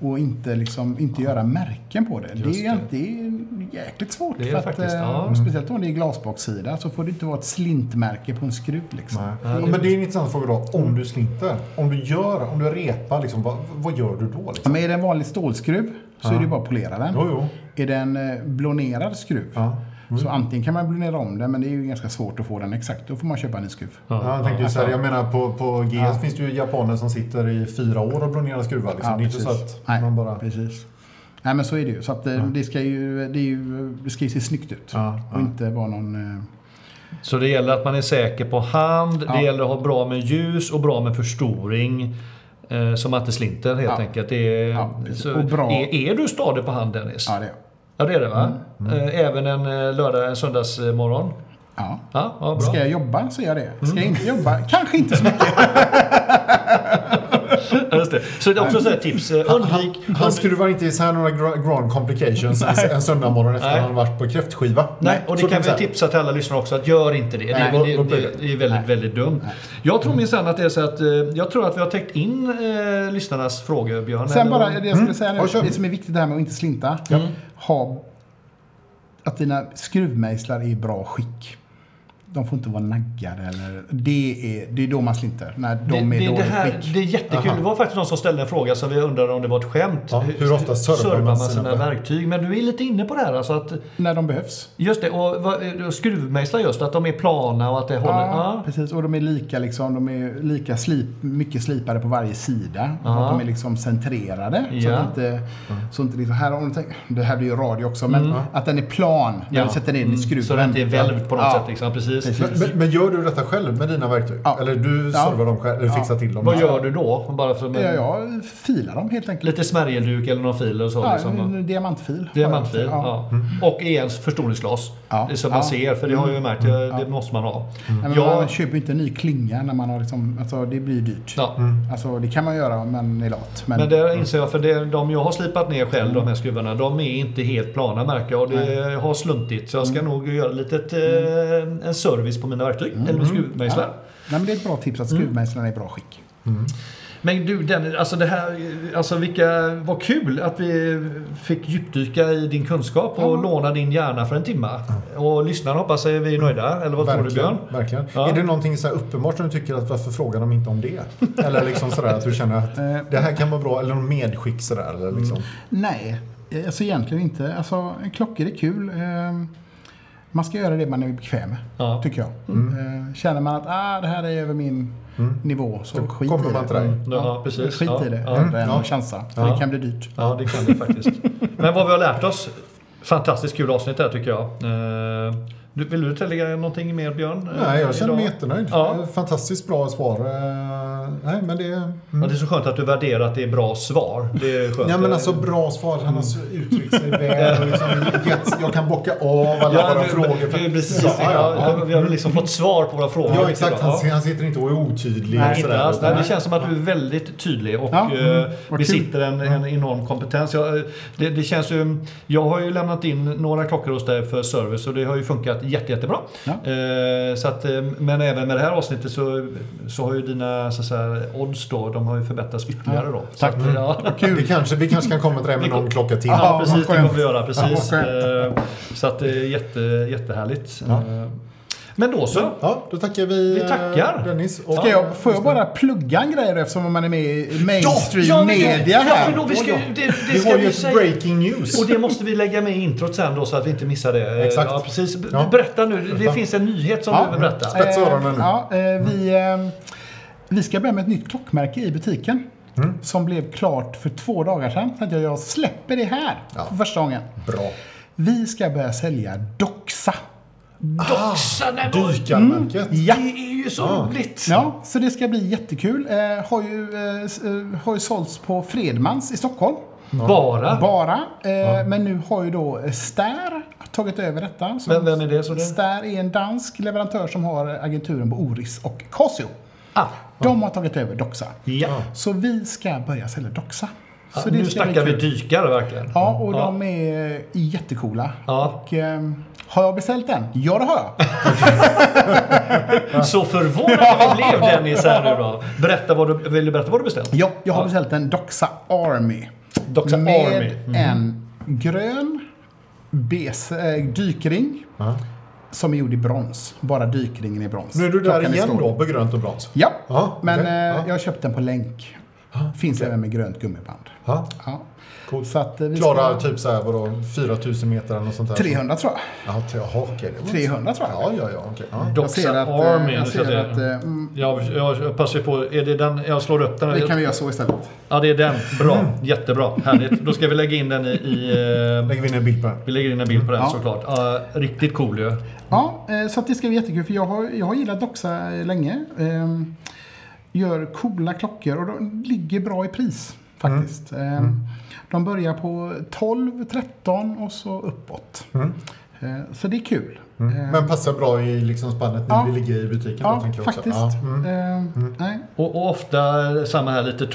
Speaker 4: och inte, liksom, inte göra märken på det. Det är,
Speaker 2: Mm. Just
Speaker 4: ju
Speaker 2: det.
Speaker 4: alltid- det är jäkligt svårt.
Speaker 2: Det är faktiskt,
Speaker 4: eh,
Speaker 2: ja.
Speaker 4: Speciellt om det är glasbaksida så får det inte vara ett slintmärke på en skruv. Liksom.
Speaker 1: Nej. Men det är ju en intressant fråga då. Om du slinter, om du gör, om du repar, liksom, vad, vad gör du då?
Speaker 4: Ja,
Speaker 1: Liksom?
Speaker 4: Men är det en vanlig stålskruv så är det ju bara att polera den.
Speaker 1: Jo, jo.
Speaker 4: Är det en eh, blonerad skruv
Speaker 1: Ja.
Speaker 2: Mm.
Speaker 4: så antingen kan man blonera om den men det är ju ganska svårt att få den exakt. Då får man köpa en ny skruv.
Speaker 1: Ja, jag, tänkte ju så här, jag menar på, på GS
Speaker 4: Ja.
Speaker 1: finns det ju japaner som sitter i fyra år och bronerar skruvar. Liksom.
Speaker 4: Ja,
Speaker 1: det är inte så
Speaker 4: precis.
Speaker 1: att
Speaker 4: Nej,
Speaker 1: man bara...
Speaker 4: precis. Nej men så är det ju. Så att eh, det, ska ju, det, är ju, det ska ju se snyggt ut.
Speaker 1: Ja,
Speaker 4: och inte vara någon... eh,
Speaker 2: Så det gäller att man är säker på hand, det
Speaker 4: Ja.
Speaker 2: gäller att ha bra med ljus och bra med förstoring. Eh, som att det slinter helt
Speaker 4: Ja.
Speaker 2: enkelt. Det är,
Speaker 4: Ja, precis.
Speaker 2: så,
Speaker 4: Och bra-
Speaker 2: Är, är du stadig på hand Dennis?
Speaker 4: Ja, det är
Speaker 2: Ja, det är det va? Eh, Även en eh, lördag, en söndagsmorgon?
Speaker 4: ja.
Speaker 2: Ja, ja bra.
Speaker 4: Ska jag jobba så gör jag det. Ska jag inte jobba? Kanske inte så mycket.
Speaker 2: Ja, Just det. Så det är också så här tips. eh, Undvik...
Speaker 1: Han skruvar inte isär några gra- grand complications en- en söndagmorgon efter
Speaker 2: Nej.
Speaker 1: att han varit på kräftskiva.
Speaker 2: Nej, och det
Speaker 1: Så
Speaker 2: kan
Speaker 1: säga.
Speaker 2: vi tipsa till alla lyssnare också att gör inte det.
Speaker 1: Nej,
Speaker 2: det,
Speaker 1: vad-
Speaker 2: det,
Speaker 1: vad blir
Speaker 2: det,
Speaker 1: det?
Speaker 2: det är väldigt, väldigt dumt. Jag tror minsann att det är så att eh, jag tror att vi har täckt in eh, lyssnarnas frågor Björn.
Speaker 4: Sen
Speaker 2: eller
Speaker 4: bara
Speaker 2: vad?
Speaker 4: det jag skulle säga nu,
Speaker 1: Ja, kör.
Speaker 4: det som är viktigt det här med att inte slinta. Ha att dina skruvmejslar är i bra skick. De får inte vara naggade eller... Det är, det är då man slinter. När de är i
Speaker 2: det, det,
Speaker 4: dåligt
Speaker 2: här,
Speaker 4: skick.
Speaker 2: det är jättekul. Det var faktiskt någon som ställde en fråga som vi undrade om det var ett skämt.
Speaker 1: Ja, hur ofta servar man
Speaker 2: man
Speaker 1: sina
Speaker 2: sina
Speaker 1: verk-
Speaker 2: verktyg? Men du är lite inne på det här. Alltså att,
Speaker 4: När de behövs.
Speaker 2: just det, och, vad- och skruvmejslar just, att de är plana och att det håller.
Speaker 4: Ja,
Speaker 2: Ja.
Speaker 4: precis. Och de är lika, liksom, de är lika slip, mycket slipade på varje sida. Och
Speaker 2: Ja.
Speaker 4: Att de är liksom centrerade. Så
Speaker 2: Ja. Mm.
Speaker 4: att inte, så inte liksom, här, om du tänker, det här blir ju radio också, men att den är plan när
Speaker 2: Ja. Mm.
Speaker 4: du sätter ner den i skruven.
Speaker 2: Så det inte är välvt på något
Speaker 4: Ja.
Speaker 2: sätt. Liksom. Precis.
Speaker 4: Precis.
Speaker 1: Men, men, men gör du detta själv med dina verktyg?
Speaker 4: Ja.
Speaker 1: Eller du
Speaker 4: Ja.
Speaker 1: servar dem själv? Eller fixar till dem?
Speaker 2: Vad gör du då? Bara som en,
Speaker 4: Ja, jag filar dem helt enkelt.
Speaker 2: Lite smärjelduk eller någon fil eller så?
Speaker 4: Ja,
Speaker 2: liksom.
Speaker 4: en diamantfil.
Speaker 2: Diamantfil,
Speaker 4: Ja. Mm.
Speaker 2: ja. Och i ens förstoringsglas.
Speaker 4: Ja.
Speaker 2: Som man
Speaker 4: Ja. Mm.
Speaker 2: ser, för det har jag ju märkt, det, det måste man ha.
Speaker 4: Nej, men
Speaker 2: Jag,
Speaker 4: Man köper ju inte en ny klinga när man har liksom, alltså det blir dyrt.
Speaker 2: ja.
Speaker 4: Alltså det kan man göra om man är lat. Men,
Speaker 2: Men där inser jag, för det, de jag har slipat ner själv, de här skruvarna, de är inte helt plana märker jag. Och det har sluntit. Så jag
Speaker 4: Mm.
Speaker 2: ska nog göra lite eh, en service på mina verktyg. Eller skruvmejslar.
Speaker 4: Nej, men det är ett bra tips att
Speaker 2: Mm.
Speaker 4: skruvmejslarna är i bra skick.
Speaker 2: Men du Dennis, alltså det här, alltså vilka, vad kul att vi fick djupdyka i din kunskap och låna din hjärna för en timma. Och lyssnarna hoppas att vi är nöjda, eller vad tror du
Speaker 1: Verkligen.
Speaker 2: Björn?
Speaker 1: verkligen.
Speaker 2: Ja.
Speaker 1: Är det någonting så här uppenbart som du tycker att varför frågar de inte om det? Eller liksom sådär att du känner
Speaker 2: Eh.
Speaker 1: att det här kan vara bra, eller någon medskick sådär. Eller liksom.
Speaker 4: Nej, eh, alltså egentligen inte. Alltså, klockor är kul. Eh, Man ska göra det man är bekväm med,
Speaker 2: Ja. Mm.
Speaker 4: tycker jag. Eh, Känner man att ah, det här är över min nivå så, skit
Speaker 1: kommer
Speaker 4: i
Speaker 1: man
Speaker 4: det. Mm.
Speaker 1: till dig.
Speaker 2: Ja, precis.
Speaker 4: Skit
Speaker 2: Ja,
Speaker 4: i det,
Speaker 2: ja.
Speaker 4: hellre än
Speaker 1: Ja.
Speaker 4: att chansa. För
Speaker 1: Ja.
Speaker 4: det kan bli dyrt.
Speaker 2: Ja, det kan det faktiskt. Men vad vi har lärt oss. Fantastiskt kul avsnitt här tycker jag. Eh, du- Vill du tillägga någonting mer Björn? Eh,
Speaker 1: Nej, jag känner
Speaker 2: idag?
Speaker 1: mig jättenöjd.
Speaker 2: Ja.
Speaker 1: Fantastiskt bra svar. Eh, Nej, men det... Mm.
Speaker 2: Ja, det är så skönt att du värderar att det är bra svar. Det är skönt. Mm.
Speaker 1: Ja men alltså bra svar. Han har så uttryckt sig väl. Och liksom gett, jag kan bocka av alla
Speaker 2: Ja,
Speaker 1: våra
Speaker 2: du-
Speaker 1: frågor.
Speaker 2: du-
Speaker 1: För,
Speaker 2: precis.
Speaker 1: Ja, ja, ja.
Speaker 2: Ja, Vi har liksom fått svar på våra frågor.
Speaker 1: ja exakt.
Speaker 2: Ja.
Speaker 1: Han, han sitter inte och är otydlig. och
Speaker 2: Nej, inte
Speaker 1: sådär.
Speaker 2: alls. Nej, det känns som att du är väldigt tydlig och
Speaker 4: Ja, mm.
Speaker 2: eh,
Speaker 4: Vad
Speaker 2: besitter en, en enorm kompetens. Jag, eh, det, det känns ju, jag har ju lämnat in några klockor hos dig för service och det har ju funkat jätte, jättebra.
Speaker 4: Ja.
Speaker 2: Eh, så att, eh, men även med det här avsnittet så, så har ju dina så att säga, odds då, de har ju förbättrats ytterligare. Då. Så att, ja.
Speaker 1: Vi kanske, vi kanske kan komma till det med någon klocka till.
Speaker 2: Ja, precis. precis, det kommer vi göra. Precis.
Speaker 4: Ja,
Speaker 2: Eh, Så att det är jätte, jättehärligt.
Speaker 1: Ja.
Speaker 2: Eh, Men då så.
Speaker 1: Ja, då tackar vi,
Speaker 2: Vi tackar.
Speaker 1: eh, Dennis. Och,
Speaker 4: Ska jag, får jag bara plugga en grej då, eftersom man är med i mainstream
Speaker 2: Ja, men då-
Speaker 4: media
Speaker 2: ja,
Speaker 4: här?
Speaker 2: för då vi ska, ju- det, det
Speaker 1: Vi
Speaker 2: ska
Speaker 1: har
Speaker 2: vi
Speaker 1: ju ett
Speaker 2: säga.
Speaker 1: breaking news.
Speaker 2: Och det måste vi lägga med i introt sen då så att vi inte missar det. Eh,
Speaker 1: Exakt.
Speaker 2: Ja, precis. B-
Speaker 1: Ja.
Speaker 2: Berätta nu. Det finns en nyhet som
Speaker 4: Ja.
Speaker 2: du vill berätta.
Speaker 1: Spä- Spetsa öronen nu.
Speaker 4: Eh, ja, eh, vi, eh, vi ska börja med ett nytt klockmärke i butiken.
Speaker 2: Mm.
Speaker 4: Som blev klart för två dagar sedan. Så att jag, jag släpper det här
Speaker 1: Ja.
Speaker 4: för första gången.
Speaker 1: Bra.
Speaker 4: Vi ska börja sälja Doxa.
Speaker 2: Doxa, nej, men-
Speaker 1: Dykarmärket.
Speaker 4: Ah, Ja. Ah.
Speaker 2: Det är ju så roligt.
Speaker 4: Ja, så det ska bli jättekul. Eh, har, ju, eh, s- eh, har ju sålts på Fredmans i Stockholm.
Speaker 2: Bara.
Speaker 4: Bara. Eh, Men nu har ju då eh, Stär tagit över detta. Så
Speaker 2: Vem, vem är det? Så det?
Speaker 4: Stär är en dansk leverantör som har agenturen på Oris och Casio.
Speaker 2: Ah,
Speaker 4: De har tagit över Doxa.
Speaker 2: ja.
Speaker 4: Så vi ska börja sälja Doxa.
Speaker 2: Ja,
Speaker 4: Ah. Så det
Speaker 2: nu
Speaker 4: ska bli
Speaker 2: snackar vi
Speaker 4: kul.
Speaker 2: dykare verkligen.
Speaker 4: Ja, och de är jättecoola.
Speaker 2: Ja.
Speaker 4: Och, ehm, har jag beställt den? Ja, det har jag.
Speaker 2: Så förvånad jag blev Dennis här nu då. Berätta vad du, vill du berätta vad du beställt?
Speaker 4: Ja, jag har beställt en Doxa Army.
Speaker 2: Doxa
Speaker 4: med
Speaker 2: Army.
Speaker 1: mm.
Speaker 4: en grön bes, eh, dykring
Speaker 1: Ja.
Speaker 4: som är gjord i brons. Bara dykringen är brons.
Speaker 1: Nu är du där
Speaker 4: Klockan är
Speaker 1: igen
Speaker 4: stor.
Speaker 1: då, på grönt och brons.
Speaker 4: Ja,
Speaker 1: Ja,
Speaker 4: men
Speaker 1: okej.
Speaker 4: eh,
Speaker 1: Ja.
Speaker 4: jag har köpt den på länk. Finns även med grönt gummiband.
Speaker 1: Ja.
Speaker 4: Ja.
Speaker 1: Coolt.
Speaker 4: Så att eh, vi
Speaker 1: Klara
Speaker 4: ska...
Speaker 1: typ så här, vadå, 4000 meter eller något sånt där.
Speaker 4: 300 tror jag.
Speaker 1: Ja, tre, aha, okej, det var
Speaker 4: 300 tror jag.
Speaker 1: Ja, ja, ja, okej. Ja.
Speaker 4: Jag ser
Speaker 2: Doxa
Speaker 4: att, eh,
Speaker 2: Army.
Speaker 4: jag
Speaker 2: så
Speaker 4: ser
Speaker 2: det-
Speaker 4: att eh, mm,
Speaker 2: jag, jag passar ju på. Är det den? Jag slår upp den.
Speaker 4: det kan vi Mm. göra så istället.
Speaker 2: Ja, det är den. Bra. Jättebra. Härligt. Då ska vi lägga in den i... i eh,
Speaker 1: Lägger vi in en bild på den.
Speaker 2: vi lägger in en bild på den
Speaker 4: Mm. Ja.
Speaker 2: såklart. Ja, riktigt cool ju.
Speaker 4: Ja, eh, så att det ska bli jättekul för jag har, jag har gillat Doxa eh, länge. Ehm, Gör coola klockor och de ligger bra i pris faktiskt.
Speaker 1: Mm.
Speaker 4: Ehm, De börjar på 12, 13 och så uppåt. Eh, Så det är kul. Ehm,
Speaker 1: Mm. Men passar bra i liksom spannet nu
Speaker 4: Ja.
Speaker 1: vi ligger i butiken. då,
Speaker 4: Ja,
Speaker 1: tänker jag också.
Speaker 4: faktiskt.
Speaker 1: Ja. Mm.
Speaker 4: Ehm, Nej.
Speaker 2: Och, och ofta eh, samma här, lite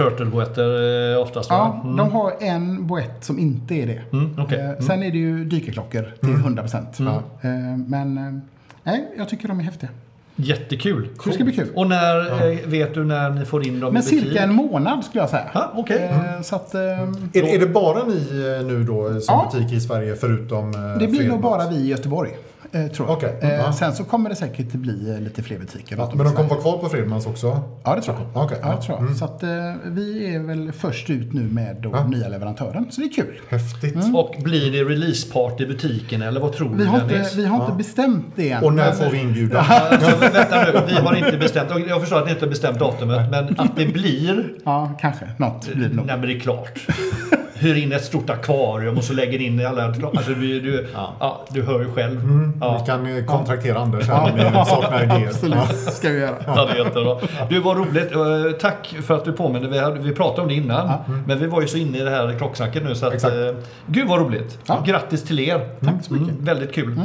Speaker 2: turtle-boetter eh, oftast.
Speaker 4: Ja,
Speaker 2: va?
Speaker 1: mm.
Speaker 4: de har en boett som inte är det.
Speaker 2: Mm, okej.
Speaker 4: Eh, Sen är det ju dykarklockor till
Speaker 1: Mm.
Speaker 4: 100%. Eh, Men eh, nej, jag tycker de är häftiga.
Speaker 2: Mm. Jättekul.
Speaker 4: Det ska bli kul.
Speaker 2: Och när eh, vet du när ni får in dem
Speaker 4: Men mm.
Speaker 2: i butik?
Speaker 4: cirka en månad skulle jag säga.
Speaker 2: Ja, okej.
Speaker 1: Mm.
Speaker 4: Eh, Så att, eh,
Speaker 1: Är, det- är det bara ni eh, nu då som
Speaker 4: Ja.
Speaker 1: butik i Sverige förutom eh,
Speaker 4: Det blir nog
Speaker 1: Fredmans?
Speaker 4: bara vi i Göteborg. eh, Tror jag.
Speaker 1: Okej,
Speaker 4: Eh,
Speaker 1: ja.
Speaker 4: Sen så kommer det säkert bli eh, lite fler butiker.
Speaker 1: Ja,
Speaker 4: runt om
Speaker 1: men
Speaker 4: i
Speaker 1: de kommer
Speaker 4: Sverige.
Speaker 1: vara kvar på Fredmans också?
Speaker 4: Ja, det tror jag.
Speaker 1: Okej, Mm.
Speaker 4: ja,
Speaker 1: ja.
Speaker 4: det tror jag. Så att, eh, vi är väl först ut nu med då
Speaker 1: Ja.
Speaker 4: nya leverantören, så det är kul.
Speaker 1: Häftigt.
Speaker 4: Mm.
Speaker 2: Och blir det release-party i butiken eller vad tror
Speaker 4: Vi
Speaker 2: du
Speaker 4: har inte,
Speaker 2: Dennis?
Speaker 4: vi har inte bestämt det än.
Speaker 1: Och när
Speaker 4: men-
Speaker 1: får vi inbjudan?
Speaker 2: Alltså, vänta nu, vi har inte bestämt. och Jag förstår att ni inte har bestämt datumet, men att det blir...
Speaker 4: Ja, kanske. Något blir det
Speaker 2: Nej
Speaker 4: nog.
Speaker 2: men det är klart. Hyr in ett stort akvarium och så lägger in alla... Alltså, du, du, ja. du hör ju själv.
Speaker 1: Vi
Speaker 4: Mm,
Speaker 2: Ja.
Speaker 1: kan eh, kontraktera Anders här om ni saknar idéer. Ja.
Speaker 4: Absolut, ska vi göra.
Speaker 2: Ja, det är jättebra. Du, var roligt. Eh, Tack för att du påminner. Vi, hade, vi pratade om det innan, men vi var ju så inne i det här klocksnacket nu så att...
Speaker 1: Mm. Exakt.
Speaker 2: eh, Gud vad roligt.
Speaker 4: Ja.
Speaker 2: Grattis till er.
Speaker 4: Tack så mycket.
Speaker 2: Mm, väldigt kul.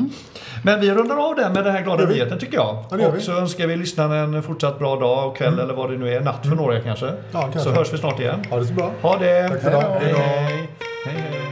Speaker 2: Men vi rundar av den med den här glada nyheten tycker jag.
Speaker 1: Ja, det gör vi. Mm.
Speaker 2: och så önskar vi lyssnarna en fortsatt bra dag och kväll eller vad det nu är. Natt för några kanske.
Speaker 1: kanske.
Speaker 2: Så hörs vi snart igen.
Speaker 1: Ha det så bra.
Speaker 2: Ha det!
Speaker 1: Tack för idag.
Speaker 2: Hej,
Speaker 1: Hej då.
Speaker 2: hej. hej, hej.